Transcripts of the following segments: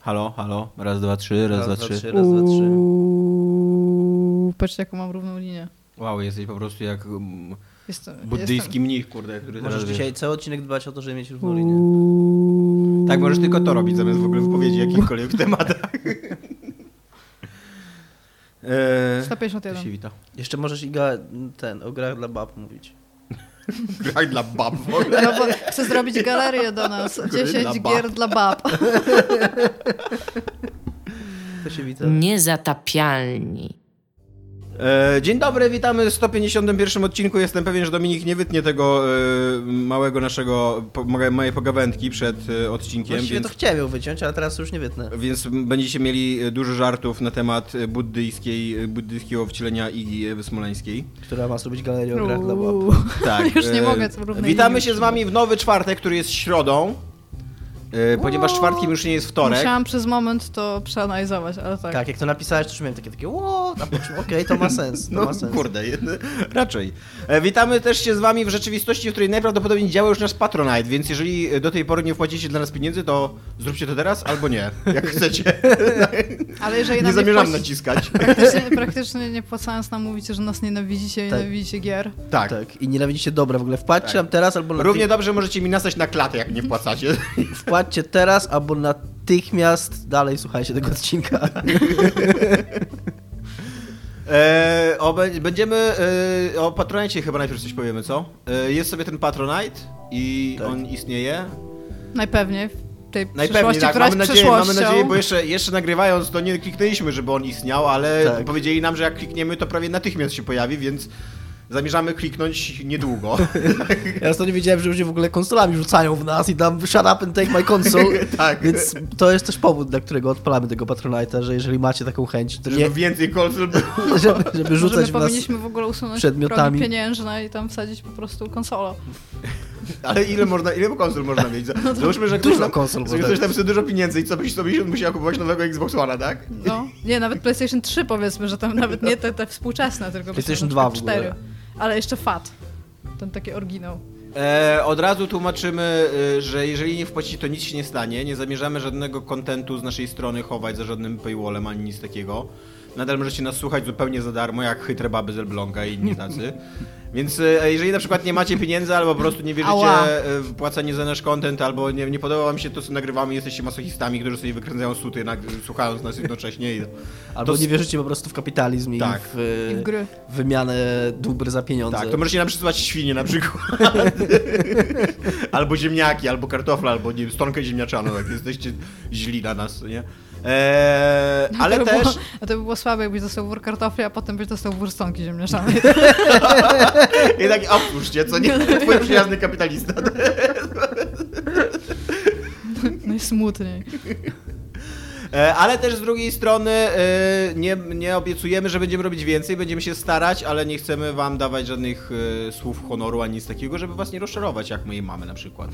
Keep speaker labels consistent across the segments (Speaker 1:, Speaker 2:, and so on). Speaker 1: Halo, halo, raz, dwa, trzy, raz, dwa, trzy.
Speaker 2: Raz, dwa, trzy.
Speaker 3: Uuu, patrzcie, jaką mam równą linię.
Speaker 1: Wow, jesteś po prostu jak um,
Speaker 3: Jestem,
Speaker 1: buddyjski mnich, kurde, który
Speaker 2: Możesz
Speaker 1: teraz
Speaker 2: dzisiaj cały odcinek dbać o to, żeby mieć równą
Speaker 3: Jestem...
Speaker 2: linię.
Speaker 3: Uuu.
Speaker 1: Tak, możesz tylko to robić, zamiast w ogóle wypowiedzi jakichkolwiek tematach. Eee, to się
Speaker 3: 151.
Speaker 1: wita.
Speaker 2: Jeszcze możesz i ga, ten, o grach dla bab mówić.
Speaker 1: Graj dla bab.
Speaker 3: No, bo chcę zrobić galerię do nas. 10
Speaker 1: bab.
Speaker 3: gier dla bab.
Speaker 2: To się wita.
Speaker 4: Niezatapialni.
Speaker 1: E, dzień dobry, witamy w 151 odcinku. Jestem pewien, że Dominik nie wytnie tego e, małego naszego, po, mo- mojej pogawędki przed e, odcinkiem,
Speaker 2: Właściwie
Speaker 1: więc,
Speaker 2: to chciałem ją wyciąć, ale teraz już nie wytnę.
Speaker 1: więc będziecie mieli e, dużo żartów na temat e, buddyjskiej, e, buddyjskiego wcielenia Igi e, Wysmolańskiej.
Speaker 2: Która ma zrobić galerię o grach dla bab.
Speaker 3: Uuu.
Speaker 1: Tak.
Speaker 3: Już nie
Speaker 1: e,
Speaker 3: mogę z równej
Speaker 1: Witamy
Speaker 3: linii
Speaker 1: się z wami w nowy czwartek, który jest środą. e, Ponieważ
Speaker 3: Wow.
Speaker 1: czwartkiem już nie jest wtorek.
Speaker 3: Musiałam przez moment to przeanalizować, ale tak.
Speaker 2: Tak, jak to napisałeś, to już miałem takie, takie what? A po czym, okej, to ma sens, to
Speaker 1: No
Speaker 2: ma sens.
Speaker 1: kurde, jedy- raczej. E, Witamy też się z wami w rzeczywistości, w której najprawdopodobniej działa już nasz Patronite, więc jeżeli e, do tej pory nie wpłaciliście dla nas pieniędzy, to zróbcie to teraz albo nie, jak chcecie.
Speaker 3: Ale jeżeli
Speaker 1: nie
Speaker 3: nam
Speaker 1: zamierzam
Speaker 3: wpłaci-
Speaker 1: naciskać.
Speaker 3: praktycznie, praktycznie nie płacając nam mówicie, że nas nienawidzicie i
Speaker 2: Tak.
Speaker 3: nienawidzicie gier.
Speaker 1: Tak.
Speaker 2: Tak, i nienawidzicie dobra w ogóle. Wpłaćcie nam teraz albo
Speaker 1: Równie
Speaker 2: natychmiast.
Speaker 1: dobrze możecie mi nasać na klatę, jak nie wpłacacie.
Speaker 2: Wpłaćcie teraz albo natychmiast dalej słuchajcie tego odcinka.
Speaker 1: E, o, bę- będziemy e, o Patronite chyba najpierw coś powiemy, co? E, jest sobie ten Patronite i
Speaker 2: Tak.
Speaker 1: on istnieje.
Speaker 3: Najpewniej w tej
Speaker 1: Najpewniej
Speaker 3: przyszłości,
Speaker 1: tak,
Speaker 3: która
Speaker 1: mamy
Speaker 3: jest
Speaker 1: nadzieję,
Speaker 3: przyszłością.
Speaker 1: mamy nadzieję, bo jeszcze, jeszcze nagrywając to nie kliknęliśmy, żeby on istniał, ale
Speaker 2: Tak.
Speaker 1: powiedzieli nam, że jak klikniemy, to prawie natychmiast się pojawi, więc zamierzamy kliknąć niedługo.
Speaker 2: Ja to nie wiedziałem, że ludzie w ogóle konsolami rzucają w nas i tam shut up and take my console.
Speaker 1: Tak.
Speaker 2: Więc to jest też powód, dla którego odpalamy tego Patronite'a, że jeżeli macie taką chęć, to
Speaker 1: żeby
Speaker 2: nie,
Speaker 1: więcej konsol było.
Speaker 2: żeby, żeby
Speaker 3: Może
Speaker 2: rzucać
Speaker 3: my
Speaker 2: w nas.
Speaker 3: powinniśmy w ogóle usunąć
Speaker 2: przedmiotami.
Speaker 3: progi pieniężne i tam wsadzić po prostu konsolę.
Speaker 1: Ale ile można, ile konsol można mieć? Załóżmy, że
Speaker 2: No dużo
Speaker 1: ktoś tam,
Speaker 2: konsol tak.
Speaker 1: sobie
Speaker 2: można
Speaker 1: ktoś tam chce dużo pieniędzy i co byś sobie musiał kupować nowego Xbox One'a, tak?
Speaker 3: No, nie, nawet PlayStation 3 powiedzmy, że tam nawet nie te, te współczesne, tylko
Speaker 2: PlayStation
Speaker 3: na przykład
Speaker 2: 2 w ogóle.
Speaker 3: Ale jeszcze FAT, ten taki oryginał.
Speaker 1: E, od razu tłumaczymy, e, że jeżeli nie wpłacicie, to nic się nie stanie. Nie zamierzamy żadnego kontentu z naszej strony chować za żadnym paywallem ani nic takiego. Nadal możecie nas słuchać zupełnie za darmo, jak chytre baby z Elbląga i inni tacy. Więc e, jeżeli na przykład nie macie pieniędzy, albo po prostu nie wierzycie
Speaker 3: Ała.
Speaker 1: e, w płacenie za nasz kontent, albo nie, nie podoba wam się to, co nagrywamy, jesteście masochistami, którzy sobie wykręcają suty, na, słuchając nas jednocześnie. I,
Speaker 2: Albo
Speaker 1: to-
Speaker 2: nie wierzycie po prostu w kapitalizm
Speaker 1: Tak.
Speaker 2: i w,
Speaker 3: I w gry.
Speaker 2: wymianę dóbr za pieniądze.
Speaker 1: tak, to możecie nam przysyłać świnie na przykład. albo ziemniaki, albo kartofle, albo nie wiem, stonkę ziemniaczaną, jak jesteście źli na nas, nie? Eee, ale
Speaker 3: to by
Speaker 1: też...
Speaker 3: Było, a to by było słabe, jakbyś dostał wór kartofli, a potem byś dostał wór stonki ziemniaczanej.
Speaker 1: I tak, opuść cię, co nie? Twój przyjazny kapitalista.
Speaker 3: No Najsmutniej.
Speaker 1: E, ale też z drugiej strony e, nie, nie obiecujemy, że będziemy robić więcej, będziemy się starać, ale nie chcemy wam dawać żadnych e, słów honoru ani nic takiego, żeby was nie rozczarować, jak mojej mamy na przykład.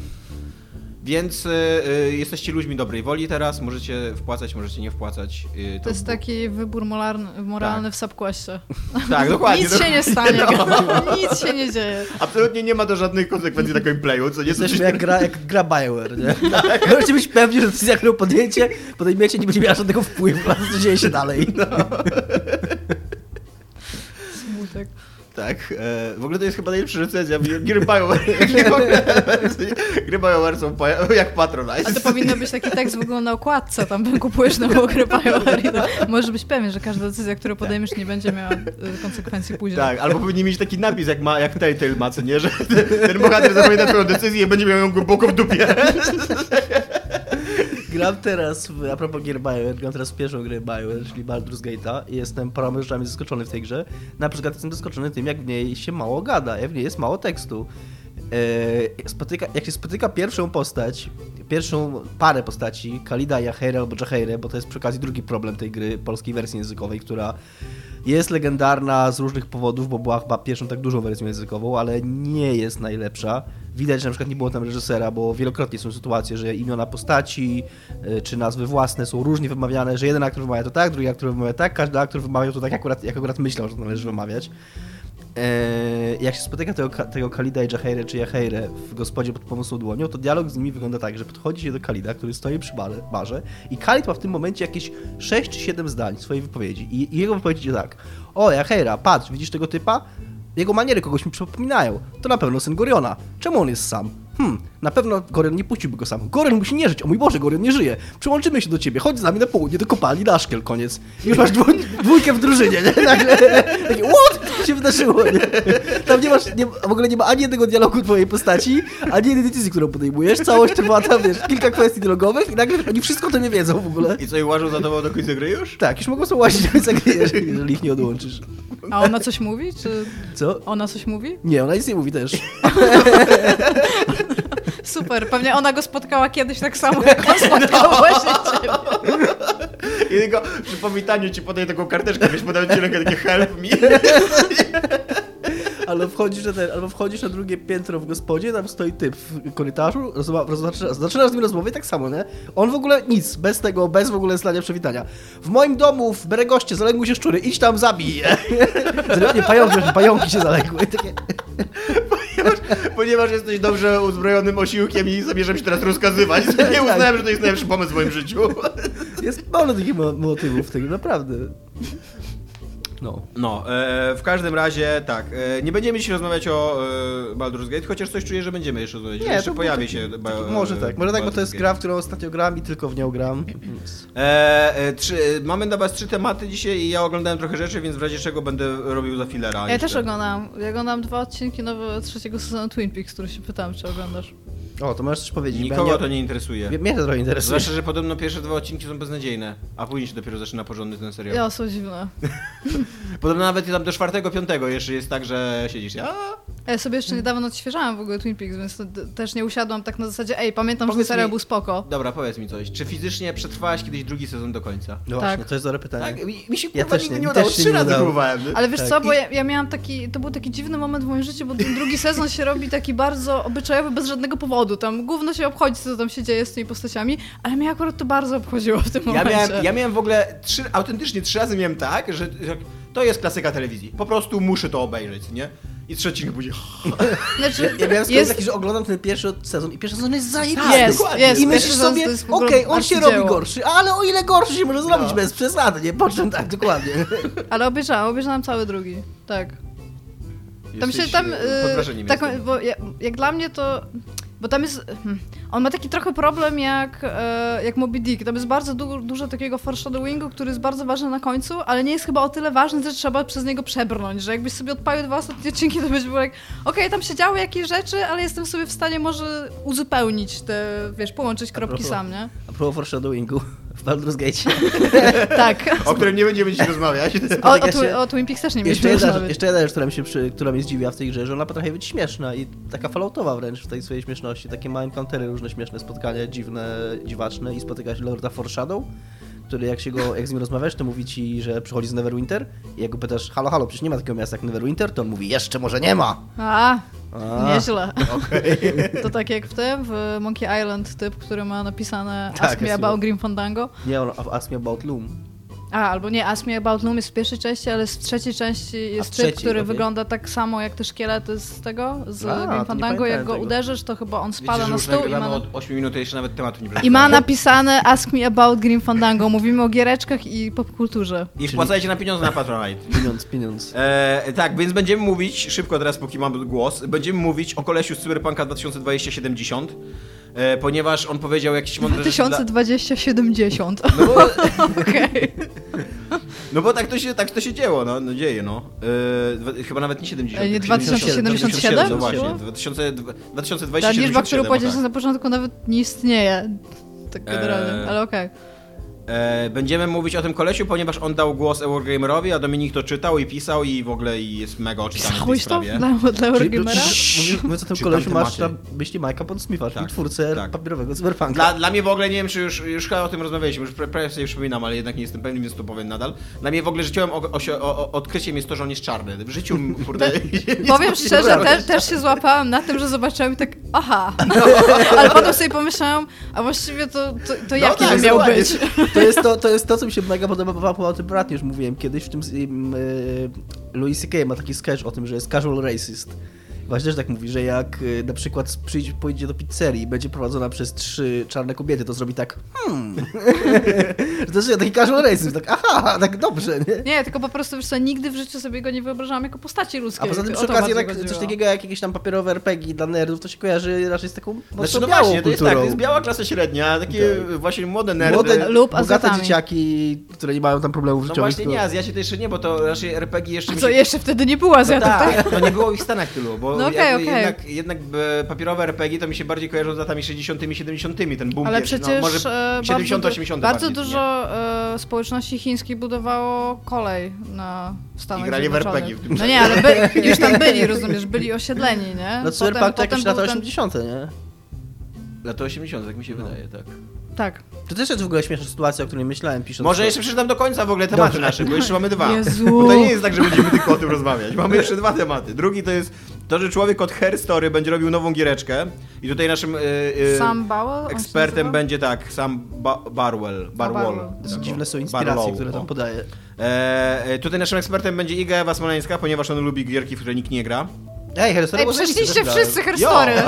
Speaker 1: Więc e, e, jesteście ludźmi dobrej woli teraz, możecie wpłacać, możecie nie wpłacać. e,
Speaker 3: To jest taki wybór molarny, moralny w subquestie.
Speaker 1: Tak, dokładnie. No,
Speaker 3: Nic się nie stanie, nic się nie dzieje.
Speaker 1: Absolutnie nie ma to żadnych konsekwencji na gameplayu, co nie
Speaker 2: Jesteśmy jak gra, jak gra Bioware, nie? Możecie być pewni, że decyzja, którą podjęcie, podejmiecie, nie będzie miała żadnego wpływu na to, co dzieje się dalej.
Speaker 3: Smutek.
Speaker 1: Tak, e, w ogóle to jest chyba najlepsza recenzja, bo gry Bioware- gry Bioware są po- jak Patronite.
Speaker 3: A to powinno być taki tekst w ogóle na okładce, tam kupujesz nową grę Bioware i to możesz być pewien, że każda decyzja, którą podejmiesz, nie będzie miała y, konsekwencji później.
Speaker 1: Tak, albo powinni mieć taki napis, jak, ma, jak Telltale ma, co nie, że ten, ten bohater zapamięta twoją decyzję i będzie miał ją głęboko w dupie.
Speaker 2: Gram teraz, w, a propos gier Bioware, gram teraz w pierwszą grę Bioware, czyli Baldur's Gate'a i jestem paroma rzeczami zaskoczony w tej grze. Na przykład jestem zaskoczony tym, jak w niej się mało gada, jak w niej jest mało tekstu. Eee, Spotyka, jak się spotyka pierwszą postać, pierwszą parę postaci, Kalida, Jaheire albo Jaheire, bo to jest przy okazji drugi problem tej gry, polskiej wersji językowej, która jest legendarna z różnych powodów, bo była chyba pierwszą tak dużą wersją językową, ale nie jest najlepsza. Widać, że na przykład nie było tam reżysera, bo wielokrotnie są sytuacje, że imiona postaci y, czy nazwy własne są różnie wymawiane, że jeden aktor wymawia to tak, drugi aktor wymawia tak, każdy aktor wymawia to tak, jak akurat, jak akurat myślał, że to należy wymawiać. e, jak się spotyka tego, Ka- tego Kalida i Jaheire czy Jaheire w gospodzie pod pomocą dłonią, to dialog z nimi wygląda tak, że podchodzi się do Kalida, który stoi przy barze, barze i Kalid ma w tym momencie jakieś 6 czy 7 zdań w swojej wypowiedzi i, i jego wypowiedź idzie tak. O, Jaheira, patrz, widzisz tego typa? Jego maniery kogoś mi przypominają. To na pewno syn Goriona. Czemu on jest sam? Hmm, na pewno Gorion nie puściłby go sam. Gorion musi nie żyć. O mój Boże, Gorion nie żyje. Przyłączymy się do ciebie. Chodź z nami na południe do kopalni na szkiel. Koniec. I Już masz dwó- dwójkę w drużynie, nie? Nagle taki, what? Co się wydarzyło, nie? Tam nie masz, nie, w ogóle nie ma ani jednego dialogu twojej postaci, ani jednej decyzji, którą podejmujesz. Całość trwa tam, wiesz, kilka kwestii dialogowych i nagle oni wszystko o tym nie wiedzą w ogóle.
Speaker 1: I co, i łażą za tobą do końca gry już?
Speaker 2: Tak, już mogą sobie łazić, jeżeli, jeżeli ich nie odłączysz.
Speaker 3: A ona coś mówi? Czy
Speaker 2: Co?
Speaker 3: ona coś mówi?
Speaker 2: Nie, ona nic nie mówi też.
Speaker 3: Super, pewnie ona go spotkała kiedyś tak samo, jak on spotkał właśnie ciebie.
Speaker 1: I tylko przy powitaniu ci podaję taką karteczkę, wiesz, podałem ci rękę, takie help me.
Speaker 2: Albo wchodzisz, na ten, albo wchodzisz na drugie piętro w gospodzie, tam stoi typ w korytarzu, rozma- roz- zaczyna- zaczyna z nim rozmowę i tak samo, nie? On w ogóle nic, bez tego, bez w ogóle zdania przywitania. W moim domu, w Beregoście, zaległy się szczury, idź tam, zabij je. Zaraz- Nie, pająki, pająki się zaległy. Takie,
Speaker 1: Ponieważ jesteś dobrze uzbrojonym osiłkiem i zamierzam się teraz rozkazywać. Nie uznałem, że to jest najlepszy pomysł w moim życiu.
Speaker 2: jest mało takich mo- motywów w tym, naprawdę. No.
Speaker 1: No, e, w każdym razie tak, e, nie będziemy dzisiaj rozmawiać o e, Baldur's Gate, chociaż coś czuję, że będziemy jeszcze rozmawiać.
Speaker 2: to
Speaker 1: jeszcze
Speaker 2: był
Speaker 1: pojawi
Speaker 2: taki-
Speaker 1: się. ba-
Speaker 2: taki- może tak, może tak, bo to jest
Speaker 1: Baldur's Gate.
Speaker 2: gra, w którą ostatnio gram i tylko w nią gram. Więc-
Speaker 1: E, e, trzy, mamy dla was trzy tematy dzisiaj i ja oglądałem trochę rzeczy, więc w razie czego będę robił za filera.
Speaker 3: Ja
Speaker 1: jeszcze.
Speaker 3: też oglądam. Ja oglądam dwa odcinki nowego trzeciego sezonu Twin Peaks, który się pytałam, czy oglądasz.
Speaker 2: O, to możesz coś powiedzieć. bo ja
Speaker 1: Nikogo to nie Znaczy- interesuje.
Speaker 2: Mnie- Mnie to trochę interesuje.
Speaker 1: Zwłaszcza, że podobno pierwsze dwa odcinki są beznadziejne, a później się dopiero zaczyna porządny ten serial.
Speaker 3: Ja są dziwne.
Speaker 1: Podobno nawet tam do czwartego, piątego jeszcze jest tak, że siedzisz. A,
Speaker 3: Ja sobie jeszcze niedawno odświeżałam w ogóle Twin Peaks, więc to d- też nie usiadłam tak na zasadzie, ej, pamiętam, że
Speaker 1: Powiedz
Speaker 3: ten serial
Speaker 1: mi-
Speaker 3: był spoko.
Speaker 1: dobra, powiedz mi coś. Czy fizycznie przetrwałaś kiedyś drugi sezon do końca?
Speaker 2: No
Speaker 3: Tak.
Speaker 2: właśnie, to jest dobre pytanie.
Speaker 1: Tak, mi, mi się
Speaker 2: Ja
Speaker 1: ja kurwa
Speaker 2: też
Speaker 1: nigdy
Speaker 2: nie-
Speaker 1: nie
Speaker 2: mi
Speaker 1: udało.
Speaker 2: też się
Speaker 1: Trzy
Speaker 2: nie
Speaker 1: razy
Speaker 2: udało.
Speaker 1: próbowałem.
Speaker 3: Ale wiesz
Speaker 2: Tak.
Speaker 3: co, bo
Speaker 2: I-
Speaker 3: ja, ja miałam taki, to był taki dziwny moment w moim życiu, bo ten drugi sezon się robi taki bardzo obyczajowy, bez żadnego powodu. Tam gówno się obchodzi, co tam się dzieje z tymi postaciami, ale mnie akurat to bardzo obchodziło w tym
Speaker 1: Ja
Speaker 3: momencie.
Speaker 1: miałem, ja miałem w ogóle trzy, autentycznie trzy razy miałem tak, że że to jest klasyka telewizji. Po prostu muszę to obejrzeć, nie? I trzeci odcinek będzie.
Speaker 3: Znaczy,
Speaker 2: Ja miałem skąd
Speaker 3: jest,
Speaker 2: taki, że oglądam ten pierwszy od- sezon i pierwszy sezon jest zajebisty.
Speaker 3: Tak, Jest,
Speaker 2: dokładnie.
Speaker 3: jest.
Speaker 2: I myślisz
Speaker 3: Pierwszy sezon
Speaker 2: sobie,
Speaker 3: to jest w ogóle
Speaker 2: okej, on się
Speaker 3: arcydzieło.
Speaker 2: robi gorszy, ale o ile gorszy się może zrobić
Speaker 1: No.
Speaker 2: bez przesady, nie? Po czym tak, dokładnie.
Speaker 3: ale obejrzałam, obejrzałam cały drugi, tak. Tam się
Speaker 1: Jesteś,
Speaker 3: tam.
Speaker 1: e,
Speaker 3: y,
Speaker 1: Pod wrażeniem
Speaker 3: taką-
Speaker 1: jestem. no.
Speaker 3: bo ja, jak dla mnie to. Bo tam jest. hmm, On ma taki trochę problem jak, e, jak Moby Dick. Tam jest bardzo du- dużo takiego foreshadowingu, który jest bardzo ważny na końcu, ale nie jest chyba o tyle ważny, że trzeba przez niego przebrnąć. Że jakbyś sobie odpalił dwa ostatnie odcinki, to byś był jak. Okej, tam się działy jakieś rzeczy, ale jestem sobie w stanie może uzupełnić te. Wiesz, połączyć kropki
Speaker 2: propos-
Speaker 3: sam, nie?
Speaker 2: A propos foreshadowingu w Baldur's Gate.
Speaker 3: Tak.
Speaker 1: no. O którym nie będziemy dzisiaj rozmawiać.
Speaker 3: O, o,
Speaker 2: Tak, ja
Speaker 3: Twi-
Speaker 2: się-
Speaker 3: o Twin Peaks też nie
Speaker 2: Jeszcze
Speaker 3: mieliśmy
Speaker 2: jedna,
Speaker 3: rozmawiać.
Speaker 2: jeszcze jedna rzecz, która mi się przy, która mnie zdziwiła w tej grze, że ona potrafi być śmieszna i taka falloutowa wręcz w tej swojej śmieszności. Takie małe encountery, różne śmieszne spotkania, dziwne, dziwaczne i spotyka się Lorda Foreshadow, który jak się go, jak z nim rozmawiasz, to mówi ci, że przychodzi z Neverwinter i jak go pytasz, halo, halo, przecież nie ma takiego miasta jak Neverwinter, to on mówi, jeszcze może nie ma.
Speaker 3: A,
Speaker 2: A.
Speaker 3: nieźle. To tak jak w tym, w Monkey Island typ, który ma napisane
Speaker 2: Tak,
Speaker 3: Ask me
Speaker 2: jest
Speaker 3: about Grim Fandango.
Speaker 2: Nie, on asked me about Loom.
Speaker 3: A, albo nie, Ask me about Loom jest w pierwszej części, ale w trzeciej części jest
Speaker 2: trzeciej,
Speaker 3: typ, który
Speaker 2: okej.
Speaker 3: wygląda tak samo jak te szkielety z tego, z
Speaker 2: A, to nie
Speaker 3: Grim Fandango. Jak
Speaker 2: pamiętałem
Speaker 3: go
Speaker 2: tego.
Speaker 3: uderzysz, to chyba on
Speaker 1: Wiecie,
Speaker 3: spada
Speaker 1: że
Speaker 3: na
Speaker 1: już
Speaker 3: stół i ma,
Speaker 1: nagrywamy
Speaker 3: na...
Speaker 1: od 8 minut, a jeszcze nawet tematu nie
Speaker 3: i ma
Speaker 1: przeczytałem.
Speaker 3: napisane Ask me about Grim Fandango. Mówimy o giereczkach i popkulturze.
Speaker 1: I wpłacajcie na pieniądze na Patronite.
Speaker 2: Pieniądz, pieniądz.
Speaker 1: E, tak, więc będziemy mówić, szybko teraz, póki mam głos, będziemy mówić o kolesiu z Cyberpunka 2070, e, ponieważ on powiedział jakieś mądre rzeczy dla-
Speaker 3: 2020-70.
Speaker 1: No bo,
Speaker 3: Okej.
Speaker 1: no bo tak, to się, tak to się dzieło, no, no dzieje, no. E, dwa, chyba nawet nie 70.
Speaker 3: Ej, E, nie
Speaker 2: 2077?
Speaker 1: No właśnie,
Speaker 3: Było?
Speaker 1: 2000,
Speaker 3: Ta
Speaker 1: 2027.
Speaker 3: liczba, którą
Speaker 1: powiedziałeś,
Speaker 3: powiedziałeś
Speaker 2: tak.
Speaker 3: na początku, nawet nie istnieje. Tak generalnie,
Speaker 1: Eee.
Speaker 3: ale okej.
Speaker 1: E, będziemy mówić o tym kolesiu, ponieważ on dał głos Eurogamerowi, a Dominik to czytał i pisał i w ogóle i jest mega oczytany w tej
Speaker 3: Pisałeś to
Speaker 1: sprawie.
Speaker 3: dla, dla Eurogamera?
Speaker 2: Mówiąc- Mówiąc o tym
Speaker 1: Czytam
Speaker 2: kolesiu, masz na
Speaker 1: tematy.
Speaker 2: myśli Majka Pondsmitha, czyli
Speaker 1: Tak,
Speaker 2: twórcę
Speaker 1: tak.
Speaker 2: papierowego cyberpunka.
Speaker 1: Dla, dla mnie w ogóle, nie wiem czy już, już chyba o tym rozmawialiśmy, już pra- prawie sobie przypominam, ale jednak nie jestem pewny, więc to powiem nadal. Dla mnie w ogóle życiowym o, osio- o, o, odkryciem jest to, że on jest czarny. W życiu, kurde... nie spodziewałem
Speaker 3: Powiem szczerze,
Speaker 1: się.
Speaker 3: też, też się złapałam na tym, że zobaczyłam i tak, aha. Ale potem sobie pomyślałam, a właściwie No, to, to, to jaki
Speaker 1: tak,
Speaker 3: on miał
Speaker 1: dokładnie.
Speaker 3: być?
Speaker 2: No To jest to, to jest to, co mi się mega podobało o tym bratnie, już mówiłem kiedyś, w tym z- im, y, Louis C.K. ma taki sketch o tym, że jest casual racist. Właśnie też tak mówi, że jak y, na przykład przyjdzie, pójdzie do pizzerii i będzie prowadzona przez trzy czarne kobiety, to zrobi tak hmm. Że to jest taki casual racist, tak aha, tak dobrze, nie?
Speaker 3: Nie, tylko po prostu wiesz co, nigdy w życiu sobie go nie wyobrażałam jako postaci ludzkiej.
Speaker 2: A poza tym
Speaker 3: O
Speaker 2: przy
Speaker 3: to
Speaker 2: okazji
Speaker 3: bardziej
Speaker 2: tak coś
Speaker 3: chodziło.
Speaker 2: takiego jak jakieś tam papierowe RPG dla nerdów, to się kojarzy raczej z taką mocno
Speaker 1: Znaczy, no
Speaker 2: białą
Speaker 1: właśnie, to jest tak,
Speaker 2: kulturą.
Speaker 1: to jest biała klasa średnia, takie
Speaker 3: Tak.
Speaker 1: właśnie młode nerdy.
Speaker 2: Młode,
Speaker 3: Lub
Speaker 2: bogate
Speaker 3: azjatami.
Speaker 2: dzieciaki, które nie mają tam problemów
Speaker 1: No
Speaker 2: życiowych.
Speaker 1: właśnie
Speaker 2: tylko-
Speaker 1: nie, Azjaci to jeszcze nie, bo to raczej RPG jeszcze...
Speaker 3: A
Speaker 1: mi
Speaker 3: co,
Speaker 1: się-
Speaker 3: jeszcze wtedy nie była
Speaker 1: No
Speaker 3: Azjatów, tak?
Speaker 1: tak, no nie było ich w Stanach tylu, bo
Speaker 3: No okej,
Speaker 1: jakby
Speaker 3: okej.
Speaker 1: jednak, jednak e, papierowe RPG to mi się bardziej kojarzą z latami 60 70 ten boom
Speaker 3: Ale
Speaker 1: pierwszy,
Speaker 3: przecież
Speaker 1: no, może
Speaker 3: e,
Speaker 1: 70
Speaker 3: bardzo,
Speaker 1: 80
Speaker 3: bardzo
Speaker 1: bardziej,
Speaker 3: dużo e, społeczności chińskich budowało kolej na Stanach
Speaker 1: I grali w
Speaker 3: Zjednoczonych.
Speaker 1: RPG w tym
Speaker 3: No nie, ale by, już tam byli, rozumiesz, byli osiedleni, nie?
Speaker 2: No Cyberpunk to jakieś
Speaker 3: był
Speaker 2: lata
Speaker 3: ten-
Speaker 2: 80., nie?
Speaker 1: nie? Lata 80 tak mi
Speaker 3: No.
Speaker 1: się wydaje, tak.
Speaker 3: Tak.
Speaker 2: To też jest w ogóle śmieszna sytuacja, o której myślałem pisząc.
Speaker 1: Może
Speaker 2: to.
Speaker 1: jeszcze przeczytam do końca w ogóle tematy
Speaker 2: Dobrze.
Speaker 1: nasze, bo jeszcze mamy dwa.
Speaker 3: Jezu.
Speaker 1: Bo to nie jest tak, że będziemy tylko o tym rozmawiać. Mamy jeszcze dwa tematy. Drugi to jest to, że człowiek od Herstory będzie robił nową giereczkę i tutaj naszym e, e,
Speaker 3: Sam Bauer? on się
Speaker 1: ekspertem
Speaker 3: nazywa?
Speaker 1: będzie tak, sam ba- Barwell. Barwell.
Speaker 3: Barwell.
Speaker 2: To są
Speaker 1: Tak,
Speaker 2: dziwne są
Speaker 1: o.
Speaker 2: inspiracje,
Speaker 1: Barlow,
Speaker 2: które tam
Speaker 1: o.
Speaker 2: podaje.
Speaker 1: E, e, tutaj naszym ekspertem będzie Iga Ewa Smoleńska, ponieważ on lubi gierki, w które nikt nie gra.
Speaker 2: Ej, Herstory,
Speaker 3: Ej, przeszliście wszyscy herstory.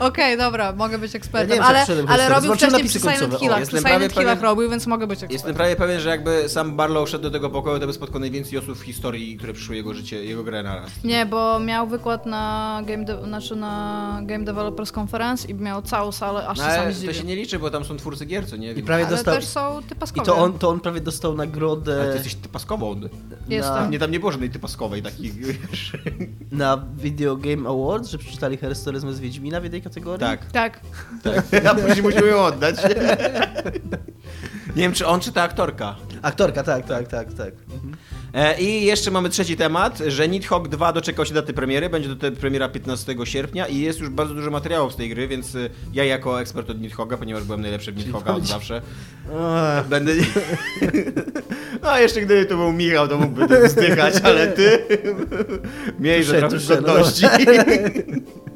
Speaker 3: Okej, dobra, mogę być
Speaker 2: Ja
Speaker 3: ekspertem,
Speaker 2: nie wiem, czy
Speaker 3: ale,
Speaker 2: przyszedłem
Speaker 3: ale
Speaker 2: herstory.
Speaker 3: robił
Speaker 2: Zobaczyłem
Speaker 3: wcześniej
Speaker 2: napisy
Speaker 3: przy Silent
Speaker 2: końcowe. O,
Speaker 3: Hillach, przy
Speaker 1: jestem
Speaker 3: Silent
Speaker 1: prawie
Speaker 3: Hillach
Speaker 1: pewien-
Speaker 3: robił, więc mogę być ekspertem.
Speaker 1: Jestem prawie pewien, że jakby sam Barlow szedł do tego pokoju, to by spotkał najwięcej osób w historii, które przyszły jego życie, jego grę na raz.
Speaker 3: Nie, bo miał wykład na Game, de- znaczy na game Developers Conference i miał całą salę, aż
Speaker 1: No,
Speaker 3: się sami
Speaker 1: ale
Speaker 3: zdziwił.
Speaker 1: to się nie liczy, bo tam są twórcy gier, co nie?
Speaker 2: I
Speaker 1: Więc-
Speaker 2: prawie
Speaker 3: Ale
Speaker 2: dostał.
Speaker 3: też są ty
Speaker 2: I
Speaker 3: paskowe.
Speaker 2: to on, no, to on prawie dostał
Speaker 1: Ale ty
Speaker 2: nagrodę
Speaker 1: jesteś typaskową.
Speaker 3: Jestem.
Speaker 1: Nie, tam nie było żadnej typaskowej takiej, wiesz.
Speaker 2: na Video Game Awards, że przeczytali Herstoryzm z Wiedźmina w jednej kategorii.
Speaker 1: Tak,
Speaker 3: Tak.
Speaker 1: tak. A później musimy ją oddać. Nie wiem, czy on, czy ta aktorka.
Speaker 2: Aktorka, tak, tak, tak, tak.
Speaker 1: E, I jeszcze mamy trzeci temat, że Nidhogg 2 doczekał się daty premiery, będzie to te- premiera 15 sierpnia i jest już bardzo dużo materiałów z tej gry, więc y, ja jako ekspert od Nidhogga, ponieważ byłem najlepszy w Nidhogga od
Speaker 2: będzie-
Speaker 1: zawsze,
Speaker 2: Ech.
Speaker 1: będę... No a jeszcze gdyby to był Michał, to mógłby to wzdychać, ale ty... Miej, że
Speaker 2: Tusze,
Speaker 1: trochę
Speaker 2: tusze, no
Speaker 1: godności.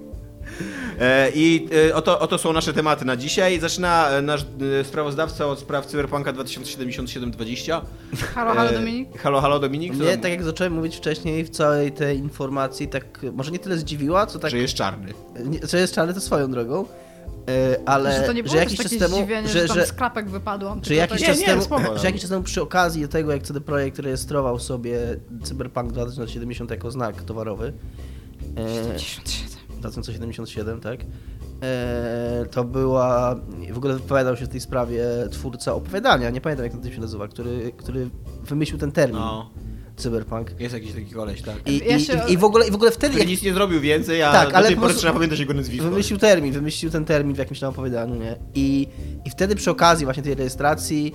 Speaker 1: E, I e, oto, oto są nasze tematy na dzisiaj. Zaczyna e, nasz e, sprawozdawca od spraw Cyberpunka 2077-20.
Speaker 3: Halo, halo Dominik.
Speaker 1: E, Halo, halo Dominik. co
Speaker 2: Mnie,
Speaker 1: tam-
Speaker 2: tak jak zacząłem mówić wcześniej, w całej tej informacji, tak e, może nie tyle zdziwiła, co tak.
Speaker 1: Że jest czarny.
Speaker 2: nie- Co jest czarne, to swoją drogą. E, Ale
Speaker 3: że to nie było
Speaker 2: że
Speaker 3: też
Speaker 2: jakiś czas
Speaker 3: takie
Speaker 2: temu.
Speaker 3: zdziwienie, że, tam z klapek wypadłam.
Speaker 2: Że jakiś,
Speaker 1: Nie,
Speaker 2: czas
Speaker 1: nie,
Speaker 2: temu,
Speaker 1: spoko.
Speaker 2: że jakiś czas temu przy okazji tego, jak CD Projekt rejestrował sobie Cyberpunk 2070 jako znak towarowy, e,
Speaker 3: 77.
Speaker 2: 2077, tak, e, to była, w ogóle wypowiadał się w tej sprawie twórca opowiadania, nie pamiętam jak ten typ się nazywa, który, który wymyślił ten termin,
Speaker 1: No.
Speaker 2: Cyberpunk.
Speaker 1: Jest jakiś taki koleś, tak.
Speaker 2: I,
Speaker 3: Ja
Speaker 2: i,
Speaker 3: się-
Speaker 2: i, w ogóle, I w ogóle wtedy,
Speaker 1: Który
Speaker 2: jak
Speaker 1: nic nie zrobił więcej, a
Speaker 2: Tak,
Speaker 1: do
Speaker 2: ale
Speaker 1: tej
Speaker 2: po
Speaker 1: pory
Speaker 2: prostu-
Speaker 1: trzeba pamiętać jego nazwisko.
Speaker 2: Wymyślił termin, wymyślił ten termin w jakimś tam opowiadaniu, nie? I, I wtedy przy okazji właśnie tej rejestracji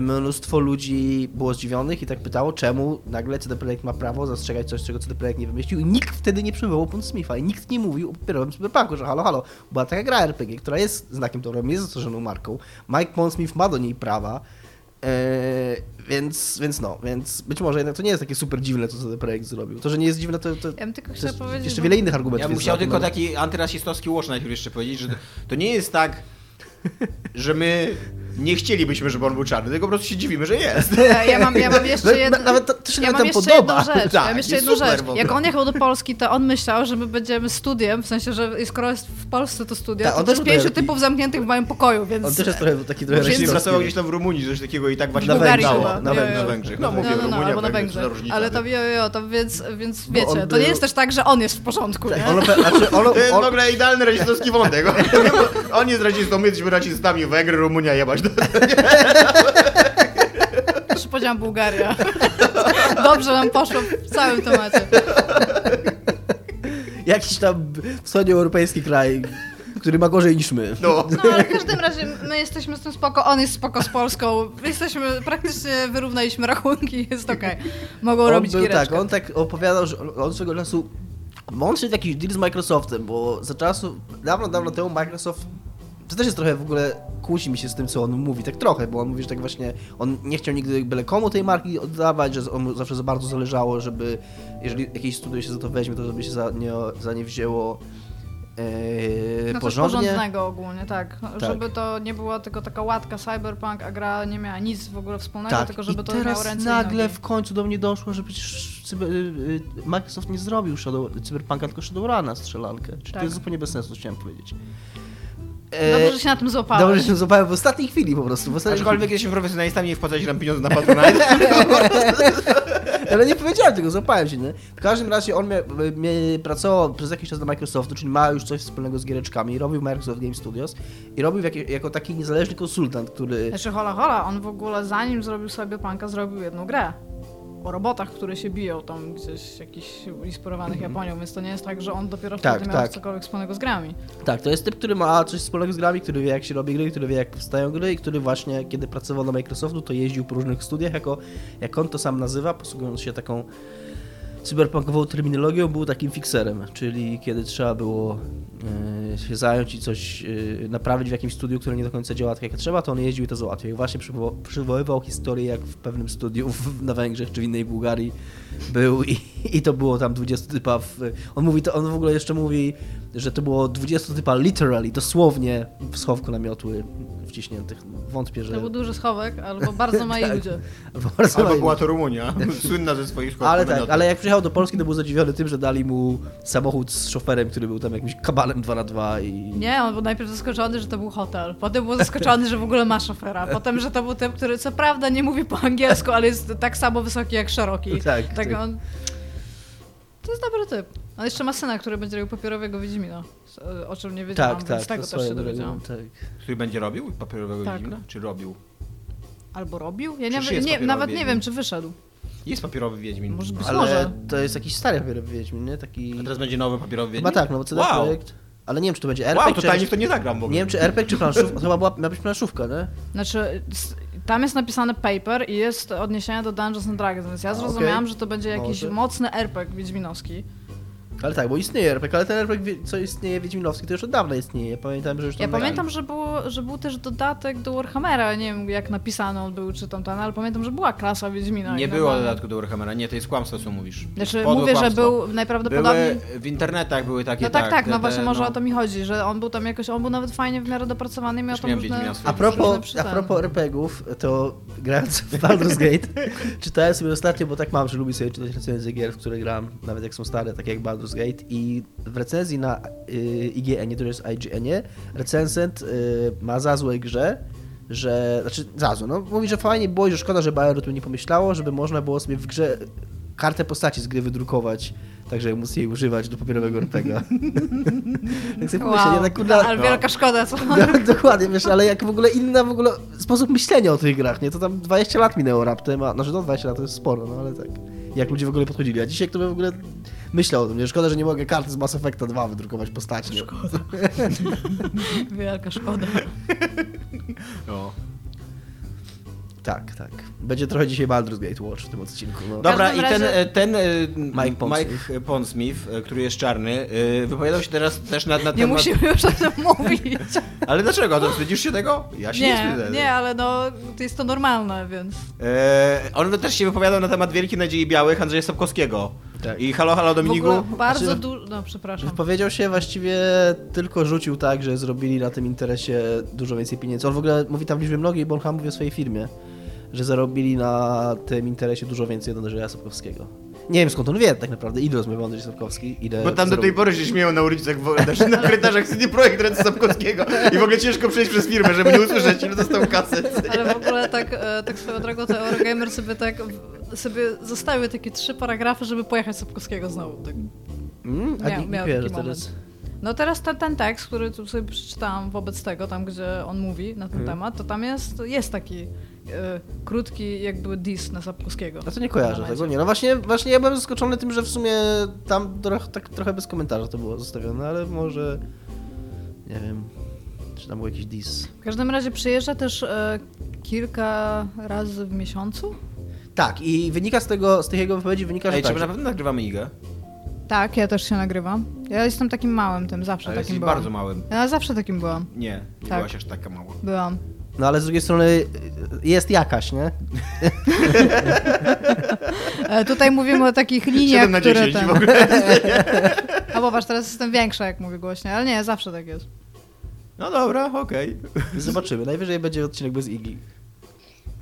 Speaker 2: mnóstwo ludzi było zdziwionych i tak pytało, czemu nagle CD Projekt ma prawo zastrzegać coś, czego CD Projekt nie wymyślił i nikt wtedy nie przywołał Pun Smitha i nikt nie mówił o papierowym cyberpunku, że halo, halo, była taka gra RPG, która jest znakiem dobrym, jest zastrzeżoną marką, Mike Pun Smith ma do niej prawa, Eee, więc, więc no, więc być może jednak to nie jest takie super dziwne, co CD Projekt zrobił. To, że nie jest dziwne, to, to,
Speaker 3: Ja bym tylko
Speaker 2: to
Speaker 3: chciała
Speaker 2: jest
Speaker 3: powiedzieć,
Speaker 2: jeszcze
Speaker 3: bo-
Speaker 2: wiele innych argumentów.
Speaker 1: Ja bym
Speaker 2: jest
Speaker 1: chciał
Speaker 2: za tym,
Speaker 1: tylko
Speaker 2: no.
Speaker 1: taki antyrasistowski łoż najpierw jeszcze powiedzieć, że to- to nie jest tak, że my nie chcielibyśmy, żeby on był czarny, tylko po prostu się dziwimy, że jest.
Speaker 3: Ja, ja, mam, ja mam jeszcze
Speaker 2: Nawet-
Speaker 3: jedno.
Speaker 2: No, nawet to- to się
Speaker 3: ja
Speaker 2: nawet
Speaker 3: mam
Speaker 2: tam
Speaker 3: jeszcze
Speaker 2: podoba.
Speaker 3: jedną rzecz.
Speaker 1: Tak,
Speaker 3: ja mam jeszcze
Speaker 1: jest
Speaker 3: jedną
Speaker 1: super
Speaker 3: rzecz.
Speaker 1: w ogóle.
Speaker 3: Jak on jechał do Polski, to on myślał, że my będziemy studiem, w sensie, że skoro jest w Polsce to studia,
Speaker 2: Tak,
Speaker 3: to
Speaker 2: on
Speaker 3: to
Speaker 2: też
Speaker 3: jest pięciu
Speaker 2: był-
Speaker 3: typów zamkniętych w moim pokoju,
Speaker 2: On
Speaker 3: więc.
Speaker 2: też jest trochę taki trochę
Speaker 1: Wcześniej
Speaker 2: rasistowski.
Speaker 1: pracował gdzieś tam w Rumunii, coś takiego i tak właśnie
Speaker 2: Na
Speaker 1: wyglądało.
Speaker 2: Węgrzech chyba.
Speaker 1: Na
Speaker 2: Nie,
Speaker 1: Węgrzech.
Speaker 3: nie.
Speaker 1: Węgrzech. No, mówię,
Speaker 3: no, no, no,
Speaker 1: Rumunia,
Speaker 3: albo na
Speaker 1: Węgrzech,
Speaker 3: Węgrzech.
Speaker 1: to różnica,
Speaker 3: Ale
Speaker 1: nie?
Speaker 3: tam jo, jo, to więc, więc
Speaker 2: Bo No, on
Speaker 3: wiecie, to
Speaker 2: był-
Speaker 3: nie jest też tak, że on jest w porządku.
Speaker 2: Tak,
Speaker 3: nie?
Speaker 2: on, opra- znaczy, on,
Speaker 1: To jest w
Speaker 2: on,
Speaker 1: ogóle idealny rasistowski wątek. No, On jest rasistą, my jesteśmy rasistami, Węgry, Rumunia, jebać.
Speaker 3: Też powiedziałam Bułgaria. Dobrze nam poszło w całym temacie.
Speaker 2: jakiś tam wschodnioeuropejski kraj, który ma gorzej niż my.
Speaker 1: No.
Speaker 3: No ale w każdym razie my jesteśmy z tym spoko, on jest spoko z Polską. Jesteśmy, praktycznie wyrównaliśmy rachunki, jest okej. Mogą
Speaker 2: on
Speaker 3: robić
Speaker 2: był,
Speaker 3: giereczkę.
Speaker 2: tak, on tak opowiadał, że on- on swego czasu... Bo on szedł w jakiś deal z Microsoftem, bo za czasu, dawno, dawno temu Microsoft... To też jest trochę w ogóle, kłóci mi się z tym, co on mówi, tak trochę, bo on mówi, że tak właśnie, on nie chciał nigdy byle komu tej marki oddawać, że z- on mu zawsze za bardzo zależało, żeby, jeżeli jakieś studio się za to weźmie, to żeby się za nie, za nie wzięło e,
Speaker 3: No coś
Speaker 2: porządnie.
Speaker 3: porządnego ogólnie, tak. Żeby to nie była tylko taka łatka cyberpunk, a gra nie miała nic w ogóle wspólnego,
Speaker 2: Tak,
Speaker 3: tylko No żeby
Speaker 2: i
Speaker 3: to
Speaker 2: teraz
Speaker 3: miało ręce i
Speaker 2: nagle
Speaker 3: nogi.
Speaker 2: w końcu do mnie doszło, że przecież cyber, y, y, Microsoft nie zrobił Shadow, Cyberpunka, tylko Shadowruna strzelankę. Czyli
Speaker 3: Tak.
Speaker 2: to jest zupełnie bez sensu, chciałem powiedzieć. E,
Speaker 3: Dobrze, No, że się na tym złapałeś.
Speaker 2: Dobrze, że się złapałem w ostatniej chwili po prostu. W ostatniej
Speaker 1: Aczkolwiek jesteśmy profesjonalistami, nie wpłacajcie nam pieniądze na Patronite.
Speaker 2: Ale nie powiedziałem tego, złapałem się, nie? W każdym razie on mia, mia, pracował przez jakiś czas do Microsoftu, czyli ma już coś wspólnego z giereczkami, robił Microsoft Game Studios i robił jak, jako taki niezależny konsultant, który...
Speaker 3: Znaczy hola hola, on w ogóle zanim zrobił sobie panka, zrobił jedną grę. O robotach, które się biją tam gdzieś jakiś inspirowanych Japonią, więc to nie jest tak, że on dopiero wtedy
Speaker 2: Mhm. Tak,
Speaker 3: miał
Speaker 2: tak.
Speaker 3: cokolwiek wspólnego z grami.
Speaker 2: Tak, to jest typ, który ma coś wspólnego z grami, który wie jak się robi gry, który wie jak powstają gry i który właśnie, kiedy pracował na Microsoftu, to jeździł po różnych studiach, jako, jak on to sam nazywa, posługując się taką cyberpunkową terminologią, był takim fikserem, czyli kiedy trzeba było e, się zająć i coś e, naprawić w jakimś studiu, które nie do końca działa tak jak trzeba, to on jeździł i to załatwiał. I właśnie przywoł, przywoływał historię, jak w pewnym studiu w, na Węgrzech czy w innej Bułgarii był i, i to było tam 20 typa w, on mówi, to on w ogóle jeszcze mówi, że to było 20 typa literally, dosłownie w schowku na miotły wciśniętych. Wątpię, że...
Speaker 3: To był duży schowek, albo bardzo mali
Speaker 2: Tak.
Speaker 3: ludzie.
Speaker 2: Bardzo
Speaker 1: Albo
Speaker 2: fajnie.
Speaker 1: była to Rumunia, słynna ze swoich szkół.
Speaker 2: Ale tak, ale jak przyjechał do Polski, to był zadziwiony tym, że dali mu samochód z szoferem, który był tam jakimś kabalem 2x2 i... Tak,
Speaker 3: Nie, on był najpierw zaskoczony, że to był hotel. Potem był zaskoczony, że w ogóle ma szofera. Potem, że to był typ, który co prawda nie mówi po angielsku, ale jest tak samo wysoki jak szeroki.
Speaker 2: Tak,
Speaker 3: tak.
Speaker 2: tak.
Speaker 3: On... To jest dobry typ. On jeszcze ma syna, który będzie robił papierowego Wiedźmina, o czym nie wiedziałam,
Speaker 2: Tak,
Speaker 3: więc
Speaker 2: tak, to
Speaker 3: tego też
Speaker 2: swoją
Speaker 3: się
Speaker 2: drogą,
Speaker 3: dowiedziałam.
Speaker 2: tak.
Speaker 1: Który będzie robił papierowego
Speaker 3: Tak.
Speaker 1: Wiedźmina? Czy robił?
Speaker 3: Albo robił? Ja
Speaker 1: Przecież
Speaker 3: nie,
Speaker 1: jest
Speaker 3: nie,
Speaker 1: papierowy
Speaker 3: nawet nie
Speaker 1: Wiedźmin.
Speaker 3: wiem, czy wyszedł.
Speaker 1: Jest papierowy Wiedźmin.
Speaker 3: Może być
Speaker 2: Ale
Speaker 3: może.
Speaker 2: to jest jakiś stary dopiero Wiedźmin, nie? Taki...
Speaker 1: A teraz będzie nowy papierowy Wiedźmin?
Speaker 2: Chyba tak, no bo CD
Speaker 1: Wow.
Speaker 2: Projekt... Ale nie wiem, czy to będzie RPG,
Speaker 1: Wow, totalnie
Speaker 2: czy...
Speaker 1: w to nie zagram w ogóle.
Speaker 2: Nie wiem, czy RPG, czy planszówka. Chyba była, miała być planszówka, nie?
Speaker 3: Znaczy, s- tam jest napisane paper i jest odniesienie do Dungeons and Dragons, więc ja
Speaker 2: okej.
Speaker 3: zrozumiałam, że to
Speaker 1: No,
Speaker 3: będzie jakiś
Speaker 2: Może.
Speaker 3: mocny RPG Wiedźminowski.
Speaker 2: Ale tak, bo istnieje RPG, ale ten RPG, wie- co istnieje Wiedźminowski, to już od dawna istnieje. Ja pamiętam, że już
Speaker 3: Ja
Speaker 2: tam...
Speaker 1: tak.
Speaker 3: pamiętam, że, było, że był też dodatek do Warhammera, nie wiem jak napisany on był, czy tam ten, ale pamiętam, że była klasa Wiedźmina.
Speaker 1: Nie no.
Speaker 3: i
Speaker 1: było
Speaker 3: normalnie-
Speaker 1: dodatku do Warhammera, nie, to jest kłamstwo, co mówisz.
Speaker 3: Znaczy,
Speaker 1: Podłe
Speaker 3: mówię, że
Speaker 1: kłamstwo.
Speaker 3: był najprawdopodobniej...
Speaker 1: Były, w internetach były takie,
Speaker 3: No tak, tak,
Speaker 1: te-
Speaker 3: no
Speaker 1: te,
Speaker 3: właśnie
Speaker 1: no.
Speaker 3: może o to mi chodzi, że on był tam jakoś, on był nawet fajnie w miarę dopracowany, miał
Speaker 1: Też
Speaker 3: tam
Speaker 1: miałem
Speaker 3: różne...
Speaker 1: Wiedźmina swój.
Speaker 2: A
Speaker 3: różne
Speaker 2: propos, a
Speaker 3: przytany.
Speaker 2: propos RPGów, to grając w Baldur's Gate, czytałem sobie ostatnio, bo tak mam, że lubię sobie czytać recenzje gier, w które gram, nawet jak są stare, takie jak Baldur's Gate i w recenzji na y, IGN, to jest IGN, recenzent y, ma za złe grze, że, znaczy za złe, no mówi, że fajnie było i że szkoda, że Bioware o tym nie pomyślało, żeby można było sobie w grze kartę postaci z gry wydrukować, tak żeby móc jej używać do papierowego RPGa. tak sobie pomyślę,
Speaker 3: Wow,
Speaker 2: ja tak kurde...
Speaker 3: ale wielka szkoda, co
Speaker 2: No, dokładnie, wiesz, ale jak w ogóle inna w ogóle sposób myślenia o tych grach, nie? To tam 20 lat minęło raptem, a znaczy no 20 lat to jest sporo, no ale tak. Jak ludzie w ogóle podchodzili, a dzisiaj kto by w ogóle myślał o tym, nie? Szkoda, że nie mogę karty z Mass Effecta 2 wydrukować postaci. nie?
Speaker 3: Wielka szkoda.
Speaker 1: No.
Speaker 2: Tak, tak. Będzie trochę dzisiaj Baldur's Gate Watch w tym odcinku, no.
Speaker 3: Dobra,
Speaker 1: Dobra, i
Speaker 3: każdym
Speaker 1: ten,
Speaker 3: razie-
Speaker 1: e, ten e,
Speaker 2: Mike Pondsmith.
Speaker 1: Mike Pondsmith, e, który jest czarny, e, wypowiadał się teraz też na, na
Speaker 3: Nie
Speaker 1: temat...
Speaker 3: musimy już o tym mówić.
Speaker 1: Ale dlaczego? To wstydzisz się tego? Ja się nie,
Speaker 3: Nie,
Speaker 1: wstydzę.
Speaker 3: nie, ale no, to jest to normalne, więc...
Speaker 1: E, on też się wypowiadał na temat Wielkiej Nadziei Białych Andrzeja Sapkowskiego.
Speaker 2: Tak.
Speaker 1: I halo, halo
Speaker 3: W
Speaker 1: Dominiku.
Speaker 3: ogóle bardzo
Speaker 2: znaczy-
Speaker 3: dużo... No, przepraszam.
Speaker 2: Wypowiedział się właściwie, tylko rzucił tak, że zrobili na tym interesie dużo więcej pieniędzy. On w ogóle mówi tam w liczbie mnogiej, bo on chyba mówi o swojej firmie, że zarobili na tym interesie dużo więcej od Andrzeja Sapkowskiego. Nie wiem skąd on wie tak naprawdę, ile rozmawiał Andrzej Sapkowski, ile...
Speaker 1: Bo tam do tej
Speaker 2: zarobił.
Speaker 1: pory się śmieją na ulicach, wo- znaczy na korytarzach CD Projekt Red Sapkowskiego i w ogóle ciężko przejść przez firmę, żeby nie usłyszeć, ile dostał kaset.
Speaker 3: Ale w ogóle tak, e, tak swoją drogą to Eurogamer sobie tak w- sobie zostały takie trzy paragrafy, żeby pojechać Sapkowskiego znowu. Tak.
Speaker 2: Mm? A
Speaker 3: Miał-
Speaker 2: nie,
Speaker 3: miał
Speaker 2: nie wierzę
Speaker 3: taki
Speaker 2: teraz.
Speaker 3: No teraz ten, ten tekst, który tu sobie przeczytałam wobec tego, tam gdzie on mówi na ten
Speaker 2: Mhm.
Speaker 3: temat, to tam jest, jest taki e, krótki jakby diss na Sapkowskiego.
Speaker 2: A to nie kojarzę
Speaker 3: Momencie.
Speaker 2: tego, nie. No właśnie, właśnie ja byłem zaskoczony tym, że w sumie tam trochę, tak trochę bez komentarza to było zostawione, ale może... Nie wiem, czy tam był jakiś diss.
Speaker 3: W każdym razie przyjeżdża też e, kilka razy w miesiącu?
Speaker 2: Tak, i wynika z tego, z tych jego wypowiedzi wynika, że
Speaker 1: Ej, czy
Speaker 2: tak,
Speaker 1: my
Speaker 2: że-
Speaker 1: na pewno nagrywamy IGę?
Speaker 3: Tak, ja też się nagrywam. Ja jestem takim małym tym, zawsze
Speaker 1: Ale
Speaker 3: takim
Speaker 1: jesteś
Speaker 3: byłam.
Speaker 1: bardzo małym.
Speaker 3: Ja zawsze takim byłam.
Speaker 1: Nie, nie
Speaker 3: Tak.
Speaker 1: byłaś aż taka mała.
Speaker 3: Byłam.
Speaker 2: No ale z drugiej strony y, jest jakaś, nie?
Speaker 3: E, tutaj mówimy o takich liniach,
Speaker 1: 7 na
Speaker 3: które
Speaker 1: 10
Speaker 3: ten...
Speaker 1: w ogóle.
Speaker 3: A popatrz, teraz jestem większa, jak mówię głośno, ale nie, zawsze tak jest.
Speaker 1: No dobra, okej.
Speaker 2: Zobaczymy. Najwyżej będzie odcinek bez Igi.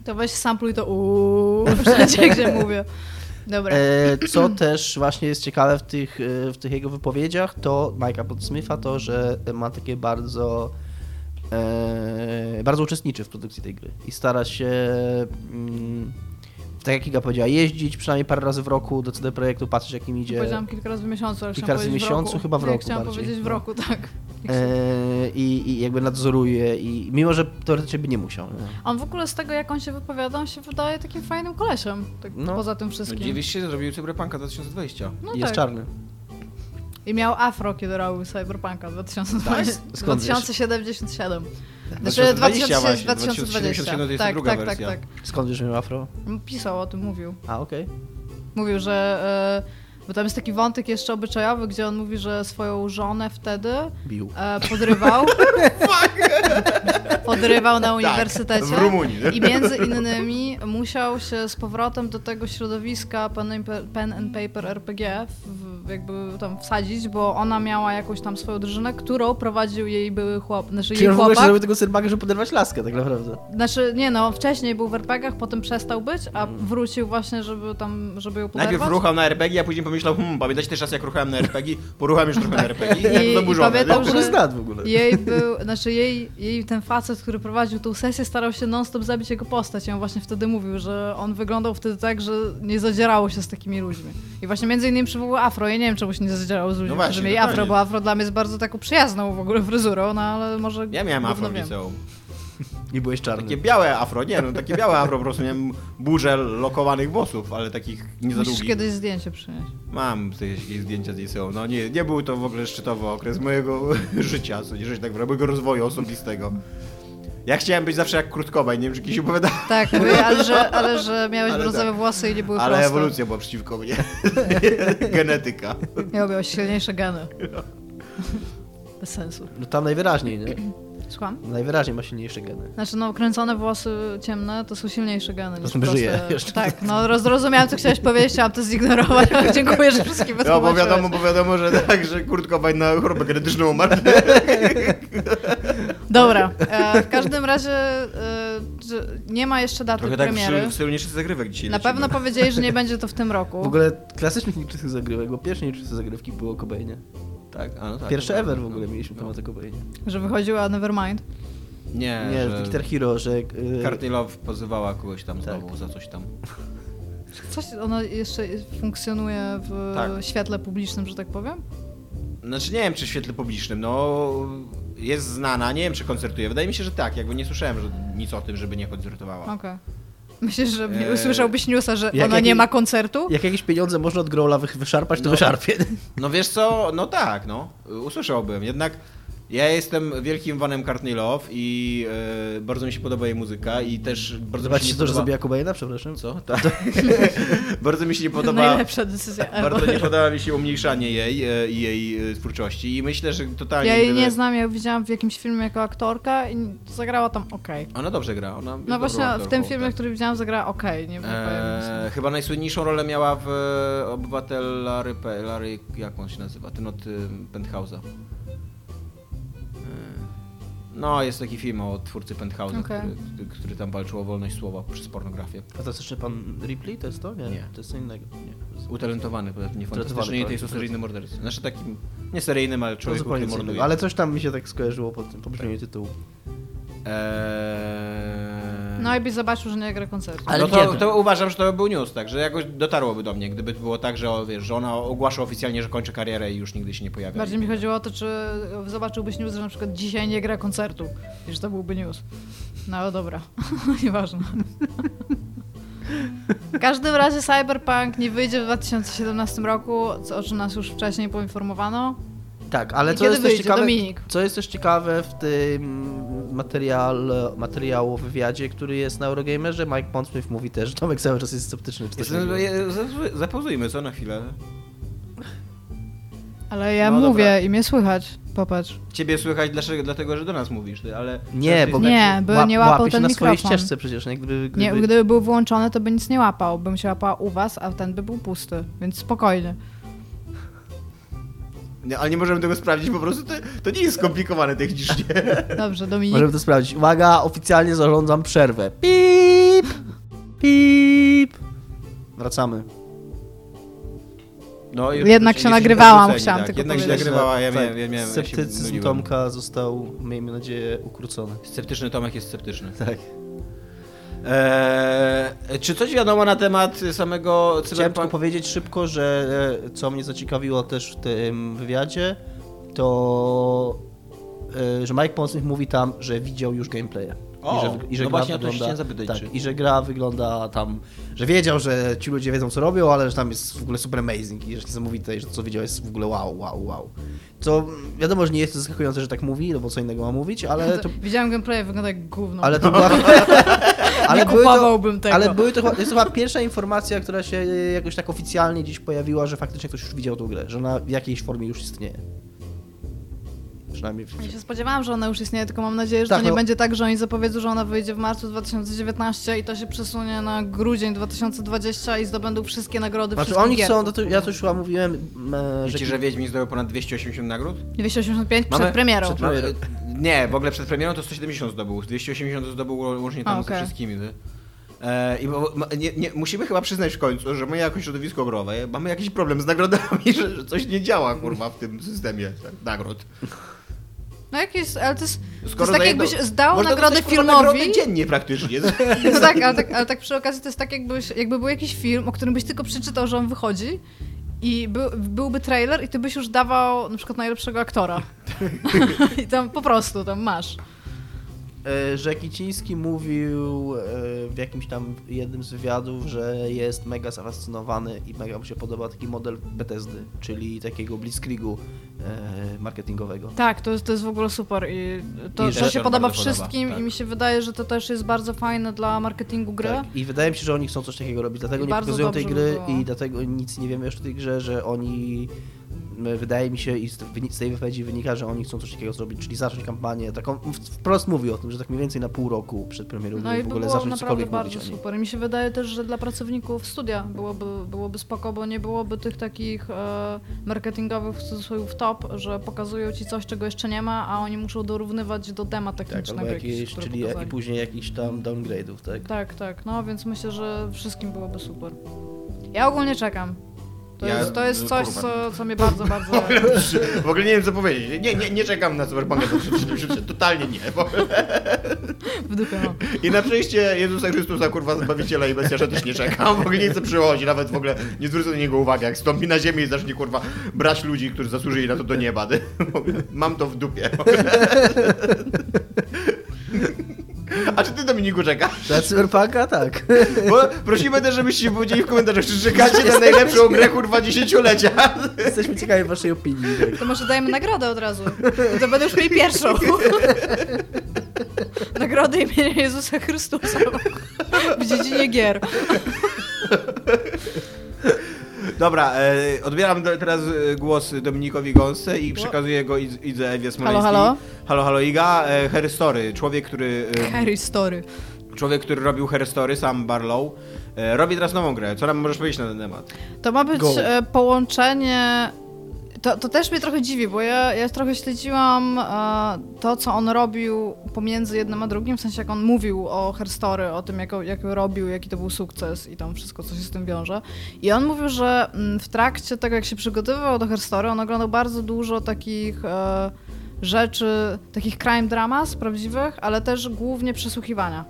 Speaker 3: To weź sampluj to uuu, wszędzie, gdzie mówię. Dobra.
Speaker 2: E, co też właśnie jest ciekawe w tych, e, w tych jego wypowiedziach, to Mike'a Podsmitha to, że ma takie bardzo e, bardzo uczestniczy w produkcji tej gry i stara się mm, tak jak Iga powiedziała, jeździć przynajmniej parę razy w roku do CD Projektu, patrzeć jak im
Speaker 3: Gdzie...
Speaker 2: idzie.
Speaker 3: Powiedziałam kilka razy w miesiącu, ale
Speaker 2: Kilka
Speaker 3: chciałam
Speaker 2: razy w
Speaker 3: powiedzieć
Speaker 2: miesiącu,
Speaker 3: roku.
Speaker 2: chyba w
Speaker 3: Nie,
Speaker 2: roku
Speaker 3: Chciałam
Speaker 2: bardziej,
Speaker 3: powiedzieć w
Speaker 2: no.
Speaker 3: roku, tak.
Speaker 2: E, i, I jakby nadzoruje i mimo, że teoretycznie by nie musiał. No.
Speaker 3: On w ogóle z tego, jak on się wypowiada, on się wydaje takim fajnym kolesiem, tak
Speaker 2: No.
Speaker 3: poza tym
Speaker 1: No,
Speaker 3: wszystkim.
Speaker 1: dziwisz się, zrobił Cyberpunka 2020.
Speaker 3: No
Speaker 2: I jest
Speaker 3: tak.
Speaker 2: czarny.
Speaker 3: I miał afro, kiedy robił Cyberpunka 2020,
Speaker 2: Tak? Skąd wiesz?
Speaker 3: 2077.
Speaker 1: 2020
Speaker 3: Znaczy 2020,
Speaker 1: właśnie,
Speaker 3: 2020.
Speaker 1: 2077 to jest
Speaker 3: tak,
Speaker 1: druga
Speaker 3: tak,
Speaker 1: wersja.
Speaker 3: tak, tak.
Speaker 2: Skąd wiesz, że miał afro?
Speaker 3: Pisał o tym, mówił.
Speaker 2: A, okej.
Speaker 3: Mówił, że. e, Bo tam jest taki wątek jeszcze obyczajowy, gdzie on mówi, że swoją żonę wtedy
Speaker 2: Bił.
Speaker 3: e, podrywał. podrywał na uniwersytecie.
Speaker 1: Tak, w Rumunii.
Speaker 3: I między innymi musiał się z powrotem do tego środowiska pen and pa- pen and paper RPG w, jakby tam wsadzić, bo ona miała jakąś tam swoją drużynę, którą prowadził jej były chłop, znaczy
Speaker 2: Czyli
Speaker 3: jej
Speaker 2: on w ogóle
Speaker 3: chłopak.
Speaker 2: zrobił tego serbaga, żeby poderwać laskę tak naprawdę.
Speaker 3: Znaczy nie no, wcześniej był w RPG-ach, potem przestał być, a wrócił właśnie, żeby tam, żeby ją poderwać.
Speaker 1: Najpierw ruchał na RPG, a później pomyślał, hmm, pamiętacie ten czas jak ruchałem na RPG? Porucham już trochę na RPG i
Speaker 3: I- i
Speaker 1: tak zaburzony.
Speaker 3: pamiętam,
Speaker 1: No,
Speaker 2: To
Speaker 3: Dobrze.
Speaker 2: jest znad w ogóle.
Speaker 3: Jej był, znaczy jej, jej ten facet, który prowadził tą sesję, starał się non-stop zabić jego postać. I on właśnie wtedy mówił, że on wyglądał wtedy tak, że nie zadzierało się z takimi ludźmi. I właśnie między innymi przywołał afro. Ja nie wiem, czemu się nie zadzierało z ludźmi,
Speaker 1: No właśnie,
Speaker 3: którzy mieli
Speaker 1: dokładnie.
Speaker 3: afro, bo afro dla mnie jest bardzo taką przyjazną w ogóle fryzurą, no ale może...
Speaker 1: Ja miałem
Speaker 3: gówno
Speaker 1: afro w
Speaker 3: wiem.
Speaker 1: liceum.
Speaker 2: Nie byłeś czarny.
Speaker 1: Takie białe afro, nie no, takie białe afro, po prostu miałem burzę lokowanych włosów, ale takich nie za
Speaker 3: Musisz
Speaker 1: długich.
Speaker 3: kiedyś zdjęcie przynieść.
Speaker 1: Mam sobie jakieś zdjęcia z liceum, no nie, nie był to w ogóle szczytowy okres mojego życia, co nie, że tak mojego rozwoju osobistego. Ja chciałem być zawsze jak Krótkowa i nie wiem, czy kiedyś opowiadałem,
Speaker 3: Tak, mówię, ale że, ale że miałeś
Speaker 1: Ale
Speaker 3: brązowe
Speaker 1: tak.
Speaker 3: włosy i nie były
Speaker 1: ale
Speaker 3: proste.
Speaker 1: ewolucja była przeciwko mnie. Genetyka.
Speaker 3: Ja miałeś silniejsze geny. Bez sensu.
Speaker 2: No tam najwyraźniej, nie?
Speaker 3: Słucham?
Speaker 2: Najwyraźniej ma silniejsze geny.
Speaker 3: Znaczy, no, kręcone włosy ciemne to są silniejsze geny. niż
Speaker 2: Zresztą
Speaker 3: proste-
Speaker 2: żyje jeszcze.
Speaker 3: Tak, no, roz- zrozumiałam, co chciałeś powiedzieć, chciałam to zignorować, ale dziękuję, że wszystkim
Speaker 1: No bo
Speaker 3: wytłumaczyłeś.
Speaker 1: wiadomo, bo wiadomo, że tak, że Kurt Cobain na chorobę genetyczną umarł.
Speaker 3: Dobra, e, w każdym razie e, że nie ma jeszcze daty
Speaker 1: tak
Speaker 3: premiery.
Speaker 1: stylu niższych zagrywek dzisiaj.
Speaker 3: Na pewno powiedzieli, że nie będzie to w tym roku.
Speaker 2: W ogóle klasycznych niekczystych zagrywek, bo pierwsze niekczyste zagrywki było o Kobejnie.
Speaker 1: Tak, a no tak.
Speaker 2: Pierwsze ever w ogóle mieliśmy temat o Kobejnie.
Speaker 3: Że wychodziła Nevermind.
Speaker 1: Nie,
Speaker 2: Nie, E, że... Guitar Hero, że... Yy,
Speaker 1: Courtney Love pozywała kogoś tam
Speaker 2: Tak.
Speaker 1: znowu za coś tam.
Speaker 3: Coś ona jeszcze funkcjonuje w
Speaker 1: Tak.
Speaker 3: świetle publicznym, że tak powiem?
Speaker 1: Znaczy nie wiem, czy w świetle publicznym, no... Jest znana, nie wiem, czy koncertuje. Wydaje mi się, że tak, jakby nie słyszałem że nic o tym, żeby nie koncertowała.
Speaker 3: Okej. Myślisz, że nie
Speaker 1: Eee,
Speaker 3: usłyszałbyś newsa, że
Speaker 2: jak-
Speaker 3: ona
Speaker 2: jak-
Speaker 3: nie ma koncertu?
Speaker 2: jak jakieś pieniądze można od Growla wych- wyszarpać, to
Speaker 1: No.
Speaker 2: wyszarpie.
Speaker 1: No wiesz co, no tak, no. Usłyszałbym, jednak ja jestem wielkim fanem Courtney Love i e, bardzo mi się podoba jej muzyka i też bardzo mi się
Speaker 2: Zobaczcie
Speaker 1: nie
Speaker 2: to, że
Speaker 1: podoba...
Speaker 2: zabija Kobejna, przepraszam.
Speaker 1: Co? Tak. bardzo mi się nie podoba...
Speaker 3: Najlepsza decyzja
Speaker 1: Bardzo
Speaker 3: ever.
Speaker 1: nie podoba mi się umniejszanie jej e, i jej e, twórczości i myślę, że totalnie...
Speaker 3: Ja jej
Speaker 1: gdyby-
Speaker 3: nie znam, ja ją widziałam w jakimś filmie jako aktorka i zagrała tam okej.
Speaker 1: Ona dobrze gra, ona jest dobrą
Speaker 3: No właśnie w tym
Speaker 1: aktorką,
Speaker 3: filmie, który widziałam, zagrała okej, nie wiem.
Speaker 1: Eee, chyba najsłynniejszą rolę miała w e, Obywatel Larry, Pe- Larry jak on się nazywa, ten od y, Penthouse'a. Eee, No, jest taki film o twórcy Penthouse'a,
Speaker 3: Okej.
Speaker 1: który, który tam walczył o wolność słowa przez pornografię.
Speaker 2: Fantastyczny pan Ripley, to jest to? Nie,
Speaker 1: Nie.
Speaker 2: to jest co innego. Nie.
Speaker 1: Utalentowany, poza tym nie fantastyczny,
Speaker 2: Utalentowany,
Speaker 1: i to jest
Speaker 2: tak.
Speaker 1: o seryjnym mordercy. Znaczy takim, nie seryjnym, ale
Speaker 2: To
Speaker 1: człowieku,
Speaker 2: zupełnie
Speaker 1: który
Speaker 2: co
Speaker 1: morduje.
Speaker 2: innego. Ale coś tam mi się tak skojarzyło po tym, po brzmieniu tytułu.
Speaker 1: Eee...
Speaker 3: No i byś zobaczył, że nie gra koncertu.
Speaker 2: Ale
Speaker 1: no to,
Speaker 2: kiedy?
Speaker 1: to uważam, że to był news, tak, że jakoś dotarłoby do mnie, gdyby było tak, że, o, wiesz, że ona ogłasza oficjalnie, że kończy karierę i już nigdy się nie pojawia.
Speaker 3: Bardziej mi chodziło o to, czy zobaczyłbyś news, że na przykład dzisiaj nie gra koncertu. I że to byłby news. No ale dobra, nieważne. W każdym razie Cyberpunk nie wyjdzie w 2017 roku, co- o czym nas już wcześniej poinformowano.
Speaker 2: Tak, ale
Speaker 3: I
Speaker 2: co
Speaker 3: kiedy
Speaker 2: jest też
Speaker 3: wyjdzie?
Speaker 2: ciekawe,
Speaker 3: Dominik.
Speaker 2: co jest też ciekawe w tym material, materiału o wywiadzie, który jest na Eurogamerze, Mike Pondsmith mówi też, że Tomek cały czas jest sceptyczny. Czy coś
Speaker 1: Jestem,
Speaker 2: takiego.
Speaker 1: je- za- zapauzujmy, co na chwilę.
Speaker 3: Ale ja
Speaker 1: No dobra.
Speaker 3: mówię i mnie słychać. Popatrz.
Speaker 1: Ciebie słychać dlaczego, dlatego, że do nas mówisz, ty, ale...
Speaker 2: nie, bo
Speaker 3: Nie, bo
Speaker 2: łap-
Speaker 3: nie łapał
Speaker 2: łapie się
Speaker 3: ten
Speaker 2: na
Speaker 3: mikrofon.
Speaker 2: swojej ścieżce przecież, nie? Gdyby, gdyby,
Speaker 3: Nie, gdyby był włączony, to by nic nie łapał. Bym się łapała u was, a ten by był pusty, więc spokojnie.
Speaker 1: Nie, ale nie możemy tego sprawdzić, po prostu to, to nie jest skomplikowane technicznie.
Speaker 3: Dobrze, Dominik.
Speaker 2: Możemy to sprawdzić. Uwaga, oficjalnie zarządzam przerwę. Pip! Pip! Wracamy.
Speaker 1: No, już-
Speaker 3: Jednak
Speaker 1: już-
Speaker 3: się
Speaker 1: już-
Speaker 3: nagrywałam,
Speaker 1: tak,
Speaker 3: chciałam
Speaker 1: tak,
Speaker 3: tylko
Speaker 1: Jednak się
Speaker 3: powiedzieć.
Speaker 1: nagrywała, ja
Speaker 2: Tak,
Speaker 1: miałem, ja miałem, ja się
Speaker 2: Sceptycyzm
Speaker 1: myliłem.
Speaker 2: Tomka został, miejmy nadzieję, ukrócony.
Speaker 1: Sceptyczny Tomek jest sceptyczny.
Speaker 2: Tak.
Speaker 1: Eee, czy coś wiadomo na temat samego
Speaker 2: Chciałem tylko
Speaker 1: cyberpunk?
Speaker 2: powiedzieć szybko, że e, co mnie zaciekawiło też w tym wywiadzie, to e, że Mike Mocnych mówi tam, że widział już gameplaye.
Speaker 1: O,
Speaker 2: I że, i że
Speaker 1: no
Speaker 2: gra
Speaker 1: właśnie, o to się
Speaker 2: wygląda,
Speaker 1: chciałem zapytać,
Speaker 2: tak,
Speaker 1: czy-
Speaker 2: I że gra wygląda tam, że wiedział, że ci ludzie wiedzą co robią, ale że tam jest w ogóle super amazing i że niesamowite, i że to co widział jest w ogóle wow, wow, wow. Co mm, wiadomo, że nie jest to zaskakujące, że tak mówi, no bo co innego ma mówić, ale to
Speaker 3: Widziałam gameplay, wygląda jak gówno.
Speaker 2: ale to była.
Speaker 3: Nie
Speaker 2: były
Speaker 3: kupowałbym tego.
Speaker 2: Ale były to, chyba- to jest chyba pierwsza informacja, która się y, jakoś tak oficjalnie dziś pojawiła, że faktycznie ktoś już widział tą grę, że ona w jakiejś formie już istnieje. Przynajmniej. W...
Speaker 3: Ja się spodziewałam, że ona już istnieje, tylko mam nadzieję, że
Speaker 2: Tak,
Speaker 3: to nie
Speaker 2: no.
Speaker 3: będzie tak, że oni zapowiedzą, że ona wyjdzie w marcu 2019 i to się przesunie na grudzień 2020 i zdobędą wszystkie nagrody
Speaker 2: Znaczy,
Speaker 3: wszystkich
Speaker 2: oni
Speaker 3: gier.
Speaker 2: chcą, to, to, ja to już chyba mówiłem,
Speaker 3: No,
Speaker 2: e, że.
Speaker 1: Wiecie, że Wiedźmin zdobył ponad 280 nagród?
Speaker 3: 285
Speaker 1: Mamy-
Speaker 3: przed premierą.
Speaker 2: przed-
Speaker 1: Mamy- Nie, w ogóle przed premierą to 170 zdobył. 280 zdobył łącznie tam
Speaker 3: A,
Speaker 1: ze
Speaker 3: okej.
Speaker 1: wszystkimi. nie? E, I bo, ma, nie, nie, musimy chyba przyznać w końcu, że my jako środowisko growe mamy jakiś problem z nagrodami, że, że coś nie działa kurwa w tym systemie tak, nagród.
Speaker 3: No jak jest, ale to jest, to
Speaker 1: Skoro
Speaker 3: jest tak
Speaker 1: daje
Speaker 3: jakbyś
Speaker 1: do-
Speaker 3: zdał
Speaker 1: Można
Speaker 3: nagrodę
Speaker 1: dostać, kurwa,
Speaker 3: filmowi.
Speaker 1: nagrody dziennie praktycznie.
Speaker 3: No tak, ale tak, ale tak przy okazji to jest tak, jakbyś, jakby był jakiś film, o którym byś tylko przeczytał, że on wychodzi i był, byłby trailer i ty byś już dawał na przykład najlepszego aktora. I tam po prostu, tam masz.
Speaker 2: E, że Kiciński mówił e, w jakimś tam jednym z wywiadów, że jest mega zafascynowany i mega mu się podoba taki model Bethesdy, czyli takiego blitzkriegu e, marketingowego.
Speaker 3: Tak, to jest, to jest w ogóle super i to,
Speaker 1: I
Speaker 3: to
Speaker 1: też
Speaker 3: się
Speaker 1: bardzo
Speaker 3: podoba
Speaker 1: podoba,
Speaker 3: wszystkim
Speaker 1: tak.
Speaker 3: i mi się wydaje, że to też jest bardzo fajne dla marketingu gry.
Speaker 2: Tak. I wydaje mi się, że oni chcą coś takiego robić, dlatego
Speaker 3: I
Speaker 2: nie
Speaker 3: bardzo
Speaker 2: pokazują tej
Speaker 3: dobrze by
Speaker 2: gry
Speaker 3: było.
Speaker 2: i dlatego nic nie wiemy jeszcze o tej grze, że oni m, wydaje mi się i z wyni- z tej wypowiedzi wynika, że oni chcą coś takiego zrobić, czyli zacząć kampanię taką, w- wprost mówi o tym, że tak mniej więcej na pół roku przed premierą
Speaker 3: No
Speaker 2: gry
Speaker 3: i
Speaker 2: w
Speaker 3: by
Speaker 2: ogóle
Speaker 3: było
Speaker 2: zacząć
Speaker 3: naprawdę
Speaker 2: cokolwiek mówić
Speaker 3: bardzo
Speaker 2: o niej.
Speaker 3: super. I mi się wydaje też, że dla pracowników studia byłoby, byłoby spoko, bo nie byłoby tych takich e, marketingowych w cudzysłowie top, że pokazują ci coś, czego jeszcze nie ma, a oni muszą dorównywać do dema
Speaker 2: Tak,
Speaker 3: technicznego.
Speaker 2: albo jakieś,
Speaker 3: który
Speaker 2: czyli i
Speaker 3: pokazali.
Speaker 2: później jakichś tam downgrade'ów, tak?
Speaker 3: Tak, tak. No więc myślę, że wszystkim byłoby super. Ja ogólnie czekam. To,
Speaker 1: Ja-
Speaker 3: jest, to jest coś,
Speaker 1: kurwa.
Speaker 3: co, co mnie bardzo, bardzo...
Speaker 1: W ogóle nie wiem co powiedzieć. Nie, nie, nie czekam na Cyberpunka 2077. Totalnie nie. Bo...
Speaker 3: w dupie mam.
Speaker 1: I na przejście Jezusa Chrystusa, kurwa, Zbawiciela i Mesjasza też nie czekam, w ogóle nie chcę przychodzić, nawet w ogóle nie zwrócę na niego uwagi, jak stąpi na ziemię i zacznie, kurwa, brać ludzi, którzy zasłużyli na to do nieba. Mam to w dupie. A czy ty, Dominiku, czekasz?
Speaker 2: Dla Cyberpunka tak.
Speaker 1: Bo prosimy też, żebyście powiedzieli w komentarzach, czy czekacie na najlepszą grę, kurwa, dziesięciolecia.
Speaker 2: Jesteśmy ciekawi waszej opinii. tak.
Speaker 3: To może dajemy nagrodę od razu. I to będę już mieli pierwszą. Nagrodę imienia Jezusa Chrystusa w dziedzinie gier.
Speaker 1: Dobra, e, odbieram do, teraz e, głos Dominikowi Gąsce i przekazuję go Id- Idze Ewie Smoleńskiej.
Speaker 3: halo?
Speaker 1: Halo, halo, Iga. E, Her Story, człowiek, który... e,
Speaker 3: Harry Story.
Speaker 1: Człowiek, który robił Herstory, sam Barlow, e, robi teraz nową grę. Co nam możesz powiedzieć na ten temat?
Speaker 3: To ma być
Speaker 2: Go.
Speaker 3: e, połączenie. To, to też mnie trochę dziwi, bo ja, ja trochę śledziłam e, to, co on robił pomiędzy jednym a drugim, w sensie jak on mówił o Herstory, o tym, jak, jak robił, jaki to był sukces i tam wszystko, co się z tym wiąże. I on mówił, że mm, w trakcie tego, jak się przygotowywał do Herstory, on oglądał bardzo dużo takich e, rzeczy, takich crime dramas prawdziwych, ale też głównie przesłuchiwania.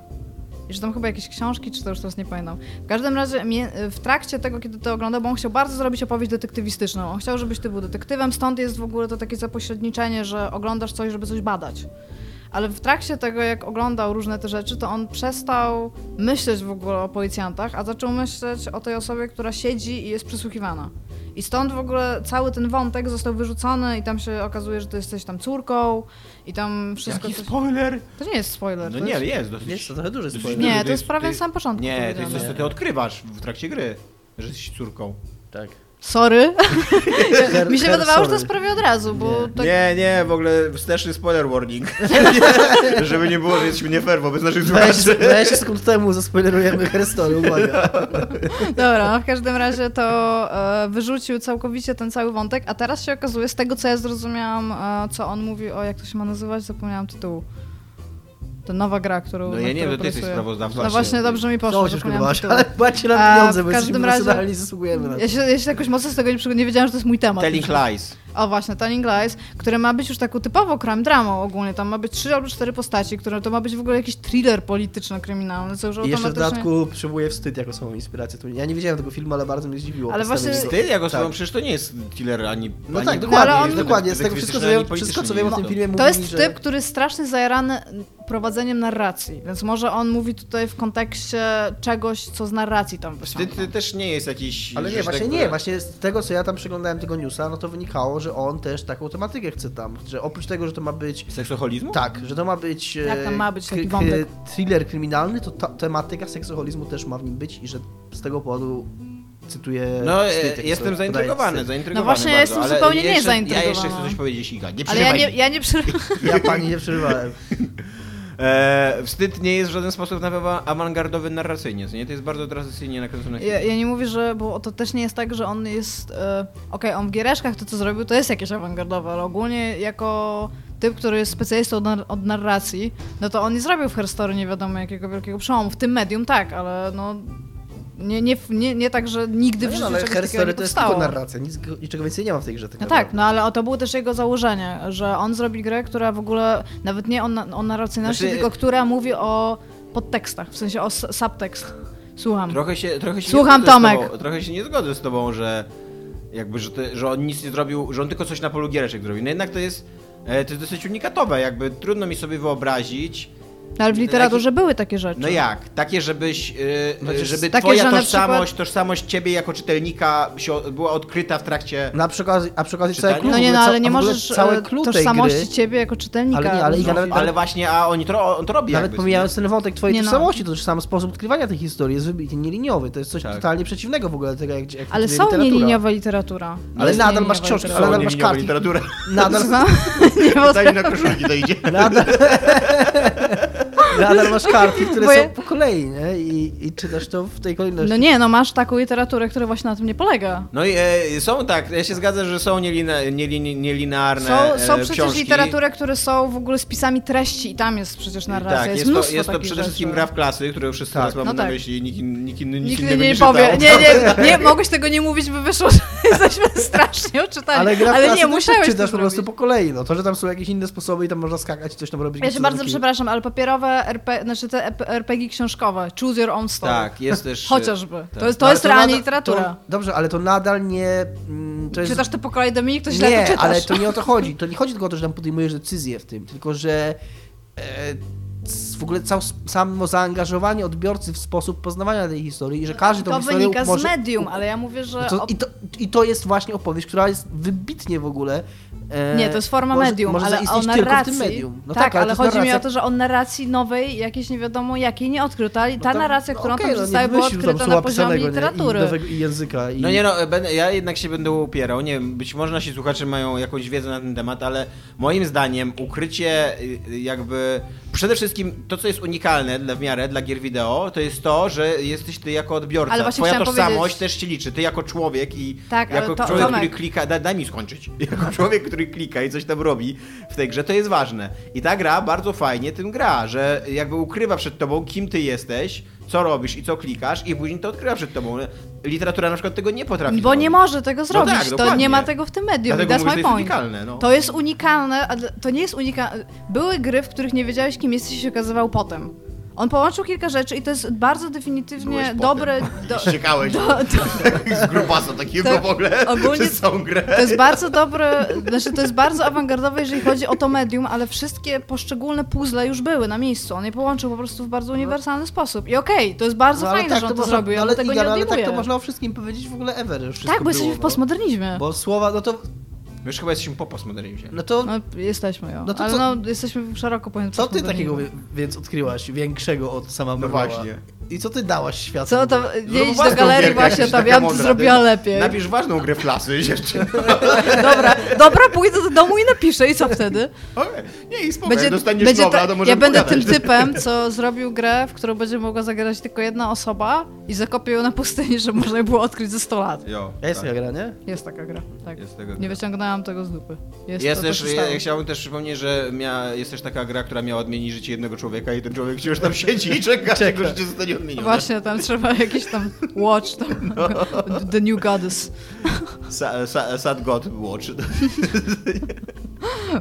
Speaker 3: I że tam chyba jakieś książki, czy to już teraz nie pamiętam. W każdym razie mnie- w trakcie tego, kiedy to oglądał, bo on chciał bardzo zrobić opowieść detektywistyczną. On chciał, żebyś ty był detektywem, stąd jest w ogóle to takie zapośredniczenie, że oglądasz coś, żeby coś badać. Ale w trakcie tego, jak oglądał różne te rzeczy, to on przestał myśleć w ogóle o policjantach, a zaczął myśleć o tej osobie, która siedzi i jest przesłuchiwana. I stąd w ogóle cały ten wątek został wyrzucony i tam się okazuje, że ty jesteś tam córką i tam wszystko... coś-
Speaker 1: spoiler?
Speaker 3: To nie jest spoiler.
Speaker 1: No
Speaker 3: to
Speaker 1: nie,
Speaker 3: jest...
Speaker 1: jest dosyć.
Speaker 2: Jest to trochę duży
Speaker 1: dosyć
Speaker 2: spoiler.
Speaker 1: duży.
Speaker 3: Nie, to jest prawie na samym początku
Speaker 1: Nie, to jest
Speaker 3: powiedziane.
Speaker 1: coś, co ty odkrywasz w trakcie gry, że jesteś córką.
Speaker 2: Tak.
Speaker 3: Sorry. Mi się
Speaker 2: her,
Speaker 3: wydawało, że to
Speaker 2: sorry.
Speaker 3: jest prawie od razu, bo tak...
Speaker 1: Nie, nie, w ogóle wsteczny spoiler warning. Żeby nie było, że jesteśmy nie fair wobec naszych
Speaker 2: Weź,
Speaker 1: słuchaczy.
Speaker 2: weź sekund temu zaspoilerujemy herstory, uwaga.
Speaker 3: Dobra, no, w każdym razie to e, wyrzucił całkowicie ten cały wątek, a teraz się okazuje, z tego co ja zrozumiałam, e, co on mówi o, jak to się ma nazywać, zapomniałam tytułu. To nowa gra, którą
Speaker 1: No
Speaker 3: na
Speaker 1: ja nie wiem,
Speaker 3: którą
Speaker 1: to ty jesteś
Speaker 3: pracuję.
Speaker 1: sprawozdawcą.
Speaker 3: No właśnie, dobrze mi poszło,
Speaker 2: Co się
Speaker 3: zapomniałam
Speaker 2: szkodowałaś,
Speaker 3: tytułu.
Speaker 2: ale płaci nam
Speaker 3: A,
Speaker 2: pieniądze, bo
Speaker 3: w każdym
Speaker 2: jesteśmy
Speaker 3: razie-
Speaker 2: profesjonalni i zasługujemy na to.
Speaker 3: Ja się, ja się jakoś mocno z tego nie przygo- nie wiedziałam, że to jest mój temat.
Speaker 1: Telling lies.
Speaker 3: O właśnie, Telling Lies, które ma być już taką typowo crime dramą ogólnie, tam ma być trzy albo cztery postaci, które to ma być w ogóle jakiś thriller polityczno-kryminalny, co już
Speaker 2: I jeszcze w
Speaker 3: automatycznie...
Speaker 2: dodatku przywołuje wstyd jako samą inspirację. To- Ja nie widziałem tego filmu, ale bardzo mnie zdziwiło.
Speaker 3: Ale
Speaker 2: postawienie
Speaker 3: właśnie-
Speaker 2: go-
Speaker 1: Ty, jako
Speaker 2: Tak.
Speaker 1: tak. przecież to nie jest killer ani...
Speaker 2: No
Speaker 1: ani
Speaker 2: tak,
Speaker 3: ale
Speaker 2: dokładnie,
Speaker 3: on-
Speaker 2: dokładnie. Z tego wszystko, co wiem, wszystko, co wiem o tym filmie mówi
Speaker 3: To
Speaker 2: mi,
Speaker 3: jest
Speaker 2: że...
Speaker 3: typ, który jest strasznie zajarany prowadzeniem narracji, więc może on mówi tutaj w kontekście czegoś, co z narracji tam
Speaker 1: Wstyd
Speaker 3: wyciąga.
Speaker 1: y, też nie jest jakiś...
Speaker 2: Ale nie,
Speaker 1: rzecz,
Speaker 2: właśnie
Speaker 1: tak,
Speaker 2: nie,
Speaker 1: która-
Speaker 2: właśnie z tego co ja tam przeglądałem tego newsa, no to wynikało, że on też taką tematykę chce tam, że oprócz tego, że to ma być
Speaker 1: Seksoholizmu?
Speaker 2: tak, że to ma być e,
Speaker 3: Tak, tam ma być taki
Speaker 2: kry-
Speaker 3: wątek.
Speaker 2: kry- thriller kryminalny, to ta tematyka seksualizmu też ma w nim być i że z tego powodu cytuję
Speaker 1: No, e,
Speaker 2: wstyd, jak to
Speaker 1: jestem
Speaker 2: podaje
Speaker 1: zaintrygowany,
Speaker 2: wstyd.
Speaker 1: zaintrygowany
Speaker 3: No właśnie, ja
Speaker 1: bardzo,
Speaker 3: jestem
Speaker 1: ale
Speaker 3: zupełnie nie
Speaker 1: jeszcze, Ja jeszcze
Speaker 3: zainteresowana.
Speaker 1: chcę coś powiedzieć, Iga, nie
Speaker 3: Ale ja
Speaker 1: przerywaj
Speaker 3: nie,
Speaker 1: mi.
Speaker 3: ja nie przerywam.
Speaker 2: Ja pani nie przerywałem.
Speaker 1: E, wstyd nie jest w żaden sposób nawet awangardowy narracyjnie, co nie? To jest bardzo tradycyjnie nakręcone
Speaker 3: Ja, ja nie mówię, że, bo to też nie jest tak, że on jest, e, okej, on w giereszkach to, co zrobił, to jest jakieś awangardowe, ale ogólnie jako typ, który jest specjalistą od, nar- od narracji, no to on nie zrobił w Herstory nie wiadomo jakiego wielkiego przełomu, w tym medium tak, ale no... Nie, nie, nie, nie tak, że nigdy
Speaker 2: No
Speaker 3: w
Speaker 2: nie,
Speaker 3: życiu
Speaker 2: no, ale
Speaker 3: czegoś
Speaker 2: Her
Speaker 3: takiego nie
Speaker 2: Story to jest tylko
Speaker 3: powstało.
Speaker 2: narracja, nic, niczego więcej nie ma w tej grze. Tak
Speaker 3: No
Speaker 2: naprawdę.
Speaker 3: tak, no ale o to było też jego założenie, że on zrobi grę, która w ogóle nawet nie o, na, o narracyjności,
Speaker 1: Znaczy-
Speaker 3: tylko która mówi o podtekstach, w sensie o s- subtekst. Słucham.
Speaker 1: Trochę się, trochę się
Speaker 3: Słucham,
Speaker 1: nie zgodzę z
Speaker 3: Tomek.
Speaker 1: Tobą, trochę się nie zgodzę z tobą, że jakby, że, ty, że on nic nie zrobił, że on tylko coś na polu giereczek zrobił. No jednak to jest, e, to jest dosyć unikatowe, jakby trudno mi sobie wyobrazić.
Speaker 3: No, ale w literaturze były takie rzeczy.
Speaker 1: No jak? Takie, żebyś, e,
Speaker 2: Znaczy,
Speaker 1: żeby
Speaker 3: Znaczy- takie,
Speaker 1: twoja
Speaker 3: że na
Speaker 1: tożsamość, tożsamość ciebie jako czytelnika się, była odkryta w trakcie...
Speaker 2: Na przykład, a przy okazji całe
Speaker 1: Czytanie?
Speaker 2: clue,
Speaker 3: No
Speaker 2: w
Speaker 3: nie,
Speaker 2: ogóle
Speaker 3: no
Speaker 2: ca-
Speaker 3: ale nie
Speaker 2: a w ogóle
Speaker 3: możesz
Speaker 2: całe
Speaker 3: e,
Speaker 2: clue tej
Speaker 3: tożsamości
Speaker 2: gry-
Speaker 3: ciebie jako czytelnika.
Speaker 2: Ale nie, ale i
Speaker 3: no.
Speaker 2: nawet-
Speaker 1: ale właśnie, a oni to, on to robi
Speaker 2: Nawet
Speaker 1: jakby, co nie?
Speaker 2: pomijając ten wątek twojej
Speaker 3: Nie no.
Speaker 2: tożsamości, to też sam sposób odkrywania tej historii jest wybitnie nieliniowy. To jest coś
Speaker 1: Tak.
Speaker 2: totalnie przeciwnego w ogóle do tego, jak, jak funkcjonuje
Speaker 3: ale są
Speaker 2: literatura.
Speaker 3: nieliniowa literatura.
Speaker 2: Ale
Speaker 3: Jest
Speaker 2: nadal
Speaker 3: nieliniowa
Speaker 2: masz książki,
Speaker 1: Są
Speaker 3: literatura.
Speaker 2: ale nadal masz
Speaker 1: nieliniowa
Speaker 2: kartki.
Speaker 1: literatura.
Speaker 2: Nadal,
Speaker 3: Co? Nie
Speaker 1: Daj na
Speaker 3: potrafię.
Speaker 1: koszulki dojdzie.
Speaker 2: nadal, nadal masz kartki, które
Speaker 3: Bo ja-
Speaker 2: są po kolei, nie? I, I czytasz to w tej kolejności.
Speaker 3: No nie, no masz taką literaturę, która właśnie na tym nie polega.
Speaker 1: No i e, są tak, ja się zgadzam, że są nielina, nielin, nielinearne
Speaker 3: Są, są
Speaker 1: e,
Speaker 3: przecież
Speaker 1: książki.
Speaker 3: literatury, które są w ogóle spisami treści i tam jest przecież narracja.
Speaker 1: Tak,
Speaker 3: jest,
Speaker 1: jest, to,
Speaker 3: mnóstwo
Speaker 1: jest to
Speaker 3: takich
Speaker 1: przede
Speaker 3: rzeczy.
Speaker 1: wszystkim gra w klasy, które wszyscy
Speaker 2: Tak.
Speaker 1: teraz mamy
Speaker 3: No
Speaker 1: na
Speaker 3: tak.
Speaker 1: myśli, nikt, in- nikt inny nic
Speaker 3: Nikt
Speaker 1: innego
Speaker 3: nie, nie
Speaker 1: czytał.
Speaker 3: powie. Nie, nie, nie, mogłeś tego nie mówić, by wyszło, że jesteśmy strasznie oczytani.
Speaker 2: Ale gra w klasy
Speaker 3: nie,
Speaker 2: też
Speaker 3: musiałeś
Speaker 2: czytasz
Speaker 3: to
Speaker 2: po prostu po
Speaker 3: zrobić.
Speaker 2: kolei. No to, że tam są jakieś inne sposoby i tam można skakać i coś tam robić.
Speaker 3: Ja
Speaker 2: nic
Speaker 3: się bardzo
Speaker 2: takiego.
Speaker 3: przepraszam, ale papierowe RP, znaczy te EP RPG książkowe, Choose Your Own Story.
Speaker 1: Tak, jest też...
Speaker 3: Chociażby.
Speaker 1: tak.
Speaker 3: To jest,
Speaker 2: No,
Speaker 3: to jest
Speaker 2: ale
Speaker 3: realnie
Speaker 2: nadal-
Speaker 3: literatura.
Speaker 2: To, dobrze, ale to nadal nie... mm, To jest
Speaker 3: Czytasz to po kolei Dominik, to źle
Speaker 2: Nie,
Speaker 3: to czytasz.
Speaker 2: ale to nie o to chodzi. To nie chodzi tylko o to, że tam podejmujesz decyzję w tym, tylko że e, c- w ogóle cał, samo zaangażowanie odbiorcy w sposób poznawania tej historii i że każdy tą
Speaker 3: To
Speaker 2: historię
Speaker 3: wynika
Speaker 2: może...
Speaker 3: z medium, ale ja mówię, że...
Speaker 2: No to, i, to, I to jest właśnie opowieść, która jest wybitnie w ogóle. e,
Speaker 3: Nie, to jest forma
Speaker 2: może,
Speaker 3: medium,
Speaker 2: może
Speaker 3: ale
Speaker 2: zaistnieć
Speaker 3: o
Speaker 2: tylko w
Speaker 3: narracji.
Speaker 2: tym medium. No
Speaker 3: tak, ale,
Speaker 2: to jest
Speaker 3: chodzi mi
Speaker 2: narracja,
Speaker 3: o to, że o narracji nowej, jakiejś nie wiadomo jakiej nie odkryto, ale ta
Speaker 2: no to-
Speaker 3: narracja,
Speaker 2: no
Speaker 3: którą
Speaker 2: okej,
Speaker 3: tam
Speaker 2: no nie
Speaker 3: została, była
Speaker 2: wymyślił tam
Speaker 3: odkryta na
Speaker 2: słowa
Speaker 3: poziomie
Speaker 2: pisanego, nie?
Speaker 3: literatury.
Speaker 2: I nowego i języka. I...
Speaker 1: No nie no, będę, ja jednak się będę upierał, nie wiem, być może nasi słuchacze mają jakąś wiedzę na ten temat, ale moim zdaniem ukrycie y, y, jakby... Przede wszystkim to, co jest unikalne dla, w miarę dla gier wideo, to jest to, że jesteś ty jako odbiorca.
Speaker 3: Ale właśnie
Speaker 1: Twoja
Speaker 3: chciałam
Speaker 1: tożsamość
Speaker 3: powiedzieć-
Speaker 1: też się liczy, ty jako człowiek i
Speaker 3: Tak, ale
Speaker 1: jako
Speaker 3: to-
Speaker 1: człowiek,
Speaker 3: Tomek.
Speaker 1: który klika... Da, daj mi skończyć. Jako człowiek, który klika i coś tam robi w tej grze, to jest ważne. I ta gra bardzo fajnie tym gra, że jakby ukrywa przed tobą, kim ty jesteś, co robisz i co klikasz i później to odkrywa przed tobą. Literatura na przykład tego nie potrafi
Speaker 3: Bo nie
Speaker 1: zrobić.
Speaker 3: może tego zrobić,
Speaker 1: tak,
Speaker 3: to
Speaker 1: dokładnie.
Speaker 3: nie ma tego w tym medium.
Speaker 1: Dlatego
Speaker 3: That's
Speaker 1: mówię,
Speaker 3: my
Speaker 1: że jest
Speaker 3: point.
Speaker 1: unikalne, no.
Speaker 3: To jest unikalne, a dl- to nie jest unikalne. Były gry, w których nie wiedziałeś, kim jesteś i się okazywał potem. On połączył kilka rzeczy i to jest bardzo
Speaker 1: Byłeś
Speaker 3: definitywnie
Speaker 1: potem.
Speaker 3: dobre. Do,
Speaker 1: Ściekałeś
Speaker 3: do, do,
Speaker 1: z grubasa takiego
Speaker 3: To
Speaker 1: w ogóle
Speaker 3: ogólnie-
Speaker 1: przez całą grę.
Speaker 3: To jest bardzo dobre, znaczy to jest bardzo awangardowe, jeżeli chodzi o to medium, ale wszystkie poszczególne puzzle już były na miejscu. On je połączył po prostu w bardzo uniwersalny sposób. I okej, to jest bardzo
Speaker 2: No, ale
Speaker 3: fajne,
Speaker 2: tak
Speaker 3: że on to,
Speaker 2: można-
Speaker 3: zrobił, ja
Speaker 2: no,
Speaker 3: ale
Speaker 2: ale,
Speaker 3: tego
Speaker 2: Iga,
Speaker 3: nie
Speaker 2: no, ale tak
Speaker 3: odejmuję.
Speaker 2: to można o wszystkim powiedzieć w ogóle ever. że wszystko
Speaker 3: tak, bo jesteśmy
Speaker 2: było,
Speaker 3: w
Speaker 2: no.
Speaker 3: postmodernizmie.
Speaker 2: Bo słowa, no to...
Speaker 1: My już chyba jesteśmy po postmodernizmie.
Speaker 2: No to
Speaker 3: No, jesteśmy, jo.
Speaker 2: No to
Speaker 3: ale
Speaker 2: co-
Speaker 3: no, jesteśmy szeroko pojęci
Speaker 2: Co ty
Speaker 3: postmodernizmem.
Speaker 2: takiego wie- więc odkryłaś większego od sama
Speaker 1: No
Speaker 2: Marvela?
Speaker 1: właśnie.
Speaker 2: I co ty dałaś światu?
Speaker 3: Co tam, nie
Speaker 1: Zrób
Speaker 3: idź do
Speaker 1: No, własną
Speaker 3: galerii
Speaker 1: gierkę,
Speaker 3: właśnie,
Speaker 1: jakaś
Speaker 3: tam
Speaker 1: taka
Speaker 3: ja bym
Speaker 1: mądra,
Speaker 3: zrobiła
Speaker 1: ty.
Speaker 3: lepiej.
Speaker 1: Napisz ważną grę w lasy, dziewczyny.
Speaker 3: Dobra, dobra, pójdę do domu i napiszę i co wtedy?
Speaker 1: Okej, Nie, i spokojnie, dostaniesz
Speaker 3: będzie
Speaker 1: Nobla,
Speaker 3: ta-
Speaker 1: to możemy
Speaker 3: Ja będę
Speaker 1: pogadać.
Speaker 3: tym typem, co zrobił grę, w którą będzie mogła zagrać tylko jedna osoba i zakopie ją na pustyni, żeby można ją było odkryć ze 100 lat.
Speaker 1: Jo,
Speaker 2: Ja jestem
Speaker 1: tak.
Speaker 2: tak. gra, nie?
Speaker 3: Jest taka gra, tak.
Speaker 1: Jest tego
Speaker 3: Nie
Speaker 1: gra.
Speaker 3: wyciągnęłam tego z dupy. Jest,
Speaker 1: Jest
Speaker 3: to,
Speaker 1: też,
Speaker 3: to się
Speaker 1: ja,
Speaker 3: stało.
Speaker 1: ja chciałbym też przypomnieć, że mia, jest też taka gra, która miała odmienić życie jednego człowieka i ten człowiek wciąż tam siedzi i czeka, aż jego życie zostanie odmienione.
Speaker 3: No Właśnie, tam trzeba jakiś tam watch, tam,
Speaker 1: No.
Speaker 3: the new goddess.
Speaker 1: Sa, sa, sad God Watch.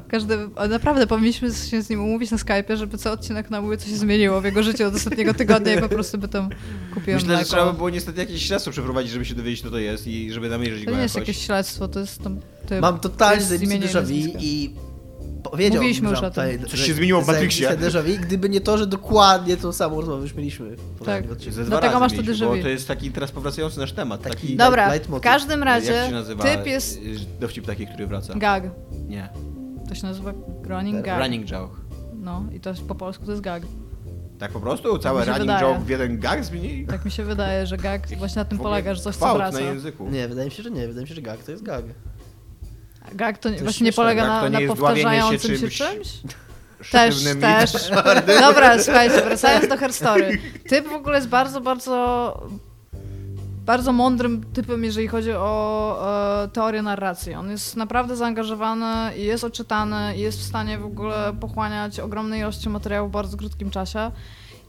Speaker 3: Każdy, a naprawdę powinniśmy się z nim umówić na Skype'ie, żeby co odcinek nam mówił, co się zmieniło w jego życiu od ostatniego tygodnia i po prostu by tam kupiłem
Speaker 1: Myślę, że
Speaker 3: mleko.
Speaker 1: trzeba by było niestety jakieś śledztwo przeprowadzić, żeby się dowiedzieć, co to jest i żeby namierzyć
Speaker 3: To
Speaker 1: go
Speaker 3: nie jest
Speaker 1: jakoś.
Speaker 3: jakieś śledztwo, to jest tam... Typ,
Speaker 2: Mam totalnie
Speaker 3: jest Y, z
Speaker 2: zajebisty
Speaker 3: imienia i
Speaker 2: déjà vu
Speaker 3: nazwiska.
Speaker 2: i powiedział
Speaker 3: Mówiliśmy już o tym.
Speaker 1: Coś się zmieniło w Matrixie.
Speaker 2: déjà vu, gdyby nie to, że dokładnie tą samą rozmowę już mieliśmy. po
Speaker 3: Tak.
Speaker 2: tym odcinku.
Speaker 1: Ze dwa
Speaker 3: Dlatego
Speaker 1: razy
Speaker 3: masz to
Speaker 1: mieliśmy,
Speaker 3: déjà
Speaker 1: bo
Speaker 3: vu.
Speaker 1: to jest taki teraz powracający nasz temat.
Speaker 2: Taki-
Speaker 1: Taki,
Speaker 3: Dobra,
Speaker 2: Light-
Speaker 3: w
Speaker 2: leitmotiv.
Speaker 3: każdym razie
Speaker 1: jak się nazywa
Speaker 3: typ jest
Speaker 1: y, dowcip taki, który wraca?
Speaker 3: gag.
Speaker 1: nie.
Speaker 3: To się nazywa running gag.
Speaker 1: Running joke.
Speaker 3: No i to po polsku to jest gag.
Speaker 1: Tak po prostu? Całe
Speaker 3: Mi się
Speaker 1: running
Speaker 3: wydaje.
Speaker 1: joke w jeden gag zmienili?
Speaker 3: Tak mi się wydaje, że gag właśnie na tym
Speaker 1: W ogóle
Speaker 3: polega, że coś co
Speaker 1: gwałt no
Speaker 3: wraca.
Speaker 1: na języku.
Speaker 2: Nie, wydaje mi się, że nie. Wydaje mi się, że gag to jest gag.
Speaker 3: Gag to, nie-
Speaker 2: jest
Speaker 3: właśnie nie
Speaker 2: śmieszne.
Speaker 3: polega
Speaker 1: Gag
Speaker 3: na,
Speaker 1: to nie
Speaker 3: na
Speaker 1: jest dławienie się
Speaker 3: powtarzającym się
Speaker 1: czymś
Speaker 3: czymś? Też,
Speaker 1: Sztywnymi-
Speaker 3: też. Dobra, słuchajcie, wracając do herstory. Typ w ogóle jest bardzo, bardzo bardzo mądrym typem, jeżeli chodzi o e, teorię narracji. On jest naprawdę zaangażowany i jest oczytany i jest w stanie w ogóle pochłaniać ogromne ilości materiału w bardzo krótkim czasie.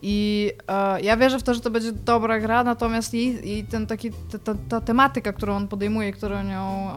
Speaker 3: I e, ja wierzę w to, że to będzie dobra gra, natomiast jej, jej ten taki, ta, ta, ta tematyka, którą on podejmuje, którą, nią,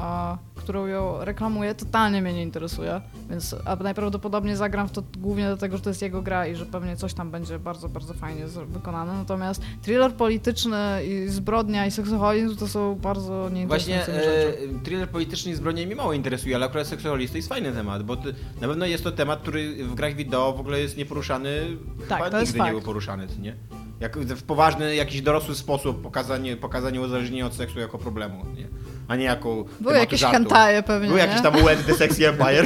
Speaker 3: e, którą ją reklamuje, totalnie mnie nie interesuje. Więc a najprawdopodobniej zagram w to głównie dlatego, że to jest jego gra i że pewnie coś tam będzie bardzo, bardzo fajnie z- wykonane. Natomiast thriller polityczny i zbrodnia i seksoholizm to są bardzo
Speaker 1: Właśnie
Speaker 3: nieinteresujące mi
Speaker 1: e,
Speaker 3: rzeczy.
Speaker 1: thriller polityczny z bronią mnie mało interesuje, ale akurat seksualista jest fajny temat, bo ty, na pewno jest to temat, który w grach wideo w ogóle jest nieporuszany,
Speaker 3: Tak,
Speaker 1: chyba
Speaker 3: to jest
Speaker 1: nigdy nie
Speaker 3: fakt.
Speaker 1: był poruszany, ty nie? Jak w poważny, jakiś dorosły sposób pokazanie, pokazanie uzależnienia od seksu jako problemu, nie? A nie jako
Speaker 3: Były
Speaker 1: tematu
Speaker 3: jakieś
Speaker 1: żartu.
Speaker 3: hentai pewnie,
Speaker 1: Były
Speaker 3: nie?
Speaker 1: jakieś tam Wet The Sexy Empire.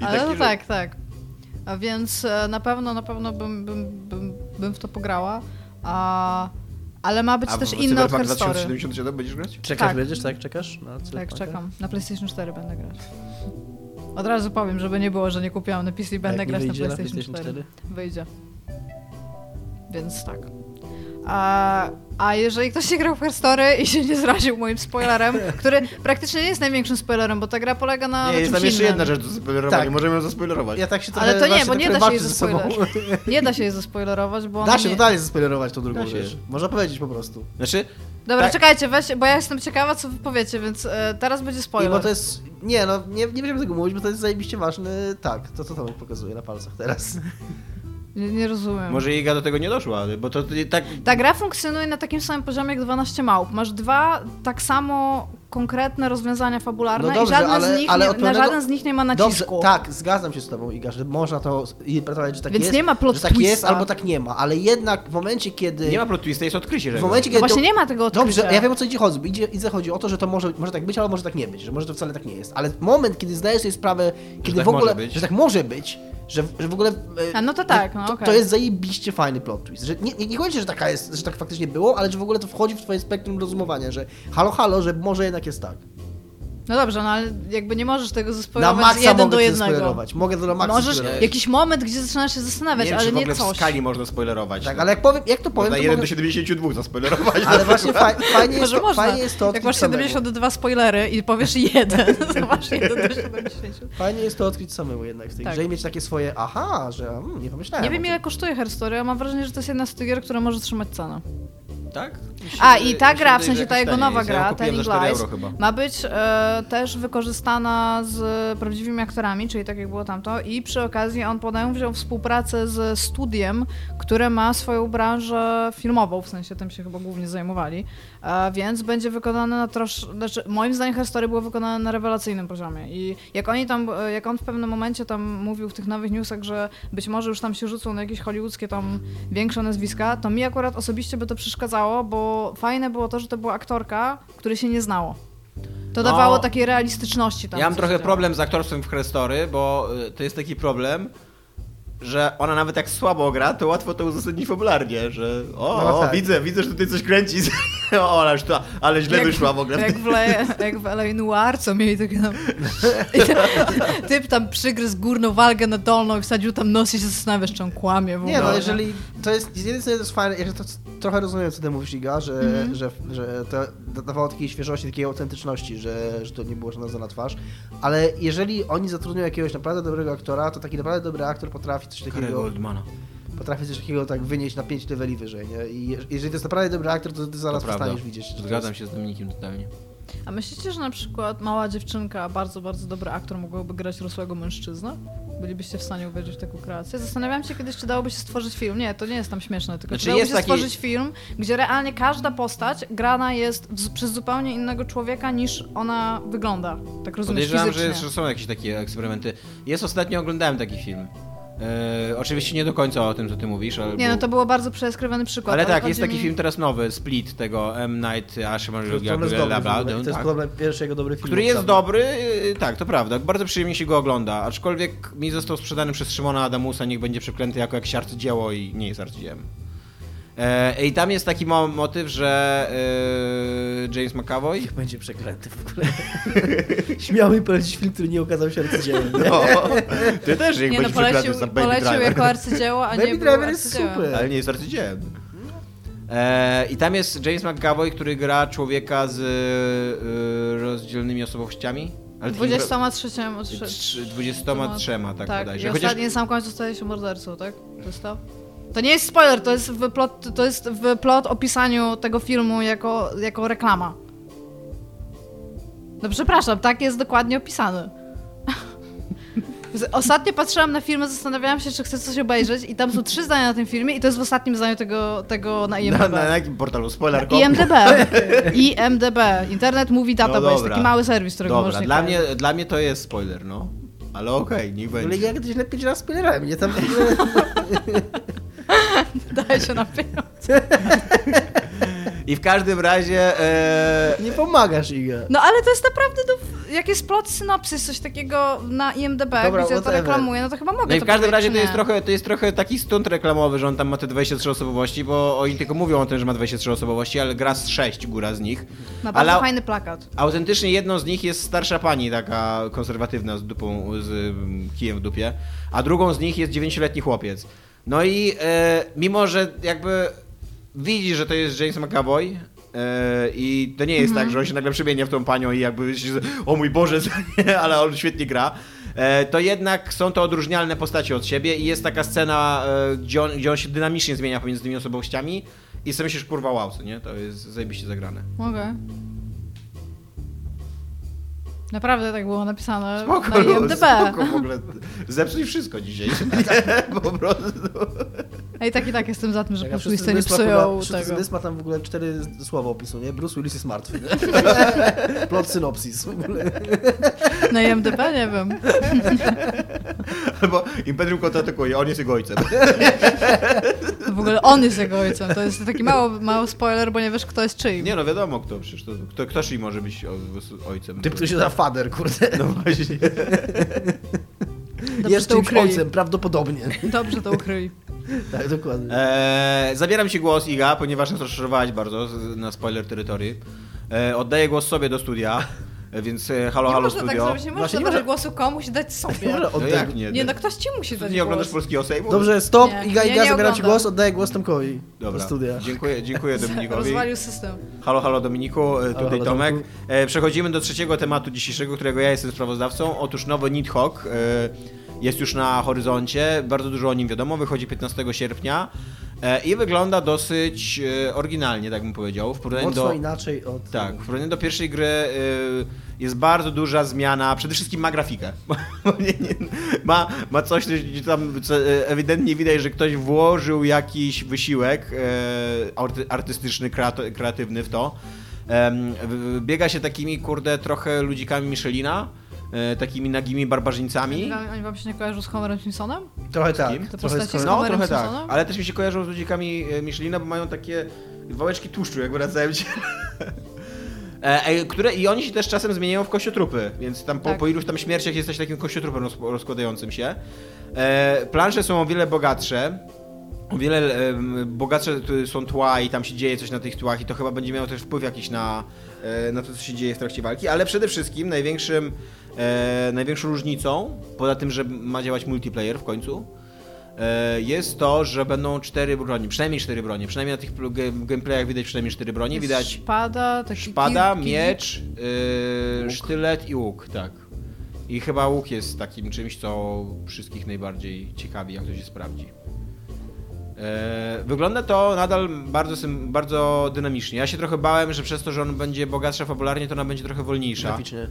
Speaker 1: I
Speaker 3: Ale
Speaker 1: takie
Speaker 3: no
Speaker 1: rzeczy.
Speaker 3: tak, tak. A więc e, na pewno, na pewno bym, bym, bym, bym w to pograła. A, ale ma być
Speaker 1: A
Speaker 3: też
Speaker 1: w
Speaker 3: inny od
Speaker 1: Cyberpunk
Speaker 3: herstory.
Speaker 1: 2077 będziesz grać?
Speaker 2: Czekasz,
Speaker 3: Tak.
Speaker 2: będziesz? Tak, czekasz? Na
Speaker 3: Tak,
Speaker 2: cyberpunka?
Speaker 3: czekam. Na PlayStation 4 będę grać. Od razu powiem, żeby nie było, że nie kupiłam na PC i
Speaker 2: jak
Speaker 3: będę
Speaker 2: nie
Speaker 3: grać na
Speaker 2: wyjdzie na
Speaker 3: PlayStation,
Speaker 2: PlayStation
Speaker 3: 4. Wyjdzie. Więc tak. A, a jeżeli ktoś się grał w Herstory i się nie zraził moim spoilerem, który praktycznie nie jest największym spoilerem, bo ta gra polega na,
Speaker 1: Nie,
Speaker 3: na
Speaker 1: jest
Speaker 3: czymś
Speaker 1: tam jeszcze
Speaker 3: innym.
Speaker 1: jedna rzecz do zaspoilerowania,
Speaker 2: Tak.
Speaker 1: możemy ją zaspoilerować.
Speaker 2: Ja tak się
Speaker 3: Ale
Speaker 2: trochę
Speaker 3: to nie,
Speaker 2: właśnie
Speaker 3: bo
Speaker 2: tak
Speaker 3: nie da się
Speaker 2: walczę
Speaker 3: jej
Speaker 2: ze sobą.
Speaker 3: zaspoilerować. Nie da się jej zaspoilerować, bo ona
Speaker 2: Da się tak,
Speaker 3: nie...
Speaker 2: totalnie zaspoilerować tą drugą
Speaker 1: Da się.
Speaker 2: rzecz. Można powiedzieć po prostu.
Speaker 1: Znaczy,
Speaker 3: Dobra,
Speaker 1: tak.
Speaker 3: czekajcie, weź, bo ja jestem ciekawa, co wy powiecie, więc e, teraz będzie
Speaker 2: I
Speaker 3: spoiler.
Speaker 2: bo to jest... Nie, no nie, nie będziemy tego mówić, bo to jest zajebiście ważny... Tak, to co Tomek pokazuje na palcach teraz.
Speaker 3: nie, nie rozumiem.
Speaker 1: może Iga do tego nie doszła, ale- bo to ty- tak...
Speaker 3: Ta gra funkcjonuje na takim samym poziomie jak 12 małp. Masz dwa tak samo konkretne rozwiązania fabularne
Speaker 2: No dobrze,
Speaker 3: i żadne
Speaker 2: ale-
Speaker 3: z nich
Speaker 2: ale
Speaker 3: nie,
Speaker 2: od
Speaker 3: na
Speaker 2: pewnego-
Speaker 3: żaden z nich nie ma nacisku.
Speaker 2: tak, zgadzam się z tobą, Iga, że można to interpretować, że tak
Speaker 3: Więc
Speaker 2: jest.
Speaker 3: nie ma plot
Speaker 2: że tak jest,
Speaker 3: twista.
Speaker 2: albo tak nie ma, ale jednak w momencie, kiedy...
Speaker 1: Nie ma plot twista, jest odkrycie
Speaker 2: w
Speaker 1: czegoś.
Speaker 2: momencie,
Speaker 3: No
Speaker 2: kiedy
Speaker 3: właśnie
Speaker 2: to-
Speaker 3: nie ma tego odkrycia.
Speaker 2: Dobrze, ja wiem o co idzie chodzi. bo Idzie, idzie chodzi o to, że to może, może tak być, ale może tak nie być, że może to wcale tak nie jest. Ale moment, kiedy zdajesz sobie sprawę, kiedy
Speaker 1: tak
Speaker 2: w ogóle,
Speaker 1: może być.
Speaker 2: że tak może być, że, że w ogóle. e,
Speaker 3: A, no to tak, no
Speaker 2: to,
Speaker 3: okej.
Speaker 2: to jest zajebiście fajny plot twist. Że nie, nie, nie chodzi, że taka jest, że tak faktycznie było, ale że w ogóle to wchodzi w twoje spektrum rozumowania, że halo, halo, że może jednak jest tak.
Speaker 3: No dobrze, no ale jakby nie możesz tego
Speaker 2: Na
Speaker 3: zespoilować z
Speaker 2: maksa
Speaker 3: jeden
Speaker 2: mogę
Speaker 3: do
Speaker 2: to
Speaker 3: jednego.
Speaker 2: spoilerować. Mogę to na maksa
Speaker 3: Możesz
Speaker 2: spoilerować.
Speaker 3: jakiś moment, gdzie zaczynasz się zastanawiać,
Speaker 1: nie wiem,
Speaker 3: ale
Speaker 1: czy w
Speaker 3: nie
Speaker 1: ogóle
Speaker 3: coś.
Speaker 1: w skali można spoilerować.
Speaker 2: Tak,
Speaker 1: no.
Speaker 2: ale jak powiem, jak to powiem,
Speaker 1: Można
Speaker 2: to
Speaker 1: 1 do
Speaker 2: mogę...
Speaker 1: 72 zaspoilerować.
Speaker 2: Ale właśnie
Speaker 1: Tak?
Speaker 2: faj, fajnie, jest
Speaker 3: Może
Speaker 2: to,
Speaker 3: można.
Speaker 2: fajnie jest to
Speaker 3: jak
Speaker 2: odkryć
Speaker 3: masz
Speaker 2: samemu.
Speaker 3: 72 spoilery i powiesz jeden, to masz jeden do 70.
Speaker 2: Fajnie jest to odkryć samemu jednak w tej
Speaker 3: Tak.
Speaker 2: grze i mieć takie swoje aha, że mm, nie pomyślałem
Speaker 3: Nie
Speaker 2: o
Speaker 3: wiem
Speaker 2: tym.
Speaker 3: ile kosztuje Herstory, a mam wrażenie, że to jest jedna z tych gier, która może trzymać cenę.
Speaker 1: Tak? Mi się
Speaker 3: A
Speaker 1: wydaje-
Speaker 3: i ta
Speaker 1: mi się
Speaker 3: gra,
Speaker 1: wydaje,
Speaker 3: w
Speaker 1: że
Speaker 3: sensie
Speaker 1: jakoś
Speaker 3: ta jego
Speaker 1: taniej
Speaker 3: nowa
Speaker 1: jest. Ja ją
Speaker 3: gra,
Speaker 1: kupiłem
Speaker 3: Telling
Speaker 1: za 4
Speaker 3: Lies,
Speaker 1: euro chyba.
Speaker 3: ma być e, też wykorzystana z prawdziwymi aktorami, czyli tak jak było tamto i przy okazji on podają wziął współpracę z studiem, które ma swoją branżę filmową, w sensie tym się chyba głównie zajmowali, e, więc będzie wykonane na trosz... Znaczy, moim zdaniem Herstory było wykonane na rewelacyjnym poziomie i jak oni tam, e, jak on w pewnym momencie tam mówił w tych nowych newsach, że być może już tam się rzucą na jakieś hollywoodzkie tam większe nazwiska, to mi akurat osobiście by to przeszkadzało, bo fajne było to, że to była aktorka, której się nie znało.
Speaker 1: No.
Speaker 3: To dawało takiej realistyczności tam.
Speaker 1: Ja mam
Speaker 3: co
Speaker 1: trochę
Speaker 3: się działo.
Speaker 1: problem z aktorstwem w Crestory, bo y, to jest taki problem, że ona nawet jak słabo gra, to łatwo to uzasadnić fabularnie, że o,
Speaker 2: No
Speaker 1: o
Speaker 2: tak.
Speaker 1: widzę, widzę, że tutaj coś kręci. o, ale, już to, ale źle wyszła w ogóle.
Speaker 3: Jak w, Le, jak w LA Noir, co mieli takie tam... I tam- Typ tam przygryzł górną walkę na dolną i wsadził tam nos i się zastanawiasz, czy on kłamie w ogóle.
Speaker 2: Nie no, jeżeli to jest, z jednej strony to jest fajne, ja to c- trochę rozumiem, co ty mówisz Iga, że,
Speaker 3: Mhm.
Speaker 2: że, że to da- dawało takiej świeżości, takiej autentyczności, że, że to nie było żadne na twarz, ale jeżeli oni zatrudnią jakiegoś naprawdę dobrego aktora, to taki naprawdę dobry aktor potrafi coś takiego,
Speaker 1: Goldmana.
Speaker 2: potrafi coś takiego tak wynieść na 5 leveli wyżej, nie? I je- jeżeli to jest naprawdę dobry aktor, to ty zaraz przestaniesz widzieć. czy to
Speaker 1: Zgadzam
Speaker 2: jest-
Speaker 1: się z Dominikiem totalnie.
Speaker 3: A myślicie, że na przykład mała dziewczynka, a bardzo, bardzo dobry aktor mogłaby grać rosłego mężczyznę? Bylibyście w stanie uwierzyć w taką kreację? Zastanawiam się kiedyś, czy dałoby się stworzyć film. Nie, to nie jest tam śmieszne, tylko
Speaker 1: Znaczy,
Speaker 3: czy dałoby
Speaker 1: jest
Speaker 3: się
Speaker 1: taki-
Speaker 3: stworzyć film, gdzie realnie każda postać grana jest w, przez zupełnie innego człowieka niż ona wygląda. Tak rozumiem,
Speaker 1: Podejrzewam,
Speaker 3: fizycznie.
Speaker 1: że, jest, że są jakieś takie eksperymenty. Jest ostatnio, oglądałem taki film. E, oczywiście nie do końca o tym, co ty mówisz, ale...
Speaker 3: Nie,
Speaker 1: był-
Speaker 3: no to było bardzo przeskrywany przykład.
Speaker 1: Ale tak, jest
Speaker 3: chodzi
Speaker 1: taki
Speaker 3: mi-
Speaker 1: film teraz nowy, Split, tego M. Night Ashman,
Speaker 2: To jest
Speaker 1: bla, bla,
Speaker 2: dobry, to jest
Speaker 1: tak.
Speaker 2: problem pierwszy jego dobry film.
Speaker 1: Który jest
Speaker 2: naprawdę.
Speaker 1: dobry, yy, tak, to prawda. Bardzo przyjemnie się go ogląda, aczkolwiek mi został sprzedany przez Szymona Adamusa, niech będzie przeklęty jako jakieś arcydzieło i nie jest arcydziełem. E, I tam jest taki mo- motyw, że yy, James McAvoy
Speaker 2: Niech będzie przeklęty w ogóle. Śmiał mi polecić film, który nie okazał się arcydziełem. nie?
Speaker 1: No, ty też jak
Speaker 3: Nie no,
Speaker 1: będziesz przeklęty
Speaker 3: polecił,
Speaker 1: za Baby
Speaker 3: polecił
Speaker 1: Driver.
Speaker 3: jako arcydzieło, a nie
Speaker 2: Baby
Speaker 3: był
Speaker 2: Driver jest
Speaker 3: arcydziełem.
Speaker 2: super.
Speaker 1: Ale nie jest arcydziełem. Tak. E, I tam jest James McAvoy, który gra człowieka z yy, rozdzielnymi osobowościami. Ale takim ro-
Speaker 3: 23
Speaker 1: Trz- 23, tak, bodajże.
Speaker 3: I
Speaker 1: Chociaż-
Speaker 3: ostatni na sam końcu staje się mordercą, tak? Został. To nie jest spoiler, to jest w plot, to jest w plot opisaniu tego filmu jako, jako reklama. No przepraszam, tak jest dokładnie opisany. Z- Ostatnio patrzyłam na filmy, zastanawiałam się, czy chcę coś obejrzeć i tam są trzy zdania na tym filmie i to jest w ostatnim zdaniu tego, tego na IMDb.
Speaker 1: na, na, na jakim portalu? Spoiler.
Speaker 3: IMDB. IMDB. Internet Movie Database.
Speaker 1: No dobra.
Speaker 3: taki mały serwis, którego
Speaker 1: Dobra,
Speaker 3: można
Speaker 1: dla mnie, dla mnie to jest spoiler, no. Ale okej, niech
Speaker 2: W ogóle
Speaker 1: będzie.
Speaker 2: ja kiedyś na 5 razy spoilerałem, nie tam...
Speaker 3: Daje się na pieniądze.
Speaker 1: I w każdym razie... E...
Speaker 2: Nie pomagasz, Iga.
Speaker 3: No ale to jest naprawdę, do... jak jest plot synopsis, coś takiego na IMDB,
Speaker 2: Dobra,
Speaker 3: gdzie to
Speaker 2: whatever.
Speaker 3: reklamuje, no to chyba mogę
Speaker 1: No i w
Speaker 3: to
Speaker 1: każdym
Speaker 3: powiedzieć,
Speaker 1: razie
Speaker 3: czy
Speaker 1: to jest,
Speaker 3: nie?
Speaker 1: trochę, to jest trochę taki stunt reklamowy, że on tam ma te 23 osobowości, bo oni tylko mówią o tym, że ma 23 osobowości, ale gra z 6 góra z nich.
Speaker 3: Ma bardzo
Speaker 1: ale
Speaker 3: fajny plakat.
Speaker 1: autentycznie jedną z nich jest starsza pani, taka konserwatywna z dupą, z ym, kijem w dupie, a drugą z nich jest 9-letni chłopiec. No i e, mimo, że jakby widzi, że to jest James McAvoy, e, i to nie jest tak, że on się nagle przemienia w tą panią i jakby się, o mój Boże, ale on świetnie gra. E, to jednak są to odróżnialne postacie od siebie i jest taka scena, e, gdzie on, gdzie on się dynamicznie zmienia pomiędzy tymi osobowościami i sobie myślisz, kurwa, wow, co nie? To jest zajebiście zagrane.
Speaker 3: Mogę. Naprawdę tak było napisane
Speaker 1: Spoko, no,
Speaker 3: na IMDB.
Speaker 1: spoko w ogóle. Zepsuj wszystko dzisiaj. po prostu.
Speaker 3: A i tak i tak jestem za tym, że
Speaker 2: Tak,
Speaker 3: po
Speaker 2: a
Speaker 3: prostu
Speaker 2: Wszyscy
Speaker 3: nie
Speaker 2: z Wyspa poda-
Speaker 3: psują
Speaker 2: Wszyscy z
Speaker 3: tego.
Speaker 2: Wyspa tam w ogóle cztery z- słowa opisu, nie? Bruce Willis jest martwy. Plot synopsis. w ogóle.
Speaker 3: Na IMDB nie wiem.
Speaker 1: Albo Imperium kontratakuje, on jest jego ojcem.
Speaker 3: W ogóle on jest jego ojcem. To jest taki mały, mały spoiler, bo nie wiesz kto jest czyim.
Speaker 1: Nie no, wiadomo kto przecież. To, kto, kto i może być o- ojcem?
Speaker 2: Typ, który się za fader, kurde.
Speaker 1: No właśnie.
Speaker 3: Dobrze
Speaker 2: Jest
Speaker 3: to
Speaker 2: czymś
Speaker 3: ukryli.
Speaker 2: ojcem, prawdopodobnie.
Speaker 3: Dobrze to ukryj.
Speaker 2: Tak, dokładnie.
Speaker 1: Eee, zabieram ci głos, Iga, ponieważ nas rozczarowałaś bardzo z- na spoiler terytorii. Eee, oddaję głos sobie do studia, e, więc e, halo,
Speaker 3: Nie
Speaker 1: halo
Speaker 3: można tak
Speaker 1: studio.
Speaker 3: zrobić, nie
Speaker 2: Właśnie
Speaker 3: można
Speaker 2: nie
Speaker 3: dać
Speaker 2: może-
Speaker 3: głosu komuś, dać sobie.
Speaker 2: Dobra,
Speaker 1: no
Speaker 2: oddaj-
Speaker 1: jak nie?
Speaker 3: Nie no, ktoś ci musi
Speaker 1: Ty
Speaker 3: dać
Speaker 1: nie oglądasz
Speaker 3: głos.
Speaker 1: polskiego sejmu?
Speaker 2: Dobrze, stop.
Speaker 3: Nie,
Speaker 2: Iga,
Speaker 3: ja
Speaker 2: Iga,
Speaker 3: nie
Speaker 2: zabieram ci
Speaker 3: oglądam.
Speaker 2: głos, oddaję głos Tomkowi.
Speaker 1: Dobra.
Speaker 2: Do studia.
Speaker 1: Dziękuję, dziękuję Dominikowi.
Speaker 3: Rozwalił system.
Speaker 1: Halo, halo Dominiku, e, tutaj
Speaker 2: halo,
Speaker 1: Tomek.
Speaker 2: Tomku.
Speaker 1: E, Przechodzimy do trzeciego tematu dzisiejszego, którego ja jestem sprawozdawcą. Otóż nowy Nidhogg e, jest już na horyzoncie, bardzo dużo o nim wiadomo, wychodzi 15 sierpnia e, i wygląda dosyć e, oryginalnie, tak bym powiedział. W porównaniu
Speaker 2: Mocno
Speaker 1: do,
Speaker 2: inaczej od...
Speaker 1: tak, w porównaniu do pierwszej gry y, jest bardzo duża zmiana. Przede wszystkim ma grafikę. nie, nie, ma, ma coś, co się tam co y, ewidentnie widać, że ktoś włożył jakiś wysiłek y, arty, artystyczny, kreato- kreatywny w to. Em, w- w- biega się takimi, kurde, trochę ludzikami Michelina, y, takimi nagimi barbarzyńcami.
Speaker 3: Oni, oni wam się nie kojarzą z Homerem Simpsonem?
Speaker 2: Trochę
Speaker 1: Kim?
Speaker 2: tak.
Speaker 3: Te
Speaker 2: Trochę
Speaker 3: postacie
Speaker 2: skoro-
Speaker 3: są-
Speaker 1: No,
Speaker 3: Homerem
Speaker 1: trochę tak.
Speaker 3: Simpsonem?
Speaker 1: Ale też mi się kojarzą z ludzikami e, Michelina, bo mają takie wałeczki tłuszczu, jak wracają cię. E, e, które, I oni się też czasem zmieniają w kościotrupy, więc tam po,
Speaker 3: Tak.
Speaker 1: po iluś tam śmierciach jesteś takim kościotrupem roz, rozkładającym się. E, plansze są o wiele bogatsze. O wiele em, bogatsze tu są tła i tam się dzieje coś na tych tłach i to chyba będzie miało też wpływ jakiś na, e, na to, co się dzieje w trakcie walki, ale przede wszystkim największym, e, największą różnicą, poza tym, że ma działać multiplayer w końcu, e, jest to, że będą cztery broni, przynajmniej cztery bronie, przynajmniej na tych pl- ge- gameplayach widać przynajmniej cztery bronie,
Speaker 3: Jest
Speaker 1: widać
Speaker 3: Szpada, taki
Speaker 1: Szpada,
Speaker 3: kij- kij-
Speaker 1: miecz, y, sztylet i łuk, tak. I chyba łuk jest takim czymś, co wszystkich najbardziej ciekawi, jak to się sprawdzi. E, Wygląda to nadal bardzo, sym- bardzo dynamicznie. Ja się trochę bałem, że przez to, że on będzie bogatsza fabularnie, to ona będzie trochę wolniejsza.
Speaker 2: Graficznie.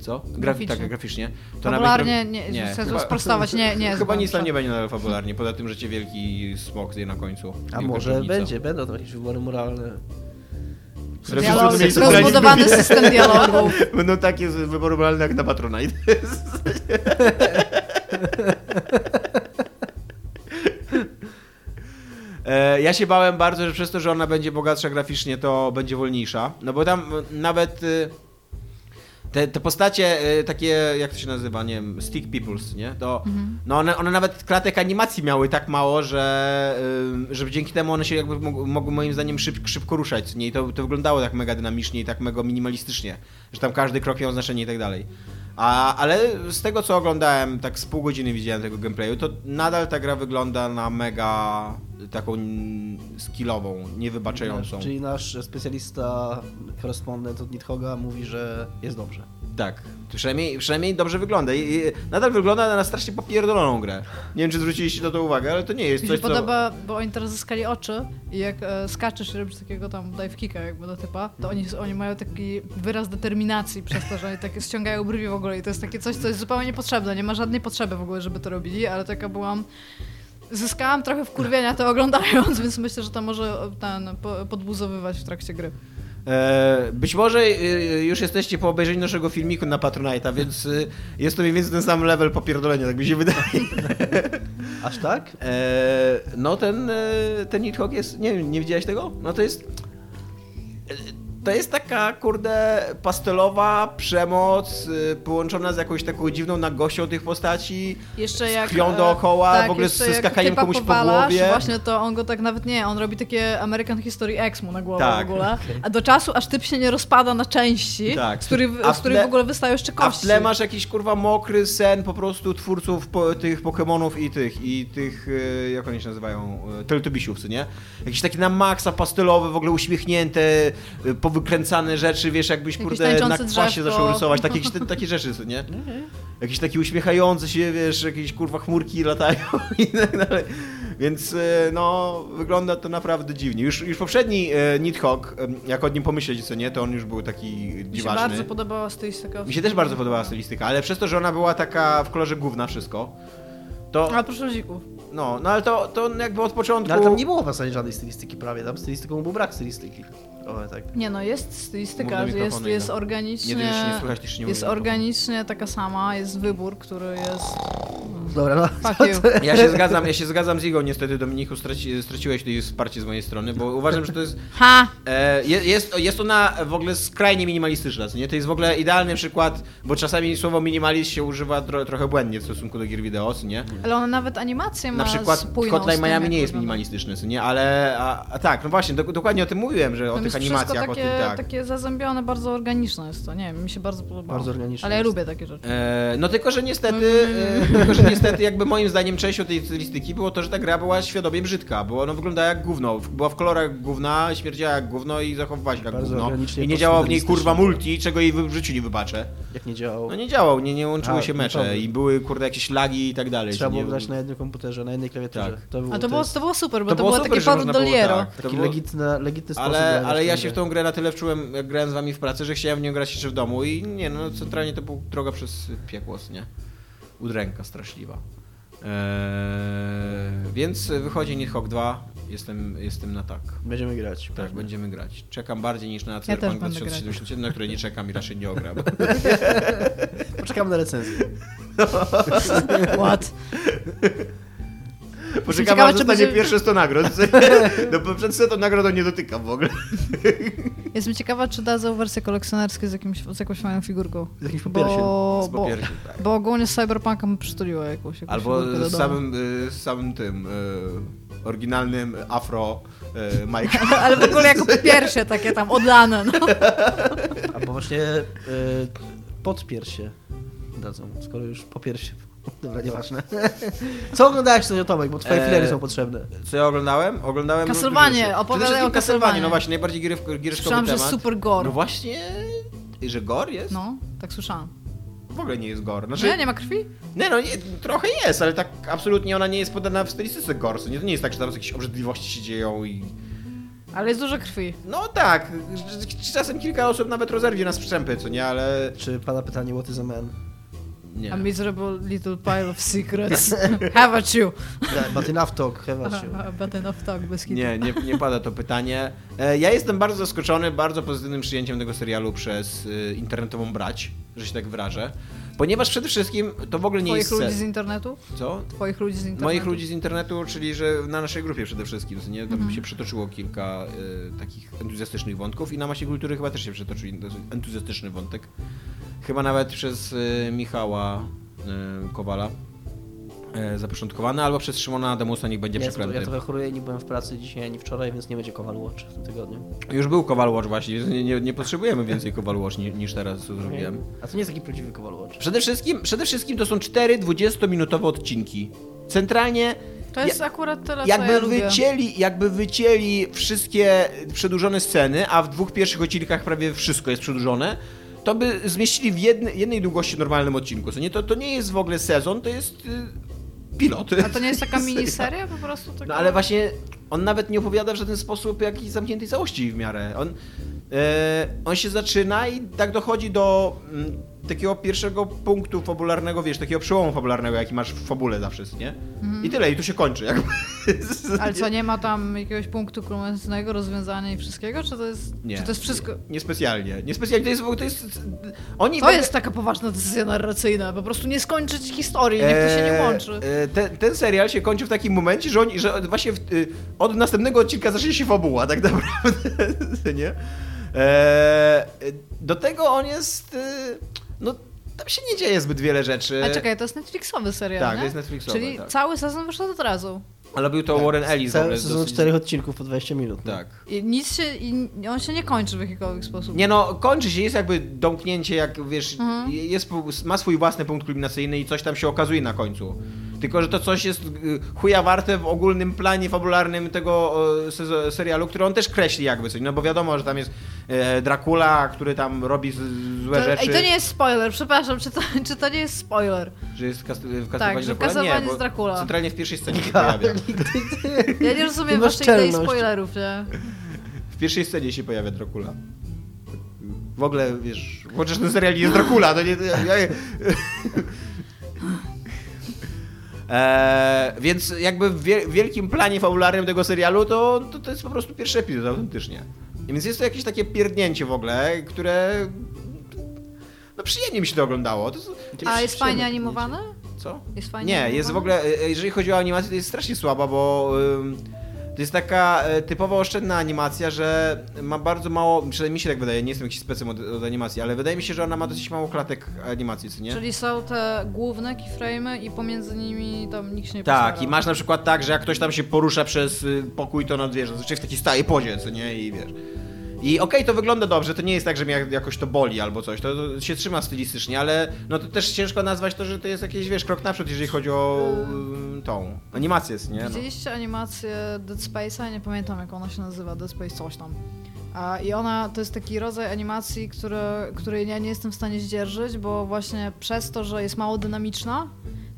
Speaker 1: Co? Grafi-
Speaker 3: Graficznie.
Speaker 1: Tak, graficznie. To ona
Speaker 3: Fabularnie,
Speaker 1: będzie
Speaker 3: nie,
Speaker 1: trochę-
Speaker 3: nie, chcę
Speaker 1: chyba-
Speaker 3: to sprostować, nie, nie.
Speaker 1: Chyba
Speaker 3: zgłaszam.
Speaker 1: nic tam nie będzie nadal fabularnie, poza tym, że cię wielki smok zje na końcu.
Speaker 2: A
Speaker 1: Wielka
Speaker 2: może
Speaker 1: czarownica.
Speaker 2: będzie, będą tam jakieś wybory moralne.
Speaker 3: Dialog,
Speaker 1: Zrobię-
Speaker 3: rozbudowany system dialogów.
Speaker 1: Będą takie z wyboru moralne jak na Patronite. E, Ja się bałem bardzo, że przez to, że ona będzie bogatsza graficznie, to będzie wolniejsza. No bo tam e, nawet y, te, te postacie y, takie, jak to się nazywa, nie wiem, stick peoples, nie? To, No one, one nawet klatek animacji miały tak mało, że, y, że dzięki temu one się jakby mog- mogły moim zdaniem szyb, szybko ruszać, nie? I to, to wyglądało tak mega dynamicznie i tak mega minimalistycznie, że tam każdy krok miał znaczenie i tak dalej. A, ale z tego co oglądałem, tak z pół godziny widziałem tego gameplayu, to nadal ta gra wygląda na mega taką mm, skillową, niewybaczającą.
Speaker 2: Czyli nasz specjalista, korespondent od Nithoga mówi, że jest dobrze.
Speaker 1: Tak. To Przynajmniej, przynajmniej dobrze wygląda. I, i nadal wygląda na strasznie popierdoloną grę. Nie wiem, czy zwróciliście na to uwagę, ale to nie jest
Speaker 3: Mi
Speaker 1: coś,
Speaker 3: się
Speaker 1: co...
Speaker 3: podoba, bo oni teraz zyskali oczy i jak e, skaczesz i robisz takiego tam dive kicka jakby do typa, to oni, oni mają taki wyraz determinacji przez to, że oni takie ściągają brwi w ogóle i to jest takie coś, co jest zupełnie niepotrzebne, nie ma żadnej potrzeby w ogóle, żeby to robili, ale taka byłam... Zyskałam trochę wkurwienia to oglądając, więc myślę, że to może e, ten, po- podbuzowywać w trakcie gry.
Speaker 1: E, być może e, już jesteście po obejrzeniu naszego filmiku na Patronite'a, więc e, jest to mniej więcej ten sam level popierdolenia, tak mi się wydaje.
Speaker 2: Aż tak?
Speaker 1: E, no ten, e, ten Nidhogg jest... Nie wiem, nie widziałeś tego? No to jest... e, To jest taka, kurde, pastelowa przemoc e, połączona z jakąś taką dziwną nagłością tych postaci.
Speaker 3: Jeszcze
Speaker 1: Z
Speaker 3: jak.
Speaker 1: krwią
Speaker 3: e,
Speaker 1: dookoła, w ogóle
Speaker 3: jeszcze
Speaker 1: ze
Speaker 3: jak
Speaker 1: skakaniem
Speaker 3: typa
Speaker 1: komuś po
Speaker 3: powalasz,
Speaker 1: głowie.
Speaker 3: Właśnie to on go tak nawet nie, on robi takie American History X mu na głowę
Speaker 1: Tak.
Speaker 3: w ogóle. A do czasu aż typ się nie rozpada na części,
Speaker 1: Tak.
Speaker 3: z których
Speaker 1: A w
Speaker 3: w, z których
Speaker 1: tle-
Speaker 3: w ogóle wystają jeszcze
Speaker 1: A
Speaker 3: kości.
Speaker 1: w tle masz jakiś kurwa mokry sen po prostu twórców po, tych Pokemonów i tych, i tych, y, jak oni się nazywają, y, Teletubisiów, co nie? Jakieś takie na maksa pastelowe, w ogóle uśmiechnięte, y, powykręcane rzeczy, wiesz, jakbyś
Speaker 3: Jakieś
Speaker 1: kurde na
Speaker 3: tańczące
Speaker 1: kwasie
Speaker 3: drzewko.
Speaker 1: zaczął rysować, takie, jakieś te- takie rzeczy, co nie? Jakieś takie uśmiechające się, wiesz, jakieś kurwa chmurki latają i tak dalej. Więc y, no, wygląda to naprawdę dziwnie. Już, już poprzedni y, Nidhogg, y, jak o nim pomyśleć, co nie, to on już był taki
Speaker 3: Mi się
Speaker 1: dziwaczny.
Speaker 3: bardzo podobała stylistyka.
Speaker 1: Mi się też bardzo podobała stylistyka, ale przez to, że ona była taka w kolorze główna wszystko, to,
Speaker 3: A proszę ludzików.
Speaker 1: no, no ale to, to jakby od początku...
Speaker 2: No, ale tam nie było w zasadzie żadnej stylistyki prawie, tam stylistyką był brak stylistyki. O, tak.
Speaker 3: Nie no, jest
Speaker 1: Mów do
Speaker 3: stylistyka,
Speaker 1: mikrofonu,
Speaker 3: jest,
Speaker 1: Ida.
Speaker 3: jest
Speaker 1: Nie,
Speaker 3: organicznie.
Speaker 1: no. nie, nie słychać, też nie
Speaker 3: jest
Speaker 1: mówię.
Speaker 3: organicznie taka sama, jest wybór, który jest.
Speaker 2: Dobra, no.
Speaker 3: Fuck
Speaker 2: co
Speaker 3: you.
Speaker 2: ty-
Speaker 1: Ja się zgadzam, ja się zgadzam z Igą, niestety Dominiku, straci, straciłeś tutaj wsparcie z mojej strony, bo uważam, że to jest...
Speaker 3: Ha!
Speaker 1: E, je- jest, jest ona w ogóle skrajnie minimalistyczna, co nie? To jest w ogóle idealny przykład, bo czasami słowo minimalist się używa tro, trochę błędnie w stosunku do gier wideo, co nie?
Speaker 3: Ale ona nawet animację ma.
Speaker 1: Na przykład
Speaker 3: spójną z
Speaker 1: Hotline
Speaker 3: tym,
Speaker 1: Miami
Speaker 3: jak
Speaker 1: nie jest
Speaker 3: wygląda.
Speaker 1: minimalistyczny, co nie? Ale a, a tak, no właśnie, dok- dokładnie o tym mówiłem, że o
Speaker 3: Tam
Speaker 1: tych
Speaker 3: No, jest wszystko
Speaker 1: animacjach,
Speaker 3: takie,
Speaker 1: o tym tak.
Speaker 3: takie zazębione, bardzo organiczne jest to. Nie wiem, mi się bardzo podobało.
Speaker 2: Bardzo organiczne
Speaker 3: Ale ja
Speaker 2: jest.
Speaker 3: lubię takie rzeczy.
Speaker 1: E, No tylko, że niestety,
Speaker 3: Mhm.
Speaker 1: e, tylko, że niestety jakby moim zdaniem częścią tej stylistyki było to, że ta gra była świadomie brzydka, bo ona wyglądała jak gówno, w- była w kolorach gówna, śmierdziała jak gówno i zachowywała się jak
Speaker 2: Bardzo
Speaker 1: gówno.
Speaker 2: organicznie
Speaker 1: I nie działał w niej
Speaker 2: postmodernistycznie
Speaker 1: kurwa
Speaker 2: było.
Speaker 1: multi, czego jej w życiu nie wybaczę.
Speaker 2: Jak nie działał.
Speaker 1: No nie działał, nie, nie łączyły
Speaker 2: A,
Speaker 1: się
Speaker 2: no
Speaker 1: mecze
Speaker 2: dobra.
Speaker 1: i były kurde jakieś lagi i tak dalej.
Speaker 2: Trzeba
Speaker 1: że nie-
Speaker 2: było grać na jednym komputerze, na jednej klawiaturze.
Speaker 1: Tak.
Speaker 2: To był,
Speaker 3: A to było, to było super, bo
Speaker 1: To
Speaker 3: to,
Speaker 1: było
Speaker 3: było
Speaker 1: super,
Speaker 3: takie
Speaker 1: że
Speaker 3: Paru
Speaker 1: można było
Speaker 3: Doliero.
Speaker 1: tak.
Speaker 2: Taki
Speaker 1: to było-
Speaker 2: legitny, legitny sposób
Speaker 1: Ale,
Speaker 2: grania
Speaker 1: ale ja
Speaker 2: tym
Speaker 1: się w
Speaker 2: grę.
Speaker 1: tą grę na tyle wczułem, jak grałem z wami w pracy, że chciałem w nią grać jeszcze w domu i nie no, centralnie to była droga przez piekło, nie? Udręka straszliwa. Eee, więc wychodzi Nidhogg 2, jestem, jestem na tak.
Speaker 2: Będziemy grać.
Speaker 1: Tak, będziemy grać. Czekam bardziej niż na
Speaker 3: też
Speaker 1: Cyberpunk
Speaker 3: będę grać.
Speaker 1: 2077, na które nie czekam i raczej nie ogram.
Speaker 2: Poczekamy na recenzję.
Speaker 3: What?
Speaker 1: Poczekam,
Speaker 3: ciekawa,
Speaker 1: aż
Speaker 3: czy
Speaker 1: dostanie
Speaker 3: będzie-
Speaker 1: pierwsze 100 nagród. No, przed 100 tą nagrodą nie dotykam w ogóle.
Speaker 3: Jestem ciekawa, czy dadzą wersję kolekcjonerską z, jakimś, z jakąś fajną figurką.
Speaker 2: Z jakimś papiersiem.
Speaker 3: Bo,
Speaker 1: Z
Speaker 3: bo,
Speaker 1: papierkiem, tak.
Speaker 3: bo ogólnie z Cyberpunka mi przytuliło jakąś, jakąś
Speaker 1: Albo
Speaker 3: figurkę do
Speaker 1: z
Speaker 3: domu.
Speaker 1: samym, y, z samym tym y, oryginalnym afro y, Mike.
Speaker 3: Ale w ogóle jako pierwsze takie tam odlane, no.
Speaker 2: Albo właśnie e, podpiersie dadzą, skoro już popiersie. Dobra, nieważne. Co oglądałeś sobie, Tomek, bo twoje
Speaker 1: E,
Speaker 2: filery są potrzebne.
Speaker 1: Co ja oglądałem? Oglądałem...
Speaker 3: Castlevania,
Speaker 1: różne rzeczy.
Speaker 3: opowiadaj
Speaker 1: Przede wszystkim
Speaker 3: o Castlevanie.
Speaker 1: No właśnie, najbardziej gierkowy temat.
Speaker 3: Słyszałam, że jest super gore.
Speaker 1: No właśnie, że gor jest? No.
Speaker 3: No, tak słyszałam.
Speaker 1: W ogóle nie jest gor. Znaczy,
Speaker 3: Nie, nie ma krwi?
Speaker 1: Nie no, nie, trochę jest, ale tak absolutnie ona nie jest podana w stylistyce gorsy. Nie, to nie jest tak, że tam jakieś obrzydliwości się dzieją i...
Speaker 3: Ale jest dużo krwi.
Speaker 1: No tak, że- że czasem kilka osób nawet rozerwie na strzępy, co nie, ale...
Speaker 2: Czy pada pytanie What is a man?
Speaker 1: Nie.
Speaker 3: A miserable little pile of secrets. Have at you.
Speaker 2: Da- But enough talk, have at you.
Speaker 3: But enough talk, bez kitu.
Speaker 1: Nie, nie, nie pada to pytanie. E, Ja jestem bardzo zaskoczony bardzo pozytywnym przyjęciem tego serialu przez y, internetową brać, że się tak wyrażę. Ponieważ przede wszystkim to w ogóle nie
Speaker 3: Twoich
Speaker 1: jest
Speaker 3: ludzi
Speaker 1: ser...
Speaker 3: z internetu?
Speaker 1: Co?
Speaker 3: Twoich ludzi z internetu.
Speaker 1: Moich ludzi z internetu, czyli że na naszej grupie przede wszystkim, co nie? Tam
Speaker 3: Mhm.
Speaker 1: się przetoczyło kilka y, takich entuzjastycznych wątków i na masie kultury chyba też się przetoczył entu- entuzjastyczny wątek. Chyba nawet przez y, Michała y, Kowala y, zapoczątkowany, albo przez Szymona Adamusa, niech będzie
Speaker 2: Ja, jestem-
Speaker 1: przeklęty.
Speaker 2: ja trochę choruję, nie byłem w pracy dzisiaj ani wczoraj, więc nie będzie Kowal Watch w tym tygodniu.
Speaker 1: Już był Kowal Watch właśnie, więc nie, nie, nie potrzebujemy więcej Kowal Watch ni, niż teraz, co zrobiłem.
Speaker 2: A to nie jest taki prawdziwy Kowal Watch.
Speaker 1: Przede wszystkim, przede wszystkim to są cztery 20-minutowe odcinki. Centralnie
Speaker 3: To jest akurat tyle, co
Speaker 1: jakby
Speaker 3: ja lubię.
Speaker 1: wycięli, jakby wycięli wszystkie przedłużone sceny, a w dwóch pierwszych odcinkach prawie wszystko jest przedłużone, to by zmieścili w jednej, jednej długości normalnym odcinku. Co nie, to, to nie jest w ogóle sezon, to jest y, pilot.
Speaker 3: A to nie jest taka
Speaker 1: Serial.
Speaker 3: miniseria po prostu? Taka...
Speaker 1: No ale właśnie on nawet nie opowiada w żaden sposób jakiejś zamkniętej całości w miarę. On, e, on się zaczyna i tak dochodzi do mm, takiego pierwszego punktu fabularnego, wiesz, takiego przełomu fabularnego, jaki masz w fabule zawsze, nie? I tyle, i tu się kończy. Jakby.
Speaker 3: Mhm. Ale co, nie ma tam jakiegoś punktu kulminacyjnego, rozwiązania i wszystkiego? Czy to jest,
Speaker 1: Nie.
Speaker 3: Czy to jest wszystko?
Speaker 1: Niespecjalnie. Niespecjalnie to jest... w ogóle- To jest oni w
Speaker 3: To
Speaker 1: ogóle-
Speaker 3: jest taka poważna decyzja narracyjna, po prostu nie skończyć historii, niech to się nie
Speaker 1: Eee,
Speaker 3: łączy.
Speaker 1: e, Ten, ten serial się kończy w takim momencie, że, oni, że właśnie w, y, od następnego odcinka zacznie się fabuła, tak naprawdę, nie? Eee, do tego on jest... y, No, tam się nie dzieje zbyt wiele rzeczy.
Speaker 3: A czekaj, to jest Netflixowy serial,
Speaker 1: eee, tak,
Speaker 3: nie?
Speaker 1: to jest Netflixowy,
Speaker 3: Czyli
Speaker 1: tak.
Speaker 3: cały sezon wyszedł od razu.
Speaker 1: Ale był to Warren Ellis. w
Speaker 2: Cały
Speaker 1: ogóle,
Speaker 2: sezon
Speaker 1: dosyć-
Speaker 2: czterech odcinków po 20 minut. no.
Speaker 1: Tak.
Speaker 3: I nic się, i on się nie kończy w jakikolwiek sposób.
Speaker 1: Nie no, kończy się, jest jakby domknięcie, jak wiesz,
Speaker 3: Mhm.
Speaker 1: jest, ma swój własny punkt kulminacyjny i coś tam się okazuje na końcu. Tylko, że to coś jest y, chuja warte w ogólnym planie fabularnym tego e, sezo- serialu, który on też kreśli jakby coś, no bo wiadomo, że tam jest e, Dracula, który tam robi z, złe
Speaker 3: to,
Speaker 1: rzeczy,
Speaker 3: Ej, to nie jest spoiler, przepraszam, czy to, czy to nie jest spoiler?
Speaker 1: że jest w Cas- w
Speaker 3: Tak,
Speaker 1: Castlevanie
Speaker 3: że
Speaker 1: Dracula?
Speaker 3: w Castlevanie
Speaker 1: Nie, bo
Speaker 3: jest Dracula.
Speaker 1: Centralnie w pierwszej scenie się pojawia.
Speaker 3: Ja nie rozumiem
Speaker 2: masz
Speaker 3: waszej idei
Speaker 2: czelność.
Speaker 3: spoilerów, nie?
Speaker 1: W pierwszej scenie się pojawia Dracula. W ogóle, wiesz, chociaż ten serial jest Dracula, to nie... to Ja, ja... Eee, więc jakby w wie- wielkim planie fabularnym tego serialu to, to, to jest po prostu pierwszy epizod autentycznie. I Więc jest to jakieś takie pierdnięcie w ogóle, które... No przyjemnie mi się to oglądało. To, jest-
Speaker 3: A jest fajnie animowane?
Speaker 1: co?
Speaker 3: Jest fajnie
Speaker 1: Nie,
Speaker 3: animowane?
Speaker 1: jest w ogóle, e, jeżeli chodzi o animację, to jest strasznie słaba, bo ym, to jest taka e, typowo oszczędna animacja, że ma bardzo mało, przynajmniej mi się tak wydaje, nie jestem jakiś specem od, od animacji, ale wydaje mi się, że ona ma dosyć mało klatek animacji, co nie?
Speaker 3: Czyli są te główne keyframe'y i pomiędzy nimi tam nikt się nie
Speaker 1: Tak,
Speaker 3: postarał.
Speaker 1: i masz na przykład tak, że jak ktoś tam się porusza przez y, pokój, to no wiesz, zazwyczaj w takiej stałej pozie, co nie, i wiesz. I okej, to wygląda dobrze, to nie jest tak, że mnie jak- jakoś to boli albo coś, to, to się trzyma stylistycznie, ale no to też ciężko nazwać to, że to jest jakiś, wiesz, krok naprzód, jeżeli chodzi o y, tą animację, co nie? No.
Speaker 3: Widzieliście animację Dead Space'a? Nie pamiętam jak ona się nazywa, Dead Space coś tam. A, I ona to jest taki rodzaj animacji, który, której ja nie jestem w stanie zdzierżyć, bo właśnie przez to, że jest mało dynamiczna,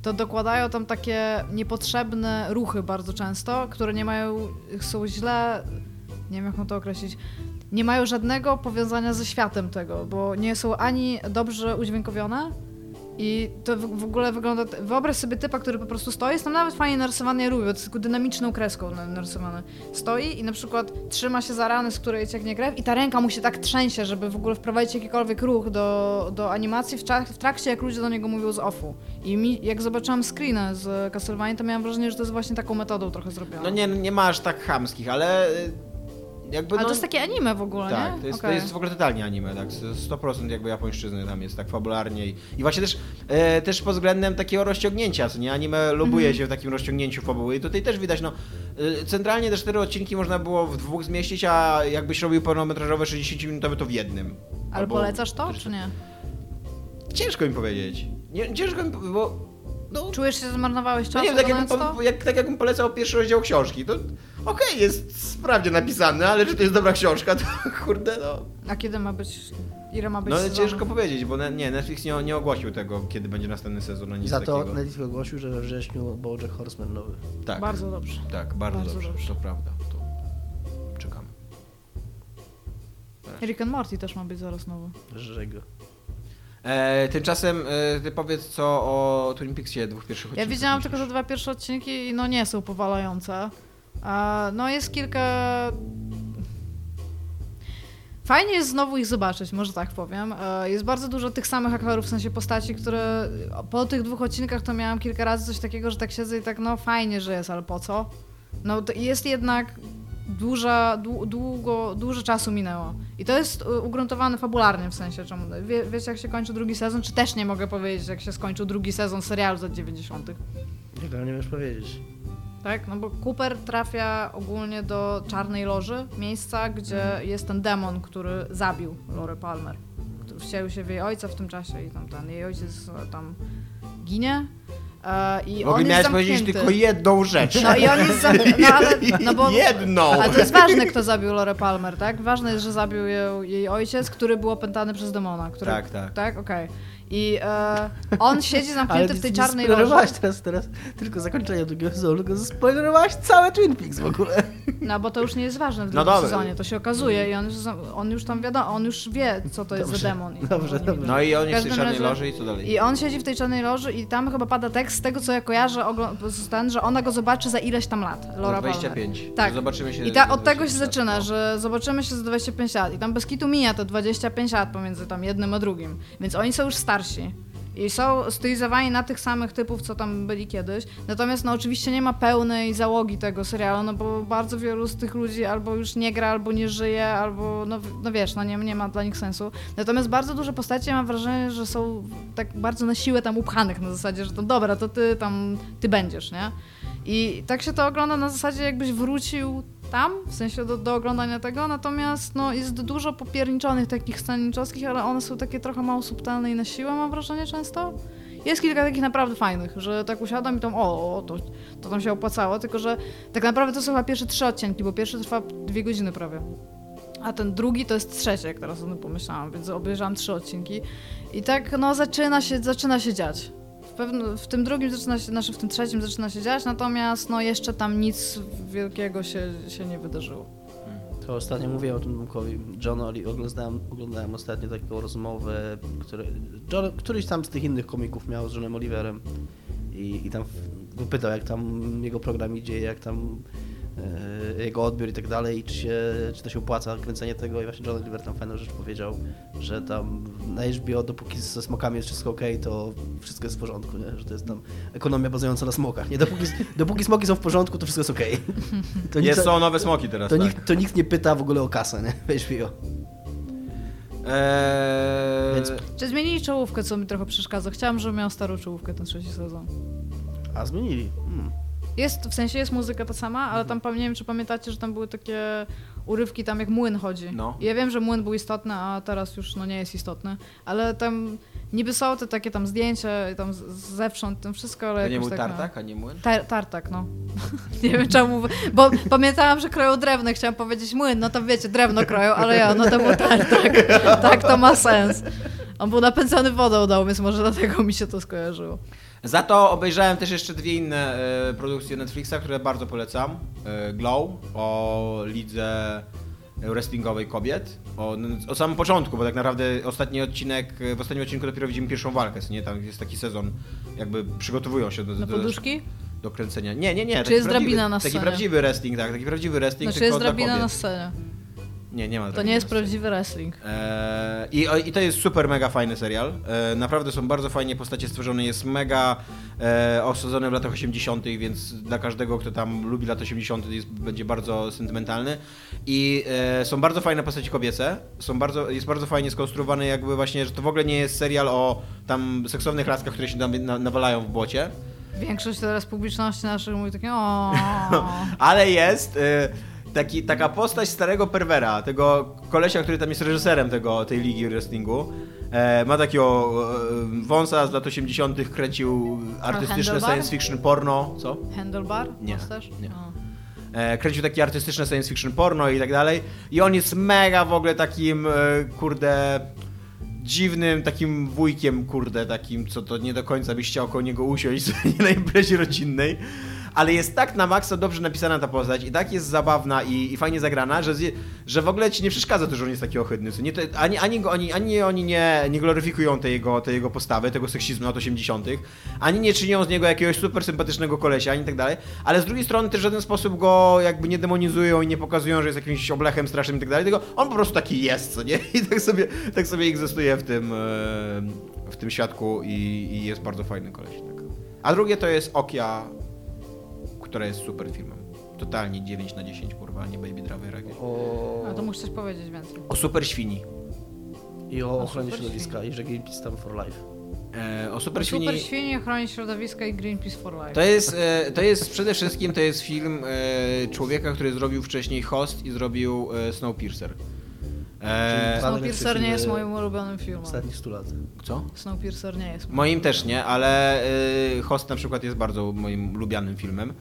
Speaker 3: to dokładają tam takie niepotrzebne ruchy bardzo często, które nie mają, są źle, nie wiem jak mam to określić, nie mają żadnego powiązania ze światem tego, bo nie są ani dobrze udźwiękowione, I to w, w ogóle wygląda. Wyobraź sobie typa, który po prostu stoi, jest tam nawet fajnie narysowany, ja lubię, to jest taką dynamiczną kreską na- narysowane. Stoi i na przykład trzyma się za rany, z której cieknie krew, i ta ręka mu się tak trzęsie, żeby w ogóle wprowadzić jakikolwiek ruch do, do animacji w, cza- w trakcie, jak ludzie do niego mówią z offu. I mi, jak zobaczyłam screena z Castlevania, to miałam wrażenie, że to jest właśnie taką metodą trochę zrobione.
Speaker 1: No nie, nie masz tak chamskich, ale y, jakby
Speaker 3: Ale
Speaker 1: no,
Speaker 3: to jest takie anime w ogóle,
Speaker 1: Tak,
Speaker 3: nie?
Speaker 1: to jest,
Speaker 3: Okej.
Speaker 1: to jest w ogóle totalnie anime, tak, 100% jakby japońszczyzny tam jest, tak fabularnie i, i właśnie też, e, też pod względem takiego rozciągnięcia, co nie, anime lubuje
Speaker 3: Mhm.
Speaker 1: się w takim rozciągnięciu fabuły i tutaj też widać, no, e, centralnie te cztery odcinki można było w dwóch zmieścić, a jakbyś robił pełnometrażowe 60-minutowe to w jednym.
Speaker 3: Ale polecasz to, czy nie?
Speaker 1: Ciężko mi powiedzieć, nie, ciężko mi, po- bo... No,
Speaker 3: Czujesz się, że zmarnowałeś czas
Speaker 1: no nie wiem, tak jakbym,
Speaker 3: oglądając to?
Speaker 1: po, jak, tak jakbym polecał pierwszy rozdział książki, to okej, jest sprawnie napisane, ale czy to jest dobra książka, to kurde, no...
Speaker 3: A kiedy ma być... Ile ma być
Speaker 1: No ale
Speaker 3: sezonów?
Speaker 1: ciężko powiedzieć, bo ne- nie, Netflix nie, nie ogłosił tego, kiedy będzie następny sezon, ani nic
Speaker 2: Za to
Speaker 1: takiego.
Speaker 2: Netflix ogłosił, że we wrześniu Bojack Horseman nowy.
Speaker 1: Tak,
Speaker 3: Bardzo dobrze.
Speaker 1: tak, bardzo,
Speaker 3: bardzo
Speaker 1: dobrze,
Speaker 3: dobrze.
Speaker 1: to prawda. To czekamy.
Speaker 3: Rick and Morty też ma być zaraz nowy.
Speaker 2: Żego.
Speaker 1: E, tymczasem e, ty powiedz co o Twin Peaksie dwóch pierwszych
Speaker 3: Ja
Speaker 1: odcinkach.
Speaker 3: widziałam
Speaker 1: myślisz?
Speaker 3: tylko te dwa pierwsze odcinki i no nie są powalające. A, no jest kilka... Fajnie jest znowu ich zobaczyć, może tak powiem. E, Jest bardzo dużo tych samych aktorów, w sensie postaci, które po tych dwóch odcinkach to miałam kilka razy coś takiego, że tak siedzę i tak, no fajnie, że jest, ale po co? No to jest jednak duża, dłu- długo, dużo czasu minęło. I to jest y, ugruntowane fabularnie w sensie, czemu, wie, wiecie jak się kończy drugi sezon, czy też nie mogę powiedzieć jak się skończył drugi sezon serialu z lat 90
Speaker 2: Nie wiem, nie możesz powiedzieć.
Speaker 3: tak? No bo Cooper trafia ogólnie do Czarnej Loży, miejsca, gdzie
Speaker 1: Mhm.
Speaker 3: jest ten demon, który zabił Lore Palmer. który Wcielił się w jej ojca w tym czasie i tam ten jej ojciec e, tam ginie. e, I
Speaker 1: W ogóle
Speaker 3: on
Speaker 1: miałeś
Speaker 3: jest
Speaker 1: powiedzieć
Speaker 3: zamknięty.
Speaker 1: tylko jedną rzecz.
Speaker 3: No i on jest zamknięty. No, ale, no bo,
Speaker 1: Jedną!
Speaker 3: Ale to jest ważne, kto zabił Lore Palmer, tak? Ważne jest, że zabił ją, jej ojciec, który był opętany przez demona. Który,
Speaker 1: Tak, tak.
Speaker 3: Tak, okej. I e, on siedzi zamknięty w tej
Speaker 2: nie
Speaker 3: czarnej loży.
Speaker 2: spoilerowałaś teraz, teraz tylko zakończenia drugiego sezonu, tylko zaspoilerowałaś całe Twin Peaks w ogóle.
Speaker 3: No bo to już nie jest ważne w
Speaker 1: No
Speaker 3: drugim
Speaker 1: dobra.
Speaker 3: sezonie, to się okazuje i on już, za- on już tam wiadomo, on już wie, co to jest
Speaker 2: Dobrze,
Speaker 3: za demon. I
Speaker 2: dobrze,
Speaker 3: on-
Speaker 2: dobrze.
Speaker 1: No i on
Speaker 3: W
Speaker 1: jest w tej
Speaker 3: każdym
Speaker 1: czarnej
Speaker 3: razie-
Speaker 1: loży i co dalej?
Speaker 3: I on siedzi w tej czarnej loży i tam chyba pada tekst z tego, co ja kojarzę, ogl- z ten, że ona go zobaczy za ileś tam lat, Laura
Speaker 1: Za 25.
Speaker 3: Palmer.
Speaker 1: No,
Speaker 3: Tak.
Speaker 1: To Zobaczymy się.
Speaker 3: I ta, od
Speaker 1: za
Speaker 3: tego się
Speaker 1: 25 lat,
Speaker 3: zaczyna,
Speaker 1: no.
Speaker 3: że zobaczymy się za 25 lat. I tam bez kitu mija te 25 lat pomiędzy tam jednym a drugim. Więc oni są już starsi. I są stylizowani na tych samych typów, co tam byli kiedyś. Natomiast no oczywiście nie ma pełnej załogi tego serialu, no bo bardzo wielu z tych ludzi albo już nie gra, albo nie żyje, albo no, w- no wiesz, no nie, nie ma dla nich sensu. Natomiast bardzo duże postacie mam wrażenie, że są tak bardzo na siłę tam upchanych na zasadzie, że to dobra, to ty tam, ty będziesz, nie? I tak się to ogląda na zasadzie, jakbyś wrócił tam, w sensie do, do oglądania tego, natomiast no, jest dużo popierniczonych takich sceniczowskich, ale one są takie trochę mało subtelne i na siłę mam wrażenie często. Jest kilka takich naprawdę fajnych, że tak usiadam i tam o, o to, to tam się opłacało, tylko że tak naprawdę to są chyba pierwsze trzy odcinki, bo pierwszy trwa dwie godziny prawie. A ten drugi to jest trzeci, jak teraz o tym pomyślałam, więc obejrzałam trzy odcinki. I tak no zaczyna się, zaczyna się dziać. W, pewno, w tym drugim zaczyna się, znaczy w tym trzecim zaczyna się dziać, natomiast no jeszcze tam nic wielkiego się, się nie wydarzyło.
Speaker 2: To ostatnio mówiłem o tym Bumkowi. John Oli, oglądałem, oglądałem ostatnio taką rozmowę, które, John, któryś tam z tych innych komików miał z Johnem Oliverem i, i tam w- go pytał, jak tam jego program idzie, jak tam e, jego odbiór i tak dalej, i czy, się, czy to się opłaca kręcenie tego i właśnie John Oliver tam fajną rzecz powiedział, że tam na HBO dopóki ze smokami jest wszystko ok, to wszystko jest w porządku, nie? że to jest tam ekonomia bazująca na smokach, nie? Dopóki, dopóki smoki są w porządku, to wszystko jest okej. To nic-
Speaker 1: Jest, są nowe smoki teraz,
Speaker 2: to,
Speaker 1: tak.
Speaker 2: nikt, to nikt nie pyta w ogóle o kasę, nie? Wiesz, Fio.
Speaker 1: Eee...
Speaker 2: Więc-
Speaker 3: Czy zmienili czołówkę, co mi trochę przeszkadza? Chciałam, żeby miał starą czołówkę ten trzeci sezon.
Speaker 2: A zmienili. Hmm.
Speaker 3: Jest, w sensie jest muzyka ta sama, ale tam pam- nie wiem, czy pamiętacie, że tam były takie urywki tam jak młyn chodzi.
Speaker 1: No.
Speaker 3: Ja wiem, że młyn był istotny, a teraz już no nie jest istotny, ale tam niby są te takie tam zdjęcia i tam z- zewsząd, tam wszystko, ale
Speaker 1: To nie
Speaker 3: jakoś
Speaker 1: był
Speaker 3: tak, no.
Speaker 1: tartak, a nie młyn?
Speaker 3: Tar- tartak, no. nie wiem czemu, bo pamiętałam, że kroją drewno, i chciałam powiedzieć młyn, no to wiecie, drewno kroją, ale ja, no to był tartak. Tak, to ma sens. On był napędzany wodą dał, więc może dlatego mi się to skojarzyło.
Speaker 1: Za to obejrzałem też jeszcze dwie inne e, produkcje Netflixa, które bardzo polecam. E, Glow o lidze e, wrestlingowej kobiet. O, no, o samym początku, bo tak naprawdę ostatni odcinek, e, w ostatnim odcinku dopiero widzimy pierwszą walkę, co nie? Tam jest taki sezon, jakby przygotowują się do,
Speaker 3: Na
Speaker 1: do,
Speaker 3: poduszki?
Speaker 1: do kręcenia. Nie, nie, nie. taki
Speaker 3: jest
Speaker 1: prawdziwy-
Speaker 3: drabina na
Speaker 1: Taki
Speaker 3: scenie?
Speaker 1: prawdziwy wrestling, tak, taki prawdziwy wrestling,
Speaker 3: Znaczy
Speaker 1: tylko
Speaker 3: jest
Speaker 1: dla
Speaker 3: drabina
Speaker 1: kobiet.
Speaker 3: na scenie.
Speaker 1: Nie, nie ma
Speaker 3: To
Speaker 1: drabiny
Speaker 3: nie jest
Speaker 1: na scenie.
Speaker 3: prawdziwy wrestling.
Speaker 1: Eee, I, I to jest super mega fajny serial. Eee, naprawdę są bardzo fajnie postacie stworzone. Jest mega eee, osadzony w latach 80., więc dla każdego, kto tam lubi lata 80., jest, będzie bardzo sentymentalny. I eee, są bardzo fajne postacie kobiece. Są bardzo, jest bardzo fajnie skonstruowany, jakby właśnie, że to w ogóle nie jest serial o tam seksownych laskach, które się tam na, nawalają w błocie.
Speaker 3: Większość teraz publiczności naszej mówi takie o.
Speaker 1: No, Ale jest y, taki, taka postać starego perwera, tego kolesia, który tam jest reżyserem tego, tej ligi wrestlingu. E, ma takiego e, wąsa z lat 80. kręcił artystyczne
Speaker 3: handlebar?
Speaker 1: science fiction porno. Co?
Speaker 3: Handlebar?
Speaker 1: Nie,
Speaker 3: Masz też?
Speaker 1: nie.
Speaker 3: O.
Speaker 1: E, kręcił takie artystyczne science fiction porno i tak dalej. I on jest mega w ogóle takim, e, kurde, dziwnym takim wujkiem, kurde, takim, co to nie do końca byś chciał koło niego usiąść na imprezie rodzinnej. Ale jest tak na maksa dobrze napisana ta postać i tak jest zabawna i, i fajnie zagrana, że, zje, że w ogóle ci nie przeszkadza to, że on jest taki ohydny. co Nie, to, ani, ani, go- ani, ani oni nie, nie gloryfikują tej jego, tej jego postawy, tego seksizmu lat 80., ani nie czynią z niego jakiegoś super sympatycznego kolesia, ani tak dalej, ale z drugiej strony też w żaden sposób go jakby nie demonizują i nie pokazują, że jest jakimś oblechem strasznym i tak dalej, tylko on po prostu taki jest, co nie? I tak sobie, tak sobie egzystuje w tym, e, w tym świadku i, i jest bardzo fajny koleś. Tak. A drugie to jest Okia, które jest super filmem. Totalnie 9 na 10, kurwa, a nie Baby Driver. jak-
Speaker 2: O...
Speaker 3: A to musisz coś powiedzieć więcej.
Speaker 1: O super świni.
Speaker 2: I o
Speaker 3: A
Speaker 2: ochronie
Speaker 3: super
Speaker 2: środowiska i że Greenpeace tam for life.
Speaker 1: E, o super
Speaker 3: Super świnie,
Speaker 1: świni.
Speaker 3: Super świnie chroni środowiska i Greenpeace for Life.
Speaker 1: To jest, e, to jest przede wszystkim to jest film e, człowieka, który zrobił wcześniej Host i zrobił e, Snowpiercer. E,
Speaker 2: Czyli
Speaker 3: Snowpiercer nie jest moim ulubionym filmem.
Speaker 2: Ostatnich 100 lat.
Speaker 1: co?
Speaker 3: Snowpiercer nie jest.
Speaker 1: Moim też nie, ale y, Host na przykład jest bardzo moim lubianym filmem.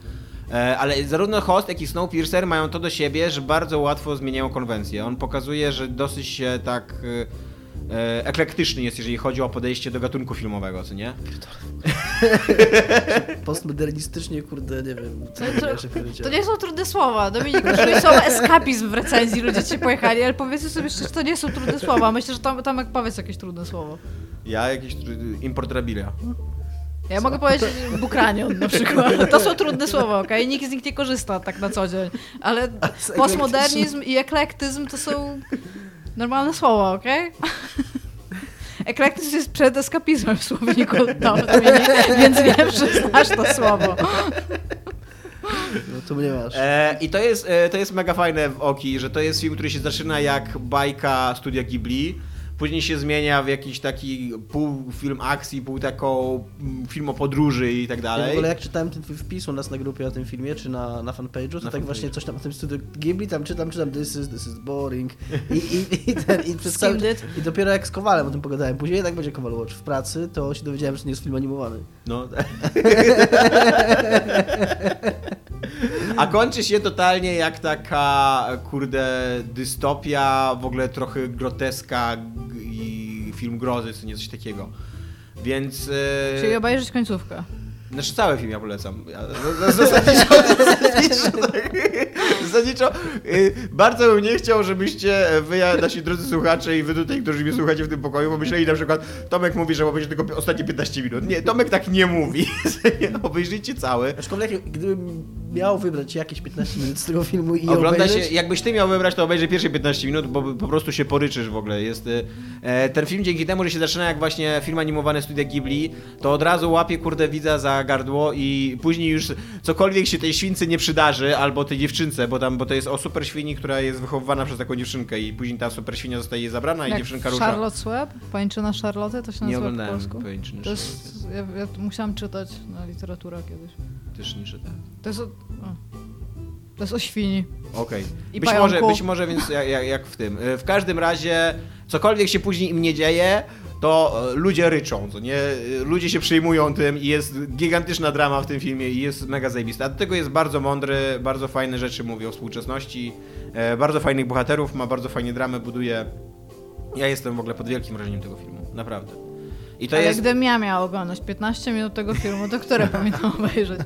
Speaker 1: E, Ale zarówno Host, jak i Snowpiercer mają to do siebie, że bardzo łatwo zmieniają konwencję. On pokazuje, że dosyć się tak y, e, eklektyczny jest, jeżeli chodzi o podejście do gatunku filmowego, co nie?
Speaker 2: Postmodernistycznie, kurde, nie wiem.
Speaker 3: To,
Speaker 2: Co inaczej
Speaker 3: to, to
Speaker 2: powiedziałem.
Speaker 3: nie są trudne słowa. Dominik, użyłeś słowa eskapizm w recenzji, ludzie cię pojechali, ale powiedzmy sobie szczerze, to nie są trudne słowa. Myślę, że tam, Tomek powiedz jakieś trudne słowo.
Speaker 1: Ja jakiś y, importrabilia.
Speaker 3: Ja mogę powiedzieć bukranion na przykład. To są trudne słowa, okej? Nikt z nich nie korzysta tak na co dzień. Ale
Speaker 2: z
Speaker 3: postmodernizm i eklektyzm to są normalne słowa, okej? Eklektyzm jest przed eskapizmem w słowniku, no, więc wiem, że znasz to słowo.
Speaker 2: No to mnie masz.
Speaker 1: E, I to jest, e, to jest mega fajne w Oki, że to jest film, który się zaczyna jak bajka studia Ghibli, później się zmienia w jakiś taki pół film akcji, pół taką mm, film o podróży i tak
Speaker 2: Ja w
Speaker 1: dalej.
Speaker 2: ogóle jak czytałem ten twój wpis u nas na grupie o tym filmie, czy na, na fanpage'u, to
Speaker 1: Na
Speaker 2: tak właśnie
Speaker 1: fanpage'u.
Speaker 2: coś tam o tym studiu Ghibli, tam czytam, czytam, this is, this is boring i, i, i, ten, i przez cały,
Speaker 3: Skimmed
Speaker 2: I dopiero jak z Kowalem o tym pogadałem, później tak będzie Kowal Watch w pracy, to się dowiedziałem, że to nie jest film animowany.
Speaker 1: No. A kończy się totalnie jak taka, kurde, dystopia, w ogóle trochę groteska g- i film grozy, co nie coś takiego. Więc... e,
Speaker 3: Czyli obejrzeć końcówkę.
Speaker 1: Znaczy cały film ja polecam. Ja, z- z- zasadniczo, zasadniczo, zasadniczo y, bardzo bym nie chciał, żebyście wy, ja, nasi drodzy słuchacze i wy tutaj, którzy mnie słuchacie w tym pokoju, pomyśleli na przykład Tomek mówi, że obejrzy tylko pi- ostatnie 15 minut. Nie, Tomek tak nie mówi. Obejrzyjcie cały.
Speaker 2: Aczkolwiek jak- gdybym miał wybrać jakieś 15 minut z tego filmu i
Speaker 1: Ogląda się,
Speaker 2: obejrzeć,
Speaker 1: jakbyś ty miał wybrać, to obejrzyj pierwsze 15 minut, bo po prostu się poryczysz w ogóle. Jest, y, e, ten film dzięki temu, że się zaczyna jak właśnie film animowany studia Ghibli, to od razu łapie kurde widza za gardło i później już cokolwiek się tej śwince nie przydarzy, albo tej dziewczynce, bo tam, bo to jest o super świni, która jest wychowywana przez taką dziewczynkę i później ta super świnia zostaje jej zabrana i
Speaker 3: Jak
Speaker 1: dziewczynka rusza.
Speaker 3: Charlotte Sweb, pańczyna Charlotte, to się
Speaker 1: Nie
Speaker 3: nazywa po
Speaker 1: oglądałem
Speaker 3: polsku.
Speaker 1: pojęczy
Speaker 3: To jest, ja, ja musiałam czytać na literaturę kiedyś.
Speaker 1: też tak. nie czytałem.
Speaker 3: To jest o, o, to jest o świni.
Speaker 1: Okej.
Speaker 3: I
Speaker 1: Być
Speaker 3: pająku.
Speaker 1: może, być może więc jak, jak, jak w tym. E, W każdym razie, cokolwiek się później im nie dzieje, to e, ludzie ryczą, co nie? E, Ludzie się przejmują tym i jest gigantyczna drama w tym filmie i jest mega zajebista. Do tego jest bardzo mądry, bardzo fajne rzeczy mówi o współczesności, e, bardzo fajnych bohaterów, ma bardzo fajnie dramę, buduje. Ja jestem w ogóle pod wielkim wrażeniem tego filmu, naprawdę. I to
Speaker 3: Ale
Speaker 1: jest,
Speaker 3: gdybym ja miała oglądać 15 minut tego filmu, to które powinnam obejrzeć?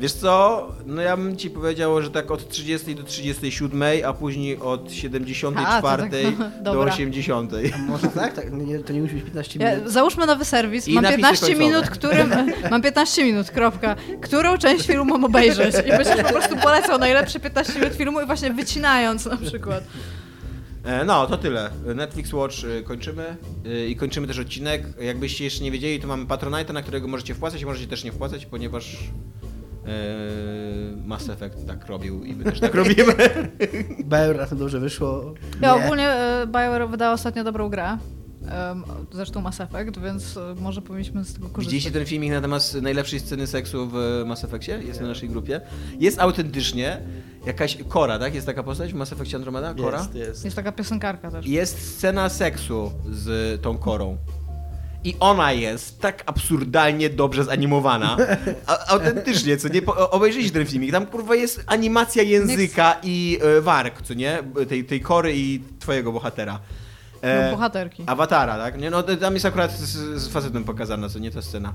Speaker 1: wiesz co, no ja bym ci powiedział, że tak od 30 do 37, a później od 74
Speaker 3: A, to tak,
Speaker 1: do
Speaker 3: dobra.
Speaker 1: 80.
Speaker 2: Może tak? tak nie, to nie musi być 15 minut.
Speaker 3: Ja, załóżmy nowy serwis,
Speaker 1: I
Speaker 3: mam
Speaker 1: napisy
Speaker 3: 15
Speaker 1: końcowe.
Speaker 3: minut, którym, mam 15 minut, kropka. Którą część filmu mam obejrzeć? I będziesz po prostu polecał najlepsze 15 minut filmu i właśnie wycinając na przykład.
Speaker 1: E, No, to tyle. Netflix Watch y, kończymy y, i kończymy też odcinek. Jakbyście jeszcze nie wiedzieli, to mamy Patronite, na którego możecie wpłacać i możecie też nie wpłacać, ponieważ e, Mass Effect tak robił i my też tak robimy.
Speaker 2: Bajor razem dobrze wyszło.
Speaker 3: Ja
Speaker 1: Nie.
Speaker 3: ogólnie e, BioWare wydała ostatnio dobrą grę. em, zresztą Mass Effect, więc e, może powinniśmy z tego korzystać.
Speaker 1: Widzieliście ten filmik na temat najlepszej sceny seksu w e, Mass Effectie? Jest na naszej grupie. Jest autentycznie jakaś Kora, tak? Jest taka postać w Mass Effectie Andromeda? Kora?
Speaker 2: Jest, jest.
Speaker 3: Jest taka piosenkarka też.
Speaker 1: jest scena seksu z tą korą. I ona jest tak absurdalnie dobrze zanimowana. A, autentycznie, co nie? Po, o- obejrzyjcie ten filmik. Tam kurwa jest animacja języka i e, warg, co nie? Tej, tej kory i twojego bohatera. E,
Speaker 3: No, bohaterki.
Speaker 1: Awatara, tak? Nie, no to tam jest akurat z, z facetem pokazana, co nie ta scena.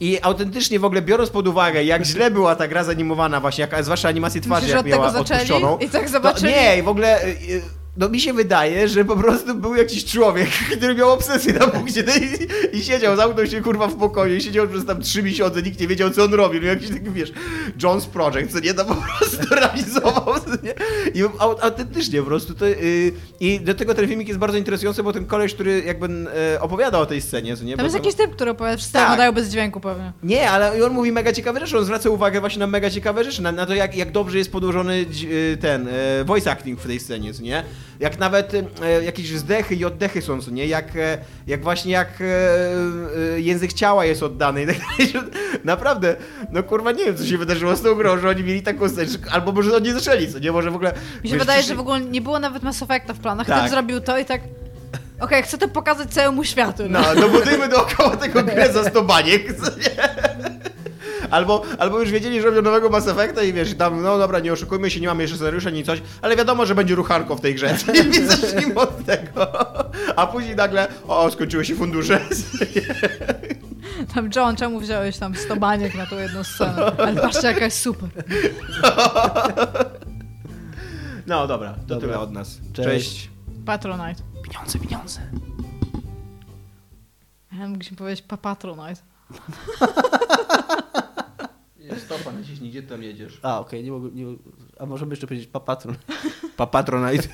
Speaker 1: I autentycznie w ogóle biorąc pod uwagę, jak źle była ta gra zanimowana właśnie, jak, zwłaszcza animację twarzy,
Speaker 3: Myślisz, że
Speaker 1: jak
Speaker 3: od tego
Speaker 1: miała
Speaker 3: zaczęli
Speaker 1: odpuszczoną.
Speaker 3: i tak zobaczyli?
Speaker 1: To, nie, w ogóle... y, y, No mi się wydaje, że po prostu był jakiś człowiek, który miał obsesję na punkcie no i, i siedział, zamknął się kurwa w pokoju i siedział przez tam trzy miesiące, nikt nie wiedział co on robi, no jakiś taki wiesz, Jones Project, co nie, to po prostu realizował, co nie? I au- autentycznie po prostu to... y, I do tego ten filmik jest bardzo interesujący, bo ten koleś, który jakby y, opowiada o tej scenie, co nie?
Speaker 3: Tam
Speaker 1: bo
Speaker 3: jest
Speaker 1: to-
Speaker 3: jakiś typ, który opowiada, wszyscy
Speaker 1: Tak.
Speaker 3: oglądają bez dźwięku pewnie.
Speaker 1: nie, ale i on mówi mega ciekawe rzeczy, on zwraca uwagę właśnie na mega ciekawe rzeczy, na, na to jak, jak dobrze jest podłożony dź- y, ten e, voice acting w tej scenie, co nie? Jak nawet y, e, jakieś wzdechy i oddechy są, co nie? Jak, e, jak właśnie jak e, e, język ciała jest oddany i tak dalej. że Naprawdę, no kurwa nie wiem co się wydarzyło z tą grą, że oni mieli taką scenę, że- albo może oni zaczęli, co nie? Może w ogóle...
Speaker 3: Mi się
Speaker 1: wiesz,
Speaker 3: wydaje,
Speaker 1: przyszli-
Speaker 3: że w ogóle nie było nawet Mass Effecta w planach.
Speaker 1: Tak.
Speaker 3: Ktoś zrobił to i tak... Okej, chcę to pokazać całemu światu. No.
Speaker 1: No, dobudujmy dookoła tego grę za 100 baniek, co nie? Albo, albo już wiedzieli, że robią nowego Mass Effecta i wiesz, tam, no dobra, nie oszukujmy się, nie mamy jeszcze scenariusza, ni coś, ale wiadomo, że będzie ruchanko w tej grze, więc zacznijmy od tego. A później nagle, o, skończyły się fundusze. No.
Speaker 3: Tam John, czemu wziąłeś tam 100 baniek na tą jedną scenę? Ale patrzcie, jaka jest super.
Speaker 1: No dobra, to
Speaker 2: Dobra.
Speaker 1: tyle od nas.
Speaker 2: Cześć.
Speaker 3: Patronite.
Speaker 2: Pieniądze, pieniądze.
Speaker 3: Ja mógłbym powiedzieć pa Patronite.
Speaker 1: Stopa naciśnij, gdzie tam jedziesz?
Speaker 2: A, okej, nie mogę. Nie, a możemy jeszcze powiedzieć papatron.
Speaker 1: Pa Patronite.